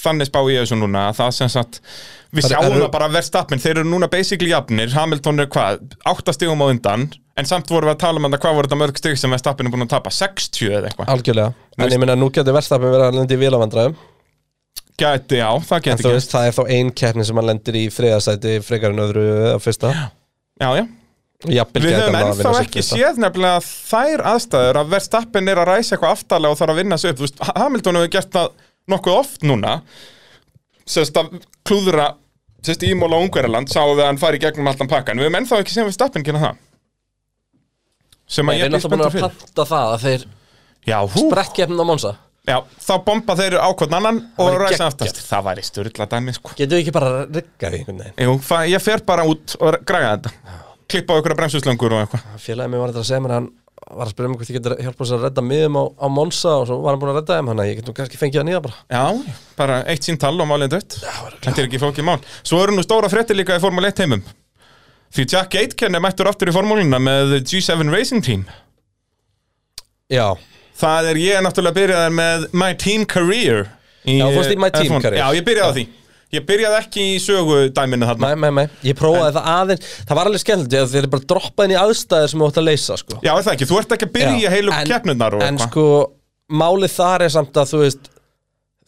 Speaker 2: Þannig spá ég þessu núna að það sem sagt Við
Speaker 1: Það er-
Speaker 2: sjáum
Speaker 1: eru-
Speaker 2: það bara að Verstappen, þeir eru núna basically jafnir Hamilton er hvað, átta stigum á undan En samt vorum við að tala um þetta, hvað voru þetta mörg stig sem Verstappen er búin að tapa, 60 eða eitthvað
Speaker 1: Algjörlega, en
Speaker 2: veist-
Speaker 1: ég meina nú getur verðstafin verið að lendi í vélavandræðum
Speaker 2: Gæti, já, það
Speaker 1: En
Speaker 2: gæti
Speaker 1: þú
Speaker 2: ekki
Speaker 1: veist, það er þá ein keppni sem hann lendir í þriðasæti frekar en öðru á fyrsta
Speaker 2: Já, já,
Speaker 1: Jafnvel
Speaker 2: Við
Speaker 1: gæti
Speaker 2: höfum
Speaker 1: hann að
Speaker 2: ennþá
Speaker 1: vinna sitt
Speaker 2: ekki
Speaker 1: fyrsta.
Speaker 2: séð nefnilega þær aðstæður að verðstappin er að ræsa eitthvað aftalega og þarf að vinna sig upp. Þú veist, Hamilton hefur gert það nokkuð oft núna, sérst að klúðra, sérst í Móla Ungverjaland, sáum við að hann fari í gegnum allan pakkan. Við höfum ennþá ekki séð verðstappin gera það. Sem
Speaker 12: Nei,
Speaker 2: að
Speaker 12: Við
Speaker 2: ég
Speaker 12: erum
Speaker 2: blir
Speaker 12: alltaf búin
Speaker 2: spenntur
Speaker 12: að
Speaker 2: fyrir.
Speaker 12: panta það að þeir
Speaker 2: Já, hú,
Speaker 12: sprekkjefn á Monsa
Speaker 2: já, þá bomba þeir á hvern annan og
Speaker 12: væri
Speaker 2: ræsa
Speaker 12: geggjað.
Speaker 2: aftast. Það væri styrla dæmi, sko.
Speaker 12: Getum við ekki bara að rigga því einhvern veginn
Speaker 2: Jú, fa- ég fer bara út og græða þetta. Klippa á ykkur að bremsuslöngur og eitthvað.
Speaker 12: Félagið mér var þetta að segja mér að hann var að spyrja mig hvort ég geti hjálpa þess að redda miðum á, á Monsa og svo var hann búin að redda þeim hann að ég getum kannski fengið hann í það bara
Speaker 2: Já, bara eitt sín tal og málið dött Þetta er ekki flókið mál Svo eru nú stóra fréttir líka í Formule 1 heimum Því Jack Aitken er mættur aftur í formúluna með G7 Racing Team
Speaker 1: Já
Speaker 2: Það er ég náttúrulega byrjaðar með My Team Career
Speaker 1: Já, þú fórst í My Team
Speaker 2: F1.
Speaker 1: Career.
Speaker 2: Já, ég byrjaði á því Ég byrjaði ekki í sögu dæminu þarna
Speaker 1: Nei, nei, nei, ég prófaði það aðeins Það var alveg skemmtilegt, ég- þeir eru bara droppaðin í aðstæður sem þú átt að leysa sko.
Speaker 2: Já, er það ekki, þú ert ekki að byrja heilu keppnurnar og
Speaker 1: En
Speaker 2: eitthvað.
Speaker 1: sko, málið þar er samt að þú veist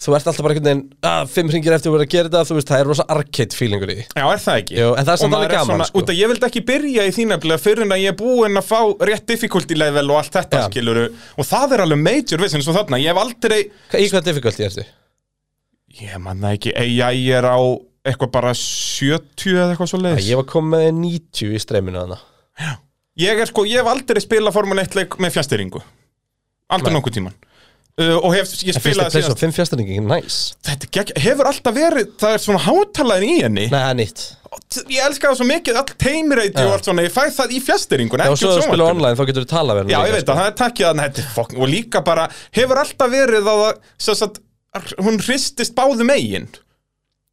Speaker 1: Þú ert alltaf bara einhvern veginn að, Fimm hringir eftir að vera að gera þetta Þú veist, það er rosa arcade feelingur í því.
Speaker 2: Já, er það ekki?
Speaker 1: Jú, en það er samt
Speaker 2: Og maður
Speaker 1: alveg gaman,
Speaker 2: svona,
Speaker 1: sko.
Speaker 2: Út að ég vildi ekki byrja í því nefnilega fyrir en að ég er búinn að fá rétt difficulty level og allt þetta ja. Og það er alveg major vissins og þarna, ég hef aldrei
Speaker 1: Í hvað difficulty ertu?
Speaker 2: Ég manna ekki, ei, ég er á eitthvað bara 70 eða eitthvað svo leiðis
Speaker 1: Ég var komið með 90 í streiminu þarna
Speaker 2: Ég er sko, ég hef aldrei spilað Formule 1 leik með fjastýringu Aldrei nokkuð tíman uh, Og hef, ég
Speaker 1: En fyrsta
Speaker 2: spilaði
Speaker 1: place
Speaker 2: síðast
Speaker 1: og fimm fjastæringin, nice
Speaker 2: Þetta er gegg- hefur alltaf verið, það er svona hátalaðin í henni
Speaker 1: Nei, það er nýtt
Speaker 2: Ég elska það svo mikið, all teimreiti
Speaker 1: Já.
Speaker 2: og allt svona Ég fæ það í fjastýringun,
Speaker 1: Já, og
Speaker 2: ekki
Speaker 1: svo
Speaker 2: á
Speaker 1: þú spila
Speaker 2: sjónvarpinu.
Speaker 1: online, þá getur þú talað verið
Speaker 2: Já, ég veit að það er takkið að þetta er fokk Og líka bara, hefur alltaf verið að það, sem sagt, hún hristist báðu megin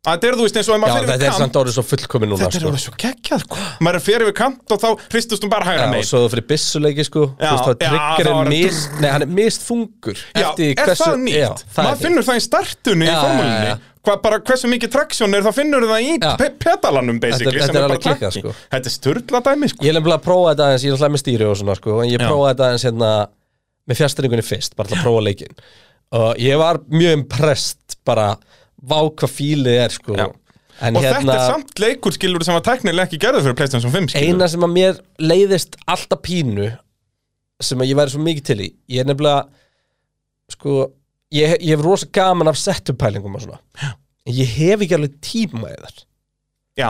Speaker 2: Að þetta er þú veist eins og ef
Speaker 1: Já,
Speaker 2: maður fyrir
Speaker 1: þetta er
Speaker 2: kamp
Speaker 1: samt orðið svo fullkomin núna
Speaker 2: Þetta er alveg svo geggjað, sko. Maður er fyrir við kant og þá hristust hún bara hægra
Speaker 1: Já, og
Speaker 2: megin.
Speaker 1: svo þú fyrir byssuleiki sko Þú
Speaker 2: Já,
Speaker 1: veist, þá
Speaker 2: já,
Speaker 1: trigger
Speaker 2: þá var
Speaker 1: er
Speaker 2: hann-
Speaker 1: mis Nei, hann er misþungur
Speaker 2: Já,
Speaker 1: eftir
Speaker 2: er
Speaker 1: hversu-
Speaker 2: það nýtt?
Speaker 1: Já, það
Speaker 2: Maður finnur það í startunni
Speaker 1: Já, já,
Speaker 2: í
Speaker 1: já,
Speaker 2: formúlinni.
Speaker 1: já.
Speaker 2: Hva, bara hversu mikið traksjón er, þá finnur það í pe pedalanum,
Speaker 1: Þetta-
Speaker 2: basically. sem
Speaker 1: þetta er
Speaker 2: bara
Speaker 1: alveg klikkað,
Speaker 2: takki.
Speaker 1: sko.
Speaker 2: Þetta er sturla dæmi, sko.
Speaker 1: Ég er nefnilega að prófa þetta aðeins, ég er náttúrulega með stýri og svona sko, en ég
Speaker 2: Já.
Speaker 1: prófaði þetta aðeins hérna með fjastringunni fyrst, bara til að prófa leikinn. Og ég var mjög impressed bara, vá hvað fílið er sko. En
Speaker 2: og
Speaker 1: hérna,
Speaker 2: þetta er samt leikur, skilur, sem var tæknilega ekki gerður fyrir PlayStation 5, skilur.
Speaker 1: eina sem að mér leiðist alltaf pínu, sem að ég væri svo mikið til í, ég er nefnilega, sko, ég, ég hef rosa gaman af setup-pælingum og svona. En ég hef ekki alveg tíma í þar.
Speaker 2: Já.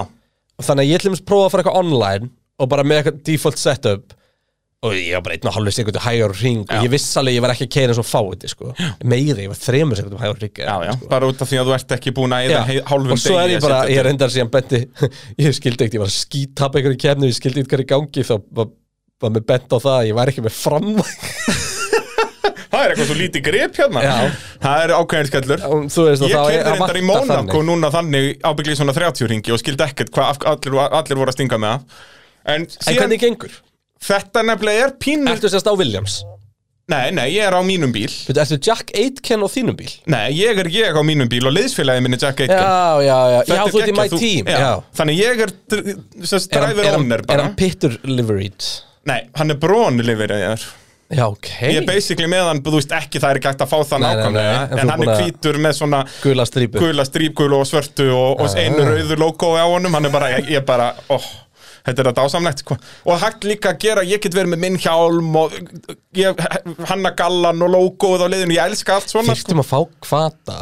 Speaker 1: Og þannig að ég ætlum að prófa að fara eitthvað online og bara með eitthvað default setup og ég var bara einn og halvur sekundu hægur ring og ég viss alveg að ég var ekki að keira eins og fáiði sko. meiri, ég var þremur sekundum hægur ring
Speaker 2: Já, já, bara út af því að þú ert ekki búin að
Speaker 1: sko. Já.
Speaker 2: eða hálfum
Speaker 1: og svo
Speaker 2: degi
Speaker 1: er
Speaker 2: í
Speaker 1: ég
Speaker 2: að
Speaker 1: bara, ég
Speaker 2: setja þetta.
Speaker 1: reyndar síðan benti ég skildi ekkert, ég var að skítapa einhverju kefni, ég skildi ekkert hvað er í gangi þá var, var mér bent á það að ég var ekki með framvæg
Speaker 2: Það er eitthvað svo lítið grip hérna.
Speaker 1: Já.
Speaker 2: Það er ákveðin skellur.
Speaker 1: þú veist, og
Speaker 2: Ég
Speaker 1: þá
Speaker 2: keyrði
Speaker 1: að
Speaker 2: reyndar í
Speaker 1: vanta
Speaker 2: Mónakó
Speaker 1: þannig.
Speaker 2: núna þannig ábyggli svona 30 ringi og skildi ekkert hvað af- allir, allir voru að stinga með það. En,
Speaker 1: en
Speaker 2: síðan,
Speaker 1: hvernig gengur?
Speaker 2: þetta nefnilega er pínur...
Speaker 1: Ertu sérst á Williams?
Speaker 2: Nei, nei, ég er á mínum bíl.
Speaker 1: Veitu, Ertu Jack Aitken á þínum bíl?
Speaker 2: Nei, ég er ég á mínum bíl og liðsfélagið minni Jack Aitken.
Speaker 1: já, já, já,
Speaker 2: Þetta
Speaker 1: já, þú ert í
Speaker 2: geggjað,
Speaker 1: my team já.
Speaker 2: Þannig ég er dr- sem
Speaker 1: Er hann-
Speaker 2: stræfir
Speaker 1: er hann-
Speaker 2: owner
Speaker 1: er
Speaker 2: bara.
Speaker 1: hann pittur liveried?
Speaker 2: Nei, hann er brónlifirðar.
Speaker 1: Já, ok
Speaker 2: Ég er basically með hann, þú veist ekki það er ekki hægt að fá
Speaker 1: Nei,
Speaker 2: það
Speaker 1: nei,
Speaker 2: nákvæmlega.
Speaker 1: nei, en þú
Speaker 2: En
Speaker 1: ert
Speaker 2: hann
Speaker 1: búin
Speaker 2: er
Speaker 1: að-
Speaker 2: hvítur með svona
Speaker 1: Gula strípu Ah.
Speaker 2: gula strípgulu og svörtu og, og einu rauðu logoi á honum hann er bara, ég, ég bara, óh Þetta er þetta ásamlegt, sko. Og hægt líka að gera, ég get verið með minn hjálm og ég, hanna gallan og logoð á liðinu, ég elska allt svona, sko.
Speaker 1: Þyrftum að fá kvata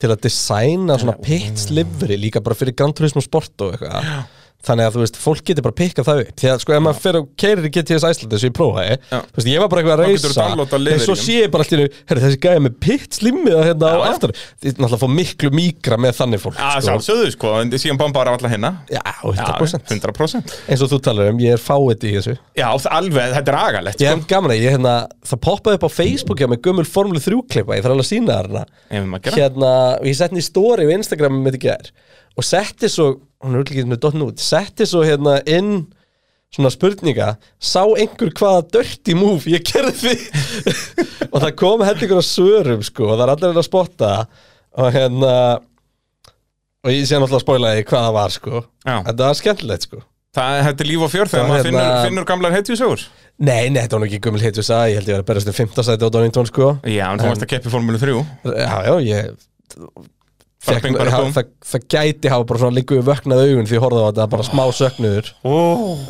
Speaker 1: til að designa svona pits livery líka bara fyrir Gran Turismo Sport og eitthvað þannig að þú veist, fólk getur bara pikkað það upp því að sko, ef maður fer og keirir í GTS Æslandi sem ég prófaði,
Speaker 2: Já.
Speaker 1: þú veist, ég var bara eitthvað
Speaker 2: Þá geturðu
Speaker 1: að
Speaker 2: downloadað
Speaker 1: reysa en svo
Speaker 2: liðurinn.
Speaker 1: sé ég bara allir, herri, þessi gæði með pitt slimmiða hérna á
Speaker 2: Já.
Speaker 1: aftur þið er náttúrulega að fá miklu mýgra með þannig fólk
Speaker 2: að
Speaker 1: sko.
Speaker 2: sjálfsögðu sko, en síðan bombar af alla hinna
Speaker 1: Já, 100%.
Speaker 2: 100%
Speaker 1: eins og þú talar um, ég er fáið í þessu
Speaker 2: Já, þa- alveg, þetta er agalegt
Speaker 1: Ég
Speaker 2: sko.
Speaker 1: hef gaman að ég hérna, það poppaði upp á Facebook hjá mig gömul Formule 3 klippa, ég þarf alveg að sína þér hana
Speaker 2: Ef maður gera.
Speaker 1: Hérna, og ég setti henni í story á Instagramum mitt í gær og setti svo, hún er útlíkið með dottin út, setti svo hérna inn svona spurninga, sá einhver hvaða dirty move ég gerði og það kom henni ykkur að svörum sko, og það er allir að spotta og hérna og ég sé náttúrulega að spoila því hvað það var sko
Speaker 2: Já.
Speaker 1: en það var skemmtilegt sko
Speaker 2: Það, þetta er líf og fjör þegar
Speaker 1: Það
Speaker 2: maður
Speaker 1: hérna-
Speaker 2: finnur, finnur gamlar hetjusögur
Speaker 1: Nei, nei, þetta var nú ekki gömul hitvis að ég held ég verið að berast um 15 sæti á Donington sko
Speaker 2: Já, en þú varst að keppi formúlu 3
Speaker 1: Já, já, ég
Speaker 2: Bara
Speaker 1: Fekk,
Speaker 2: bing, bara
Speaker 1: það,
Speaker 2: búm.
Speaker 1: það, það gæti hafa bara svona líku vöknað augun því ég horfði á þetta bara smá söknuður
Speaker 2: oh.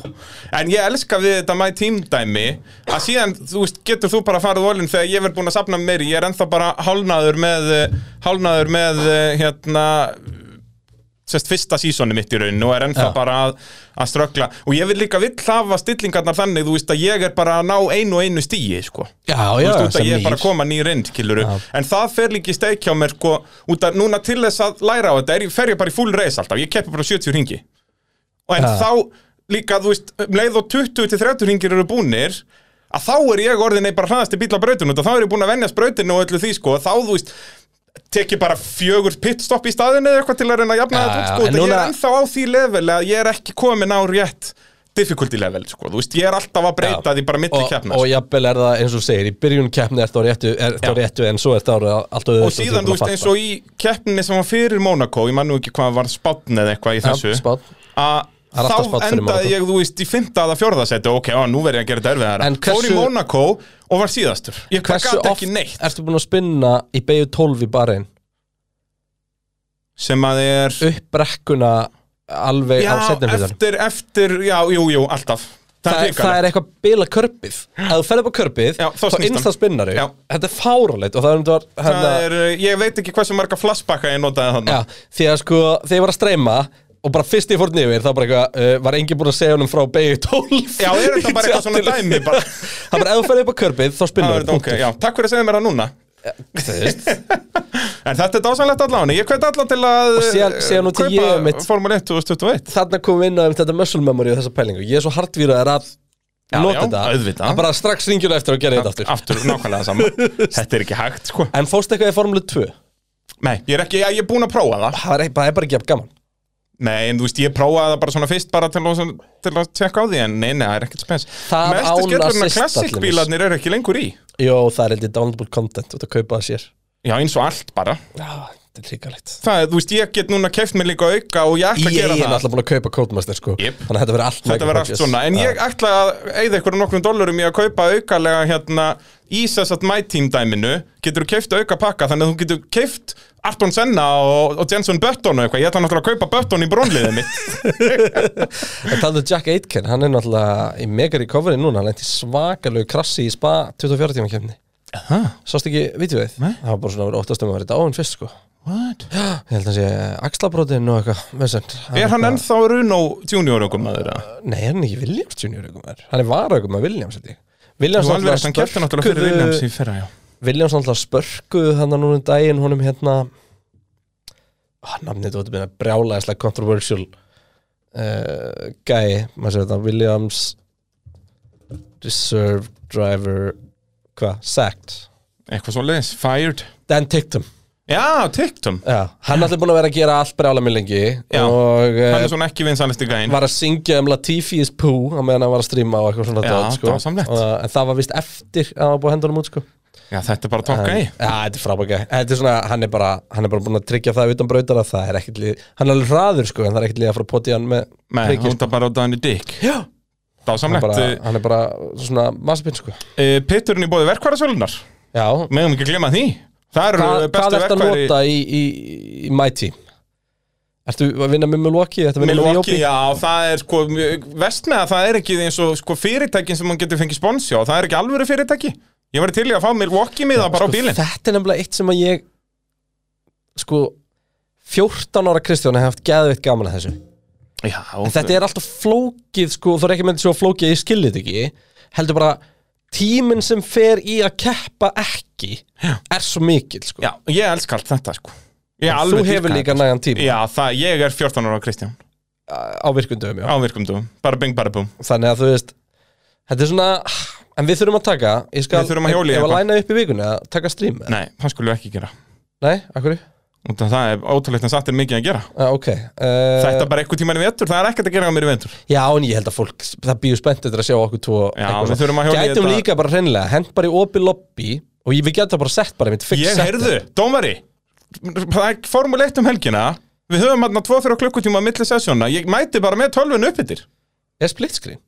Speaker 2: En ég elska við þetta my team dæmi að síðan, þú veist, getur þú bara farið volin þegar ég verð búin að safna meiri ég er ennþá bara hálnaður með eh, hálnaður með, eh, hérna sérst fyrsta sísoni mitt í raun og er ennþá
Speaker 1: Já.
Speaker 2: bara að, að ströggla og ég vil líka vill hafa stillingarnar þannig þú veist að ég er bara að ná einu og einu stíi sko.
Speaker 1: Já,
Speaker 2: Þú
Speaker 1: já,
Speaker 2: veist, út að
Speaker 1: sem
Speaker 2: ég er bara
Speaker 1: nýr.
Speaker 2: að koma nýr inn, skiluru En það fer líka í steik hjá mér, sko Út að núna til þess að læra á þetta er, ég- Fer ég bara í full race alltaf, ég keppi bara 70 ringi Og en
Speaker 1: Já.
Speaker 2: þá líka, þú veist um Leið og 20 til 30 ringir eru búnir Að þá er ég orðin einn bara hraðasti bíl á brautinu og Þá er ég búin að venja sprautinu og öllu því, sko Þá, þú veist, tek ég bara fjögur pitstopp í staðinu eða eitthvað til að reyna að jafna
Speaker 1: Já,
Speaker 2: þetta
Speaker 1: já,
Speaker 2: út, sko,
Speaker 1: en
Speaker 2: núna... ég er
Speaker 1: núna-
Speaker 2: ennþá á því level að ég er ekki komin á rétt difficulty level, sko, þú veist, ég er alltaf að breyta því bara milli
Speaker 1: og,
Speaker 2: keppna, sko.
Speaker 1: og jafnvel er það eins og þú segir, í byrjun keppni ert á réttu, er, ert á réttu en svo ert á allt
Speaker 2: og síðan, þú veist, eins og í keppninni sem var fyrir Monaco, ég man nú ekki hvað var spátn eða eitthvað í þessu
Speaker 1: spátt
Speaker 2: að
Speaker 1: Það er alltaf
Speaker 2: þá
Speaker 1: spánn fyrir Monaco.
Speaker 2: endaði ég, þú veist, í fymta að fjórða seti ok, á, nú verð ég að gera þetta erfiðara
Speaker 1: En hversu-
Speaker 2: fór í Monaco og var síðastur ég hvað
Speaker 1: Hversu
Speaker 2: gat
Speaker 1: oft
Speaker 2: ekki neitt
Speaker 1: ertu búin að spinna í beigju 12 í barinn
Speaker 2: sem að er
Speaker 1: upp brekkuna alveg
Speaker 2: já,
Speaker 1: á setnum hlutan
Speaker 2: eftir, eftir, já, jú, jú, alltaf það,
Speaker 1: það, er,
Speaker 2: er
Speaker 1: það
Speaker 2: hrikalegt.
Speaker 1: er eitthvað bila körpið Ef þú ferði upp á körpið,
Speaker 2: Já, þá
Speaker 1: þá
Speaker 2: snýst hann.
Speaker 1: innsta spinnari
Speaker 2: Já.
Speaker 1: Þetta er fáralegt og það er um þetta var
Speaker 2: það
Speaker 1: hérna-
Speaker 2: er, eh, ég veit ekki hversu marga flashbacka ég notaði þannig
Speaker 1: Já, því að sko, þegar ég var að streyma og bara fyrst ég fór niður, þá bara eitthvað uh, var enginn búinn að segja honum frá beigju 12
Speaker 2: Já, er þetta bara eitthvað svona dæmi, bara?
Speaker 1: Það er bara, ef þú ferði upp á körpið, þá
Speaker 2: Það
Speaker 1: spinnur
Speaker 2: er þetta ok, já, takk fyrir að segja mér það núna En þetta er dásanlegt allan Ég hvet allan til að eh,
Speaker 1: Og síðan- síðan út í
Speaker 2: kaupa
Speaker 1: ég mitt.
Speaker 2: Formule 1 2021
Speaker 1: Þarna komum við inn á um þetta muscle memory og þessa pælingu Ég er svo hartvíraður að
Speaker 2: já,
Speaker 1: nota þetta
Speaker 2: auðvitað.
Speaker 1: að Bara strax ringjur eftir og gera þetta aftur
Speaker 2: Aftur, nákvæmlega sama Þetta er ekki hægt, sko
Speaker 1: En fóst eitthvað í Formule 2?
Speaker 2: Nei, ég er ekki, ég, ég er búin að prófa það
Speaker 1: Það er það er bara ekki jafn gaman
Speaker 2: Nei, en þú veist, ég prófaði það bara svona fyrst bara til að, til að tjekka á því En nei, nei, það er ekkert spes
Speaker 1: Það
Speaker 2: Mestu
Speaker 1: án
Speaker 2: skellurinn að
Speaker 1: assist, allir mis.
Speaker 2: klassikbílarnir eru ekki lengur í
Speaker 1: Jó, það er heldur downloadable content út að kaupa það sér
Speaker 2: Já, eins og allt bara
Speaker 1: Já, þetta er hrikalegt
Speaker 2: Það, er, þú veist, ég get núna keft mér líka auka og ég ætla að
Speaker 1: Ég er
Speaker 2: gera það
Speaker 1: náttúrulega búin að kaupa Codemaster sko
Speaker 2: Jep.
Speaker 1: Þannig að þetta verður allt
Speaker 2: Þetta
Speaker 1: mega
Speaker 2: verður allt
Speaker 1: purchase.
Speaker 2: svona, en
Speaker 1: Já.
Speaker 2: ég ætla að eigða ykkur nokkrum dólarum í að kaupa aukalega hérna í þess að My Team dæminu getur þú keift auka pakka, þannig að þú getur keift Arton Senna og, og Jenson Button og eitthvað, ég ætla náttúrulega að kaupa Button í brónliðið mitt
Speaker 1: En talaðu Jack Aitken, hann er náttúrulega í mega recovery núna, hann lendi svakalegu krassi í spa 24 tíma kemni Sást ekki videoið?
Speaker 2: Nei.
Speaker 1: Það var bara svona að vera óttast um að vera dáin fyrst sko
Speaker 2: What?
Speaker 1: Ég held að hann sé axlabrotin og eitthvað vesend.
Speaker 2: Er hann ennþá Runo junior okkur maður? eða?
Speaker 1: Nei, hann er ekki Williams junior aukum Hann er vara aukum að Williams held ég. Williams
Speaker 2: Jú, alveg, hann kefti náttúrulega fyrir Williams í fyrra, já
Speaker 1: Williams náttúrulega spörkuðu hann núna um daginn honum hérna ah, namnið þú veitum brjálæðislega controversial uh, gæi maður sér þetta Williams Reserve Driver hvað, sacked
Speaker 2: Eitthvað svo leiðis, fired
Speaker 1: Dan Tictum,
Speaker 2: Já, Tictum,
Speaker 1: já, hann er allir búin að vera að gera allt brjálæð mjög lengi
Speaker 2: Já,
Speaker 1: og
Speaker 2: hann er
Speaker 1: uh,
Speaker 2: svona ekki vinsanlisti gæinn
Speaker 1: var að syngja um Latifi is poo á meðan hann var að streama og eitthvað svona
Speaker 2: Já,
Speaker 1: dót, sko.
Speaker 2: dásamlegt.
Speaker 1: Og- en það var vist eftir að hann var búin að henda honum út sko
Speaker 2: Já, þetta er bara top
Speaker 1: En-
Speaker 2: gæi
Speaker 1: Já, þetta er frábæk gæi. Þetta er svona, hann er bara, hann er bara búin að tryggja það utan brautar að það er ekkert lið, hann er alveg hraður sko, en það er ekkert lið að fara að poti hann með
Speaker 2: Nei,
Speaker 1: prikið,
Speaker 2: hún er bara á Danny Dick
Speaker 1: Já, hann er
Speaker 2: Dásamlegt,
Speaker 1: bara, hann er bara svona massapinn sko.
Speaker 2: Eh, pitturinn í bóði verkvarðasölunar
Speaker 1: Já,
Speaker 2: meðum ekki að glemma því það eru
Speaker 1: hvað, hvað
Speaker 2: bestu
Speaker 1: ertu að
Speaker 2: verkværi
Speaker 1: nota í, í, í My Team? Ertu að vinna með Milwaukee? Ertu að vinna með
Speaker 2: Milwaukee,
Speaker 1: Jópi?
Speaker 2: já, það er sko vest með að það er ekki eins og sko, fyrirtækin sem hann getur fengið sponsi á, það er ekki alvöru fyrirtæki ég var til í að fá Milwaukee miða bara
Speaker 1: Sko,
Speaker 2: á bílinn
Speaker 1: Þetta er nefnilega eitt sem að ég, sko, 14 ára Kristján hef haft geðvitt gaman að þessu.
Speaker 2: Já,
Speaker 1: en þetta er alltaf flókið sko, það er ekki með þessu að flókið að ég skilja þetta ekki heldur bara tíminn sem fer í að keppa ekki
Speaker 2: Já.
Speaker 1: er svo mikill sko.
Speaker 2: Já, ég elska allt þetta sko Ég
Speaker 1: En
Speaker 2: alveg
Speaker 1: þú hefur
Speaker 2: dýrka
Speaker 1: líka
Speaker 2: þetta.
Speaker 1: nægan tíma.
Speaker 2: Já, það, ég er 14 ára Kristján
Speaker 1: á virkundum
Speaker 2: Á virkundum, bara bing bara búm
Speaker 1: þannig að þú veist þetta er svona, en við þurfum að taka ég skal,
Speaker 2: Við þurfum að hjóla í
Speaker 1: ég var
Speaker 2: eitthvað.
Speaker 1: að læna upp í vikunni að taka stream eða?
Speaker 2: Nei, það skulle við ekki gera
Speaker 1: nei, akkur
Speaker 2: Út af Það er ótrúlegt en satt er mikið að gera
Speaker 1: uh, ok, uh,
Speaker 2: Þetta bara eitthvað tíma í vetur, það er ekkert að gera á mér í vetur
Speaker 1: já, en ég held að fólk það býður spennt eftir að sjá okkur tvo
Speaker 2: Já,
Speaker 1: eitthvað
Speaker 2: við
Speaker 1: svona.
Speaker 2: þurfum að hjóla í
Speaker 1: gætum
Speaker 2: þetta.
Speaker 1: líka bara hreinlega, hent bara í opi lobby og ég- við getum bara sett bara mitt fix
Speaker 2: Ég
Speaker 1: setup.
Speaker 2: heyrðu, dómari Það er formuleitt um helgina Við höfum aðna tvo fyrir klukkutíma á milli sessjóna Ég mæti bara með tölvun uppbyttir
Speaker 1: er split screen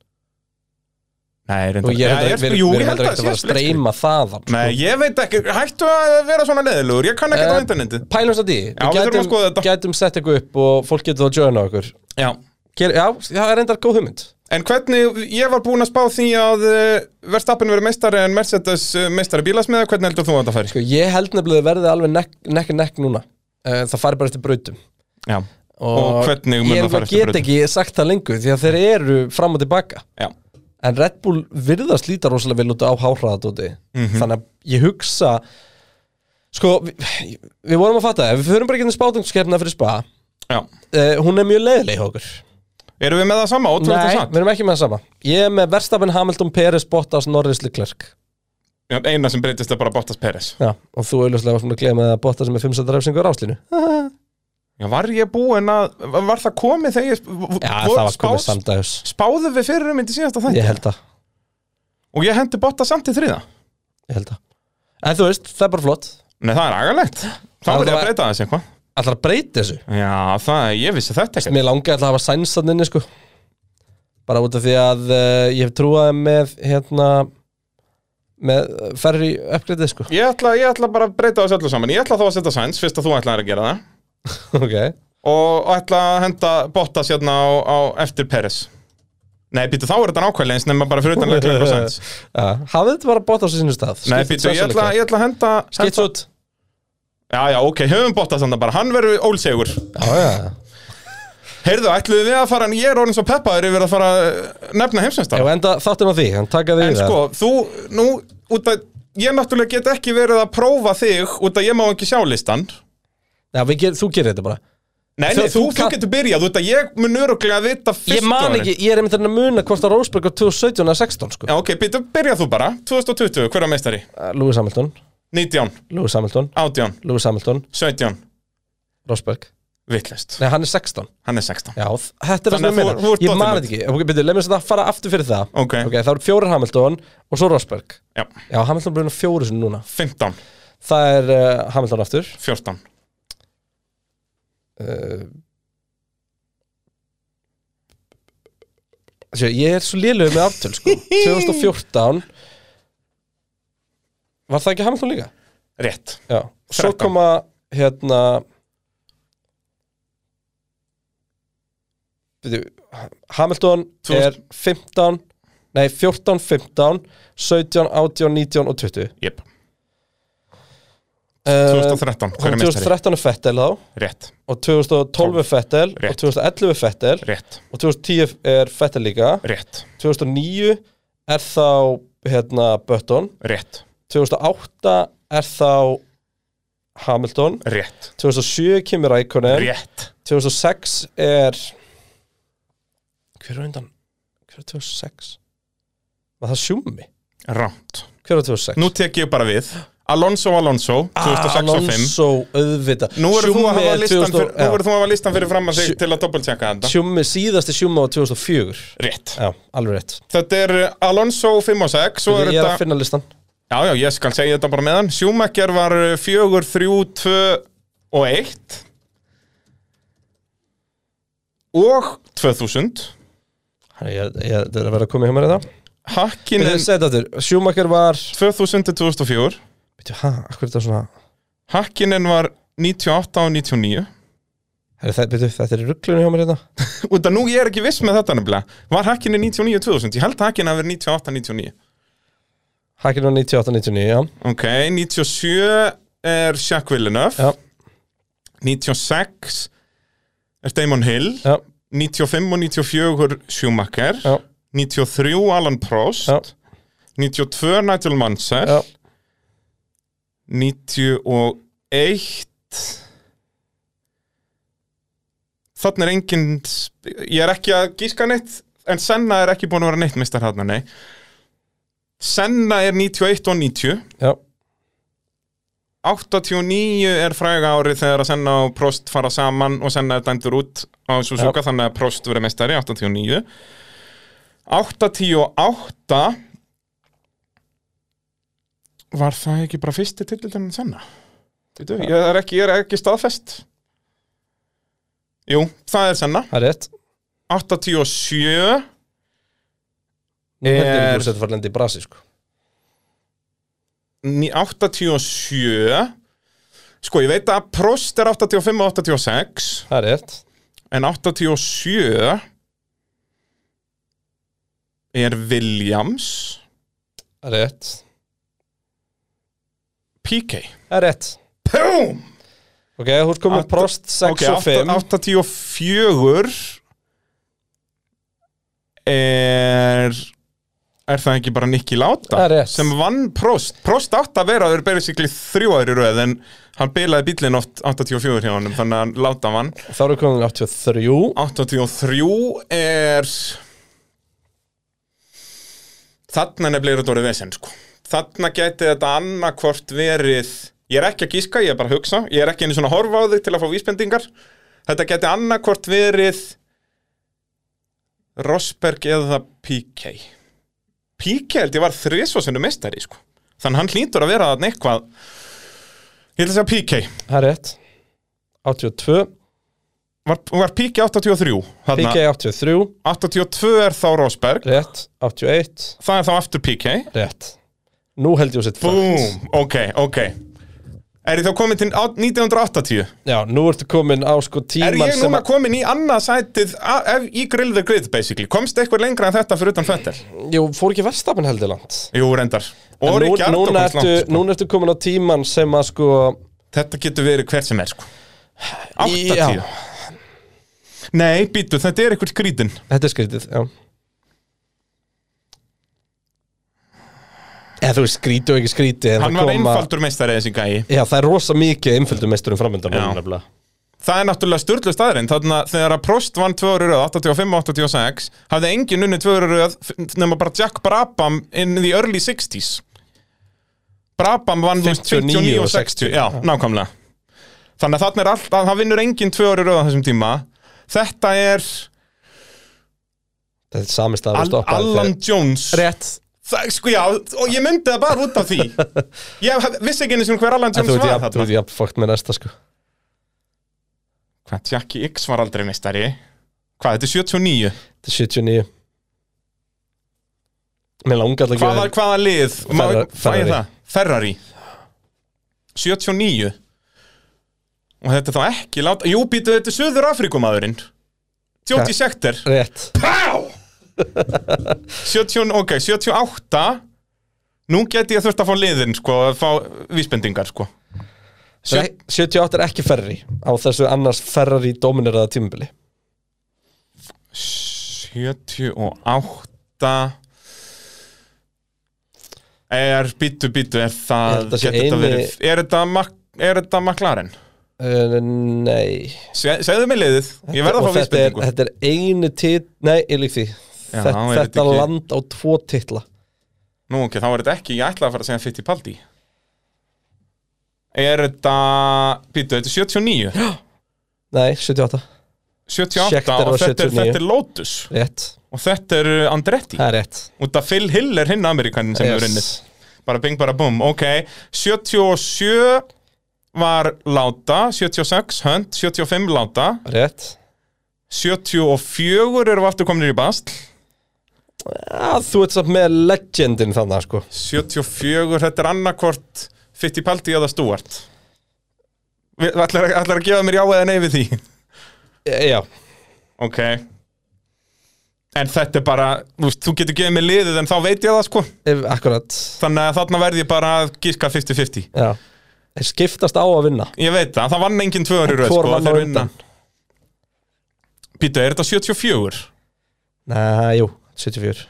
Speaker 2: Nei,
Speaker 1: og
Speaker 2: reyndar
Speaker 1: ég held
Speaker 2: Já,
Speaker 1: að
Speaker 2: sko-
Speaker 1: við
Speaker 2: jú,
Speaker 1: við
Speaker 2: ég
Speaker 1: erum
Speaker 2: held
Speaker 1: heldur ekkert að fara
Speaker 2: það
Speaker 1: að
Speaker 2: sé splitscreen.
Speaker 1: streyma þaðan
Speaker 2: Nei,
Speaker 1: sko.
Speaker 2: ég veit ekki, hættu að vera svona neðilugur Ég kann
Speaker 1: Eh,
Speaker 2: ekkert á internetið
Speaker 1: pælumst að því,
Speaker 2: Já, við þurfum að skoða
Speaker 1: gætum, gætum sett eitthvað upp og fólk getur þá að joina okkur
Speaker 2: Já
Speaker 1: Ger, já, það er endar góð hugmynd
Speaker 2: En hvernig, ég var búinn að spá því að uh, Verstappen verið meistari en Mercedes uh, meistari bílasmiða, hvernig heldur þú að það færi?
Speaker 1: Sko, ég held nefnilega að verði alveg nekk nekk, nekk núna Eh, það fari bara eftir brautum
Speaker 2: Já, Og hvernig mun
Speaker 1: ég
Speaker 2: það fara
Speaker 1: nefnilega
Speaker 2: eftir
Speaker 1: get
Speaker 2: brautum?
Speaker 1: ekki sagt það lengur því að þeir eru fram og tilbaka
Speaker 2: já,
Speaker 1: en Red Bull virðast líta rosalega vel út á háhraðadóti
Speaker 2: Mhm.
Speaker 1: þannig að ég hugsa sko, við, við vorum að fatta það við förum bara ekki spátungskeppna fyrir spa
Speaker 2: já
Speaker 1: uh, hún er mjög leiðileg hjá okkur
Speaker 2: Erum við með það sama, ótrúlega
Speaker 1: Nei,
Speaker 2: það
Speaker 1: við
Speaker 2: satt?
Speaker 1: erum ekki með það sama Ég er með Verstappen, Hamilton, Peres, Bottas, Norris, Leclerc
Speaker 2: Já, eina sem breytist er bara Bottas Peres
Speaker 1: Já, og þú auðvitað varst múin að glema að Bottas sem er 5 setar refsingu á ráslinu
Speaker 2: Já, var ég búinn að, var það komið þegar ég Já,
Speaker 1: Já, það var komið samdæðus
Speaker 2: Spáðu við fyrir um myndi síðast að þetta
Speaker 1: Ég held það,
Speaker 2: Og ég hendi Bottas samt í þriða
Speaker 1: ég held það En þú veist, það er bara flott
Speaker 2: Nei, það er agalegt Þá
Speaker 1: Það
Speaker 2: verður ég
Speaker 1: var-
Speaker 2: að breyta þessi eitthvað
Speaker 1: Ætlar að breyta þessu
Speaker 2: Já, það, ég vissi þetta ekki
Speaker 1: Mér langi alltaf að hafa sænsaninni sko Bara út af því að uh, ég hef trúaði með hérna með ferri uppgreitið sko
Speaker 2: Ég ætla, ég ætla bara að breyta þessu öllu saman Ég ætla þá að setja Sainz, fyrst að þú ætlaðir að gera það
Speaker 1: Ok,
Speaker 2: og ætla að henda Bottas hérna á, á eftir Peres Nei, býtu, þá er þetta nákvæmlega eins nema bara fyrir utan Leclerc og Sainz
Speaker 1: ja, hafði þetta bara Bottas í sinni stað
Speaker 2: Nei,
Speaker 1: Skipti
Speaker 2: býtu, ég
Speaker 1: Sainz og
Speaker 2: ætla,
Speaker 1: Leclerc.
Speaker 2: ég ætla að henda,
Speaker 1: Skits
Speaker 2: henda
Speaker 1: út
Speaker 2: Já, já, ok, höfum Bottas hann bara, hann verður ólsegur
Speaker 1: Já, já,
Speaker 2: Heyrðu, ætluðu við að fara, en ég er orðin svo peppaður yfir að fara að nefna
Speaker 1: já
Speaker 2: heimsveimstara
Speaker 1: enda þáttum á því, hann takaði
Speaker 2: En
Speaker 1: í það
Speaker 2: sko, þú, nú, út að ég náttúrulega get ekki verið að prófa þig út að ég má ekki sjá listan
Speaker 1: Já, við ger, þú gerir þetta bara Þú-
Speaker 2: Nei, nei, þú,
Speaker 1: þú
Speaker 2: þú,
Speaker 1: kann-
Speaker 2: getur byrjað út að ég mun öruglega vita fyrst
Speaker 1: Ég man
Speaker 2: orðin.
Speaker 1: ekki, ég er einmitt að reyna að muna hvort að Rósberg var 2017 eða 16 sko Eh,
Speaker 2: Já, ok, býtu, byrjað þú bara, 2020, hver er meistari?
Speaker 1: Lúi Samilton,
Speaker 2: 19,
Speaker 1: Lúi Samilton,
Speaker 2: 18
Speaker 1: Lúi Samilton,
Speaker 2: 17
Speaker 1: Rósberg
Speaker 2: Vittlust,
Speaker 1: Nei, hann er 16
Speaker 2: hann er 16
Speaker 1: Já, þ- þetta er það
Speaker 2: Þannig
Speaker 1: sem ég
Speaker 2: að þú-
Speaker 1: meina
Speaker 2: þú ert
Speaker 1: Ég man þetta
Speaker 2: dottinut.
Speaker 1: ekki, ok, byrju, leið mér að fara aftur fyrir það
Speaker 2: Ok,
Speaker 1: Ok, það eru fjórir Hamilton og svo Rósberg
Speaker 2: Já.
Speaker 1: Já, Hamilton brunna fjóru sinni núna
Speaker 2: 15,
Speaker 1: Það er uh, Hamilton aftur
Speaker 2: 14
Speaker 1: uh, sjö, Ég er svo lélugur með aftöl sko 2014 Var það ekki Hamilton líka?
Speaker 2: Rétt,
Speaker 1: Já, svo
Speaker 2: 13.
Speaker 1: koma hérna Bíddu, Hamilton
Speaker 2: Þú
Speaker 1: er 15 nei 14, 15 17, 18, 19 og 20
Speaker 2: jöp
Speaker 1: uh,
Speaker 2: 2013, hver er meistari?
Speaker 1: 2013 er Fettel þá
Speaker 2: Rétt,
Speaker 1: og 2012 er Fettel og
Speaker 2: Rétt.
Speaker 1: 2011 er Fettel
Speaker 2: rétt,
Speaker 1: og 2010 er Fettel líka
Speaker 2: rétt,
Speaker 1: 2009 er þá hérna Button
Speaker 2: rétt,
Speaker 1: 2008 er þá Hamilton
Speaker 2: rétt
Speaker 1: 2007 kemur Rækonen
Speaker 2: Rétt
Speaker 1: 2006 er hver er undan hver er 2006 var það sjúmi
Speaker 2: Rámt
Speaker 1: hver er 2006
Speaker 2: Nú tek ég bara við Alonso, Alonso, 2006 og 5
Speaker 1: Alonso auðvita
Speaker 2: Nú verður þú að hafa listan fyrir, nú verður
Speaker 1: fyrir
Speaker 2: þú að hafa listan fyrir fram að
Speaker 1: Sjú-
Speaker 2: þig til að doppeltjekka þetta
Speaker 1: sjúmi síðasti sjúmi var 2004
Speaker 2: Rétt
Speaker 1: já alveg rétt
Speaker 2: Þetta er eh, Alonso 5 og 6 Svo er
Speaker 1: ég er að
Speaker 2: þetta
Speaker 1: finna listan
Speaker 2: Já, já, ég skal segja þetta bara meðan Schumacher var eh, 4, 3, 2 og 1 og 2000
Speaker 1: Herra, ég, ég, þetta er að vera að koma hjá mér í það
Speaker 2: Hakkinen
Speaker 1: Byrju, segðu þetta aftur Schumacher var
Speaker 2: 2000 til 2004
Speaker 1: Byrju, hæ, akkur er þetta svona
Speaker 2: Hakkinen var 98 og 99
Speaker 1: Herra, það, byrju, Þetta er í rugglunni hjá mér hérna. í það
Speaker 2: Út að nú ég er ekki viss með þetta nefnilega Var Hakkinen 99 og 2000? Ég held að Hakkinen hafi verið 98 og 99
Speaker 1: Hakkin á 98-99, já
Speaker 2: Ok, 97 er Jacques Villeneuve
Speaker 1: Já.
Speaker 2: 96 er Damon Hill
Speaker 1: Já.
Speaker 2: 95 og 94 Schumacher
Speaker 1: Já.
Speaker 2: 93 Alan Prost
Speaker 1: Já.
Speaker 2: 92 Nigel Mansell 91 Þannig er engin ég er ekki að gíska neitt en Senna er ekki búin að vera neitt mistar þarna, nei Senna er 91 og 90
Speaker 1: Já.
Speaker 2: 89 er fræga árið þegar að Senna og Prost fara saman og Senna er dæmdur út á Suzuka þannig að Prost verið meistari 89 88 var það ekki bara fyrsti titildin en Senna Veitu, ég, er ekki, ég er ekki staðfest Jú, það er Senna
Speaker 1: Það er rétt
Speaker 2: 87
Speaker 1: Nú heldur ég
Speaker 2: Er-
Speaker 1: ekki úr setja farlendi í brasi sko.
Speaker 2: Ní- 87 Sko, ég veit að Prost er 85 og 86
Speaker 1: Það er rétt
Speaker 2: En 87 er Williams
Speaker 1: Það er rétt
Speaker 2: PK
Speaker 1: Það er rétt
Speaker 2: Pum!
Speaker 1: Ok, þú ert komið Prost 6 og 5
Speaker 2: 84 er er það ekki bara Nicky
Speaker 1: Það
Speaker 2: Láta
Speaker 1: er rétt.
Speaker 2: sem vann Prost Prost átt að vera, þau eru basically þrjú ári röð en hann bilaði bílinn oft 84 hjá hann þannig að Láta vann
Speaker 1: Þá erum við komin 83
Speaker 2: 83 er þarna nefnilega er þetta orðið vesen sko. þarna geti þetta annarkvort verið ég er ekki að gíska, ég er bara að hugsa ég er ekki einu svona að horfa á þig til að fá vísbendingar þetta geti annarkvort verið Rosberg eða PK PK held ég var þrisvosinu mestari sko. þannig hann hlýtur að vera þarna eitthvað ég ætla að segja PK
Speaker 1: Það er rétt 82
Speaker 2: var, var PK 83 þarna?
Speaker 1: PK 83
Speaker 2: 82 er þá Rosberg
Speaker 1: Rétt 81
Speaker 2: Það er þá aftur PK
Speaker 1: Rétt Nú held ég að setja farlendi
Speaker 2: Búm, ok, ok Er ég þá komin til á- 1980?
Speaker 1: Já, nú ertu komin á sko
Speaker 2: Er
Speaker 1: tíman
Speaker 2: ég
Speaker 1: sem
Speaker 2: núna
Speaker 1: að
Speaker 2: komin í annað sætið a- ef- í grill the grid basically? Komst eitthvað lengra en þetta fyrir utan Fettel?
Speaker 1: Jú, fór ekki verstafin heldur langt
Speaker 2: Jú, reyndar Og
Speaker 1: En nú,
Speaker 2: Ríkjardó
Speaker 1: núna,
Speaker 2: komst
Speaker 1: ertu,
Speaker 2: langt sko.
Speaker 1: núna ertu komin á tíman sem að sko
Speaker 2: Þetta getur verið hver sem er sko
Speaker 1: Í-
Speaker 2: 80
Speaker 1: já.
Speaker 2: Nei, býtu, þetta er eitthvað skrítin
Speaker 1: Þetta er skrítið, já Eða þú veist skrítið og ekki skrítið en það
Speaker 2: Hann var
Speaker 1: kom að-
Speaker 2: einfaldur meistari þessi gæi
Speaker 1: Já, það er rosa mikið einföldumesturum framöndan núna
Speaker 2: Já.
Speaker 1: nefnilega
Speaker 2: Það er náttúrulega styrlu staðurinn Þannig að þegar að Prost vann tvö ári röð 85-86 hafði engin unni tvö ári röð f- nema bara Jack Brabham in the early 60s Brabham vann 59 og 60 Já, nákvæmlega Þannig að þannig er alltaf, það vinnur engin tvö ári röð á þessum tíma Þetta er
Speaker 1: Þetta er sami stað
Speaker 2: Al
Speaker 1: að stoppa
Speaker 2: Alan Jones
Speaker 1: Rétt
Speaker 2: Það, sko já, og ég myndi það bara út af því Ég hef- vissi ekki einu sem hver Alan
Speaker 1: En
Speaker 2: Jones
Speaker 1: þú veit
Speaker 2: var
Speaker 1: jafn, þú
Speaker 2: þarna
Speaker 1: veit jafn fókt með næsta sko
Speaker 2: Hvað, Jackie X var aldrei meistari Hvað, þetta er 79
Speaker 1: Þetta er 79 Mér langar alltaf
Speaker 2: hvaða, hvaða lið Má-
Speaker 1: Ferra-
Speaker 2: fæ ég
Speaker 1: Ferrari.
Speaker 2: það? Ferrari 79 og þetta er þá ekki láta jú býtu þetta er Suður Afrikumadurinn
Speaker 1: Ja.
Speaker 2: 70 sektor
Speaker 1: Rétt
Speaker 2: 70, ok, 78 nú geti ég þurft að fá liðin sko, að fá vísbendingar sko Sjö-
Speaker 1: Nei, 78 er ekki ferri á þessu annars ferrari domineraða tímabili
Speaker 2: 78 er býtu býtu er
Speaker 1: Ég
Speaker 2: það
Speaker 1: held að sé
Speaker 2: geti þetta
Speaker 1: eini-
Speaker 2: verið- er þetta Mac- er þetta McLaren
Speaker 1: uh, Nei
Speaker 2: Se- segðu mig liðið, ég verða að
Speaker 1: Og þetta
Speaker 2: fá
Speaker 1: er,
Speaker 2: vísbendingu
Speaker 1: þetta er einu tit Nei, ég lík því
Speaker 2: Já,
Speaker 1: Þetta,
Speaker 2: er þetta
Speaker 1: þetta
Speaker 2: ekki-
Speaker 1: land á tvo titla
Speaker 2: Nú ok, þá er þetta ekki, ég ætlaði að fara að segja Fittipaldi Er þetta Býtu, þetta er 79
Speaker 1: Nei, 78
Speaker 2: 78
Speaker 1: Schechter
Speaker 2: og
Speaker 1: var
Speaker 2: þetta er,
Speaker 1: 79.
Speaker 2: þetta er Lotus
Speaker 1: Rétt
Speaker 2: Og þetta er Andretti
Speaker 1: Það er rétt
Speaker 2: Út af Phil Hill er hinn Amerikanin sem yes. er unnið Bara bing bara bum, ok 77 var Láta 76 Hunt, 75 Láta
Speaker 1: Rétt
Speaker 2: 74 erum við aftur kominir í Bastl
Speaker 1: Já, þú ert samt með legendin þannig sko
Speaker 2: 74, þetta er annarkvort Fittipaldi eða Stuart Við- Ætlar ætlar að gefa mér já eða nei við því
Speaker 1: E- Já,
Speaker 2: Ok En þetta er bara, þú, veist, þú getur gefið mér liðið en þá veit ég það sko
Speaker 1: ef, akkurat
Speaker 2: Þannig að þarna verð ég bara að gíska 50-50
Speaker 1: Já Þeir skiptast á að vinna
Speaker 2: Ég veit það, það vann engin tvöður í röð
Speaker 1: Hvor
Speaker 2: sko
Speaker 1: vann á
Speaker 2: þeir
Speaker 1: undan?
Speaker 2: Pítu, er þetta 74?
Speaker 1: Nei, jú, 74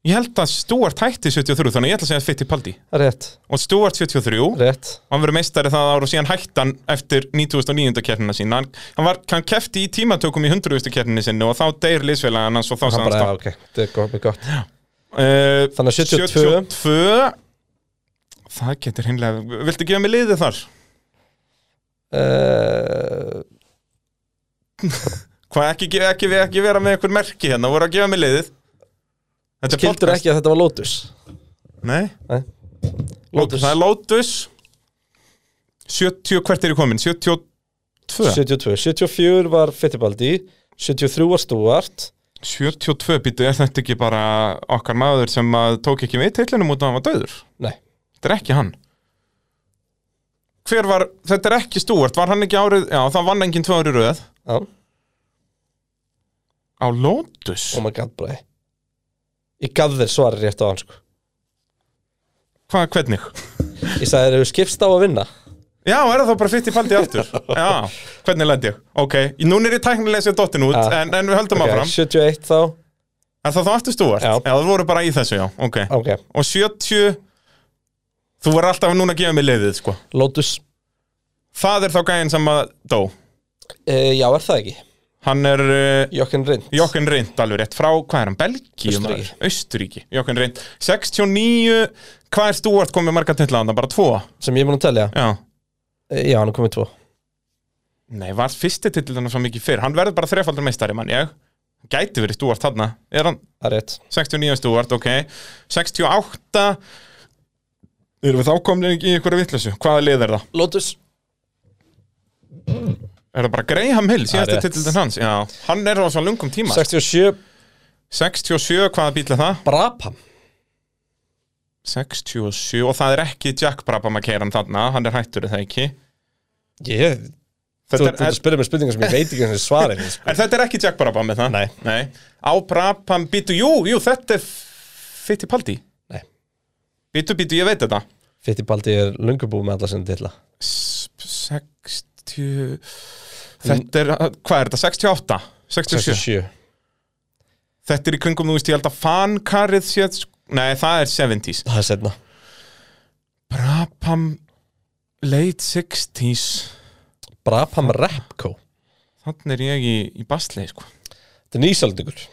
Speaker 2: Ég held að Stuart hætti 73 Þannig ég ætla að segja Fittipaldi
Speaker 1: Rétt
Speaker 2: Og Stuart 73
Speaker 1: Rétt
Speaker 2: Og hann verið meistari það ára og síðan hættan eftir 2009. keppnina sína Hann, hann, var, hann kefti í tímatökum í 100. keppninu sinni og þá deyr liðsfélagan hans og þá
Speaker 1: Hann
Speaker 2: sagði hann
Speaker 1: bara,
Speaker 2: stopp.
Speaker 1: já, ok, þetta er gott, mjög gott
Speaker 2: Eh,
Speaker 1: Þannig að 72.
Speaker 2: 72 Það getur hinnlega Viltu gefa mig liðið þar?
Speaker 1: uh,
Speaker 2: Hvað ekki, ekki, ekki, ekki vera með einhver merki hérna voru að gefa mig liðið Þetta er
Speaker 1: Kildur
Speaker 2: podcast
Speaker 1: ekki að þetta var Lotus
Speaker 2: Nei,
Speaker 1: Nei
Speaker 2: Lotus. það er Lotus 70, hvert er ég komin? 72
Speaker 1: 72 74 var Fittipaldi 73 var Stuart
Speaker 2: 72 býtu, er þetta ekki bara okkar maður sem að tók ekki með teilinum út að hann var döður?
Speaker 1: Nei.
Speaker 2: Þetta er ekki hann Hver var, þetta er ekki Stuart, var hann ekki árið Já, það vann enginn tvö árið röð
Speaker 1: Já.
Speaker 2: Á Lotus?
Speaker 1: Oh my god, bræði Ég gaf þér svarið rétt á hann sko
Speaker 2: Hvað, hvernig?
Speaker 1: Ég sagði þeir eru skipst á að vinna
Speaker 2: Já, er það þá bara fitt í paldi aftur Já, hvernig lændi ég? Ok, núna er ég tæknilega sér dottin út
Speaker 1: Já.
Speaker 2: en, en við
Speaker 1: Ah.
Speaker 2: höldum
Speaker 1: Ok,
Speaker 2: áfram
Speaker 1: 71 þá
Speaker 2: Er það þá aftur stúart? Já. það voru bara í þessu, já, ok
Speaker 1: Ok,
Speaker 2: Og 70 Þú voru alltaf núna að gefa mig leiðið, sko
Speaker 1: Lotus
Speaker 2: Það er þá gæinn sem að dó
Speaker 1: uh, Já, er það ekki?
Speaker 2: Hann er uh,
Speaker 1: Jokken Rind
Speaker 2: Jokken Rind alveg rétt frá, hvað er hann, Belgíu?
Speaker 1: Austurríki.
Speaker 2: maður? Austurríki, Jokken Rind 69, hvað er stúart komið marga til landa, bara tvo?
Speaker 1: Sem ég er mun að telja
Speaker 2: Já
Speaker 1: Eh, Já, hann er komið tvo
Speaker 2: Nei, var fyrsti titillunum svo mikið fyrr Hann verður bara þrefaldur meistari, mann ég Gæti verið stúart þarna Er hann
Speaker 1: Það er rétt
Speaker 2: 69 stúart, ok 68 Erum við þá komin í einhverju vitleysu? Hvaða lið er það?
Speaker 1: Lotus
Speaker 2: Er það bara Graham Hill, síðasta
Speaker 1: rétt.
Speaker 2: titillin hans? Já, hann er á svo lungum tíma
Speaker 1: 67
Speaker 2: 67, hvaða bíl er það?
Speaker 1: Brabham
Speaker 2: 67, og það er ekki Jack Brabham að keira hann þarna Hann er hættur, er það ekki?
Speaker 1: Ég Þú
Speaker 2: Þetta
Speaker 1: ert að
Speaker 2: er,
Speaker 1: spyrja mér spurningar sem ég veit ekki hvernig svarið er, sko.
Speaker 2: er, þetta er ekki Jack Brabham með það? Nei, Á Brabham, býtu, jú, jú, þetta er Fittipaldi
Speaker 1: Nei.
Speaker 2: Býtu, býtu, ég veit þetta
Speaker 1: Fittipaldi er lungubú með alla sinni tilla
Speaker 2: S- 60 Þetta er, hvað er þetta? 68? 67?
Speaker 1: 67
Speaker 2: Þetta er í kringum, þú veist, ég held að fankarið sé sk- Nei, það er 70s
Speaker 1: Það er setna
Speaker 2: Brabham Late 60s
Speaker 1: Brabham Repco
Speaker 2: Þannig er ég í, í basli, sko
Speaker 1: Þetta er nýsaldingur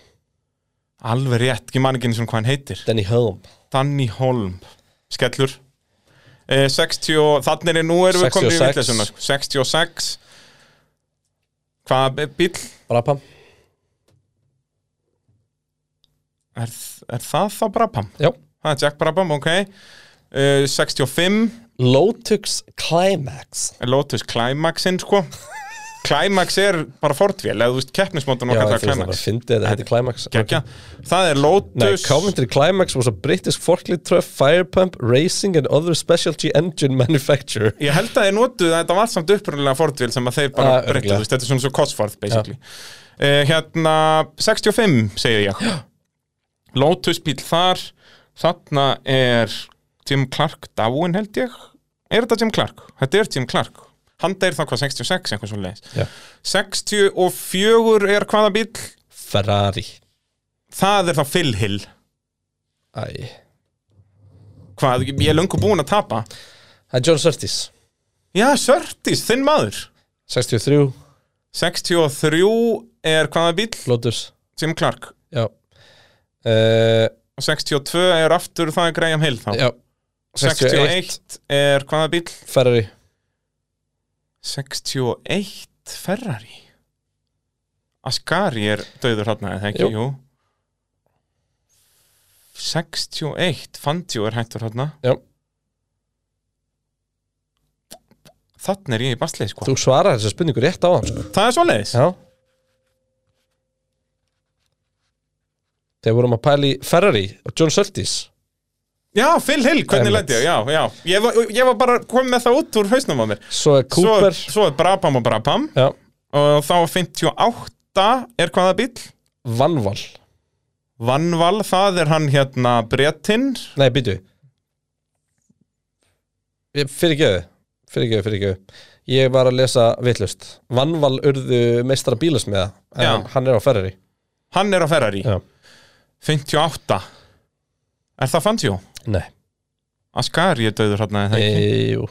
Speaker 2: Alveg rétt, ég man ekki eins og hvað hann heitir
Speaker 1: Danny Helm
Speaker 2: Danny Holm Skellur eh, 60, og- þannig er nú erum við komin í
Speaker 1: 66.
Speaker 2: vitleysuna 66 Hvað bíll?
Speaker 1: Brabham
Speaker 2: Er, er það þá Brabham?
Speaker 1: Já
Speaker 2: Það er Jack Brabham, ok uh, 65
Speaker 1: Lotux Climax
Speaker 2: Lotus Climaxin, sko Climax er bara fortvél eða þú veist, keppnismótan
Speaker 1: Já,
Speaker 2: og
Speaker 1: ég
Speaker 2: kallar
Speaker 1: finnst það bara
Speaker 2: Climax
Speaker 1: fyndið þetta heitir Climax
Speaker 2: Gekja, það er
Speaker 1: Nei,
Speaker 2: Lotus
Speaker 1: Coventry Climax was a British forklift truck, fire pump, racing and other specialty engine manufacturer
Speaker 2: Ég held að þeir notuð að þetta var samt upprunalega fortvél sem að þeir
Speaker 1: Ah,
Speaker 2: bara uh, breyttu,
Speaker 1: örugglega.
Speaker 2: þú veist, þetta er svona svo Cosworth basically uh, Hérna, 65 segir ég Lotus bíl þar þarna er Jim Clark dáin held ég Er þetta Jim Clark? Þetta er Jim Clark Hann deyr þá hvað, 66, eitthvað svo leiðis
Speaker 1: Já.
Speaker 2: 64 er hvaða bíl?
Speaker 1: Ferrari
Speaker 2: Það er þá Phil Hill
Speaker 1: Æ
Speaker 2: Hvað, ég er löngu búinn að tapa
Speaker 1: Það er John Surtees
Speaker 2: Já, Sörtis, þinn maður
Speaker 1: 63
Speaker 2: 63 er hvaða bíl?
Speaker 1: Lotus
Speaker 2: Jim Clark
Speaker 1: Já uh,
Speaker 2: og 62 er aftur það er Graham Hill þá
Speaker 1: Já
Speaker 2: 61,
Speaker 1: 61
Speaker 2: er hvaða bíl?
Speaker 1: Ferrari
Speaker 2: 61 Ferrari Ascari er döður þarna eða ekki,
Speaker 1: Jú.
Speaker 2: jú 61 Fantjó er hættur þarna
Speaker 1: Já.
Speaker 2: Þannig er ég í bastlið sko
Speaker 1: Þú svarar þessu spurningu rétt á hann sko.
Speaker 2: Það er svoleiðis
Speaker 1: Já Þegar vorum að pæla í Ferrari og John Surtees
Speaker 2: Já, Phil Hill, hvernig
Speaker 1: Einmitt.
Speaker 2: lendi ég? Já, já, ég var, ég var bara komið með það út úr hausnum á mér
Speaker 1: Svo er Cooper
Speaker 2: Svo, svo er Brabham og Brabham
Speaker 1: Já
Speaker 2: og þá 58 er hvaða bíll?
Speaker 1: Vanval
Speaker 2: Vanval, það er hann hérna Bretinn
Speaker 1: Nei, býtu Ég fyrir ekki þau fyrir ekki, fyrir ekki Ég var að lesa vitlust Vanval urðu meistara bílas með það En
Speaker 2: Já.
Speaker 1: hann er á Ferrari
Speaker 2: Hann er á Ferrari
Speaker 1: Já.
Speaker 2: 58 Er það Fangio?
Speaker 1: Nei
Speaker 2: Ascari er döður hann eða
Speaker 1: e,
Speaker 2: ekki?
Speaker 1: Jú,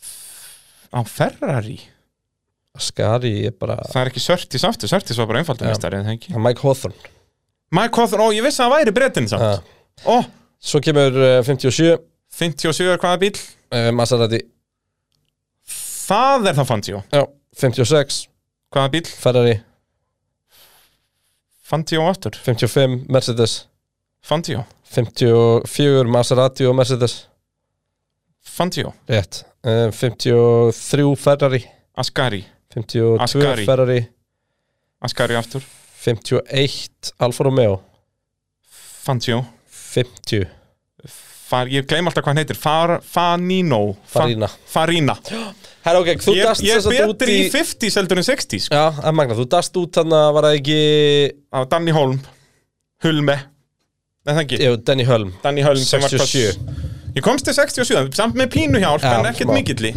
Speaker 1: Eh.
Speaker 2: Á Ferrari?
Speaker 1: Ascari er bara
Speaker 2: Það er ekki Sörtis aftur, Sörtis var bara einfaldur
Speaker 1: Já.
Speaker 2: meistari eða ekki?
Speaker 1: Mike Hawthorne
Speaker 2: Mike Hawthorne, ó ég vissi að það væri brettin samt
Speaker 1: Já.
Speaker 2: Ó,
Speaker 1: Svo kemur eh, 57 uh,
Speaker 2: 57 er hvaða bíl?
Speaker 1: Maserati
Speaker 2: Það er það Fangio
Speaker 1: Já, 56
Speaker 2: Hvaða bíl?
Speaker 1: Ferrari
Speaker 2: Fangio aftur
Speaker 1: 55 Mercedes
Speaker 2: Fangio
Speaker 1: 54 Maserati og Mercedes
Speaker 2: Fangio
Speaker 1: Rétt uh, 53 Ferrari
Speaker 2: Ascari
Speaker 1: 52
Speaker 2: Ascari.
Speaker 1: Ferrari
Speaker 2: Ascari aftur
Speaker 1: 51 Alfa Romeo
Speaker 2: Fangio
Speaker 1: 50
Speaker 2: Far, Ég gleym alltaf hvað hann heitir Far, Fanino Fa-
Speaker 1: Farina.
Speaker 2: Farina
Speaker 1: Herra ok, þú
Speaker 2: Ég,
Speaker 1: dast
Speaker 2: ég
Speaker 1: þess
Speaker 2: er
Speaker 1: að út
Speaker 2: betri
Speaker 1: í
Speaker 2: í 50 seldur en 60 sko.
Speaker 1: Já, en Magna, þú dast út hann að var það ekki
Speaker 2: Á Danny Holm Hulme Nei það ekki
Speaker 1: Jú, Danny Hölm
Speaker 2: Danny Holm sem var hvað-
Speaker 1: 67.
Speaker 2: Ég komst til 67 Samt með pínu hjálp
Speaker 1: Já,
Speaker 2: En ekkert
Speaker 1: smá.
Speaker 2: mikilli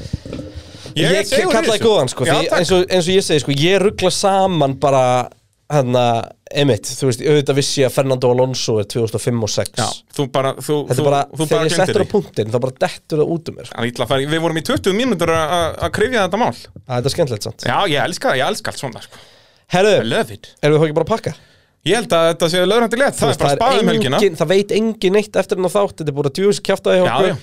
Speaker 1: Ég,
Speaker 2: er
Speaker 1: ég
Speaker 2: sigur í
Speaker 1: kallaði
Speaker 2: þessu.
Speaker 1: góðan sko
Speaker 2: Já,
Speaker 1: því,
Speaker 2: takk.
Speaker 1: eins, og, eins og ég segi sko, ég ruggla saman bara hann að Emmett, þú veist, auðvitað vissi ég að Fernando Alonso er 2005 og 6
Speaker 2: Já, þú bara, þú,
Speaker 1: Þetta
Speaker 2: þú,
Speaker 1: er bara,
Speaker 2: þú
Speaker 1: þegar
Speaker 2: bara
Speaker 1: ég
Speaker 2: glemtir
Speaker 1: settur
Speaker 2: því
Speaker 1: á punktinn, þá bara dettur það út um mér sko.
Speaker 2: Það er illa að fara í- Við vorum í 20 mínútur að- að að kryfja þetta mál
Speaker 1: Að Þetta er skemmtilegt samt
Speaker 2: Já, ég elska, ég elska allt svona sko. I
Speaker 1: Herðu,
Speaker 2: love it
Speaker 1: erum við þá ekki bara að pakka?
Speaker 2: Ég held að þetta sé löðrandi létt Það er bara spáðum helgina
Speaker 1: engin, það veit engin neitt eftir hennar þátt Þetta er búin að djúðis kjaftaði hjá
Speaker 2: Já,
Speaker 1: okkur
Speaker 2: já.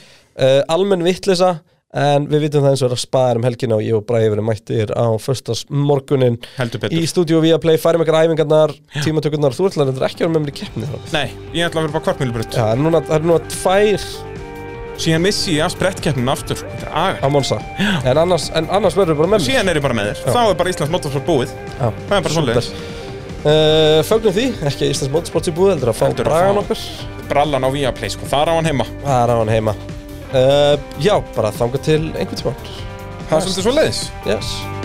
Speaker 1: uh, Almenn vittlisa En við vitum það eins og er að spaða um helgina og ég og Bræði verið mættir á föstas morgunin
Speaker 2: Heldur betur.
Speaker 1: í stúdíu via play, færum ykkur æfingarnar, tímatökurnar, þú ætlar þetta ekki að vera með mér í keppni þá.
Speaker 2: Nei, ég ætla að vera bara kvartmjölubrut
Speaker 1: Já, það er núna, það er núna tvær
Speaker 2: Síðan missi ég að sprettkeppnum aftur Þetta er aga.
Speaker 1: á Monsa, en annars, en annars verður bara með mér.
Speaker 2: Síðan er ég bara með þér Þá er bara Íslands motorsport búið
Speaker 1: Já.
Speaker 2: Það er bara svoleiðis
Speaker 1: Uh, Fögnum því, ekki að Íslands Motorsport sé búið, heldur að fá
Speaker 2: Heldur að
Speaker 1: bragan
Speaker 2: fá-
Speaker 1: okkur.
Speaker 2: Brallan á Viaplay, sko Þar á hann heima
Speaker 1: Það er á hann Eh, heima. Uh, já, bara þanga til einhvern tímann.
Speaker 2: Það er svolítið svoleiðis
Speaker 1: Yes.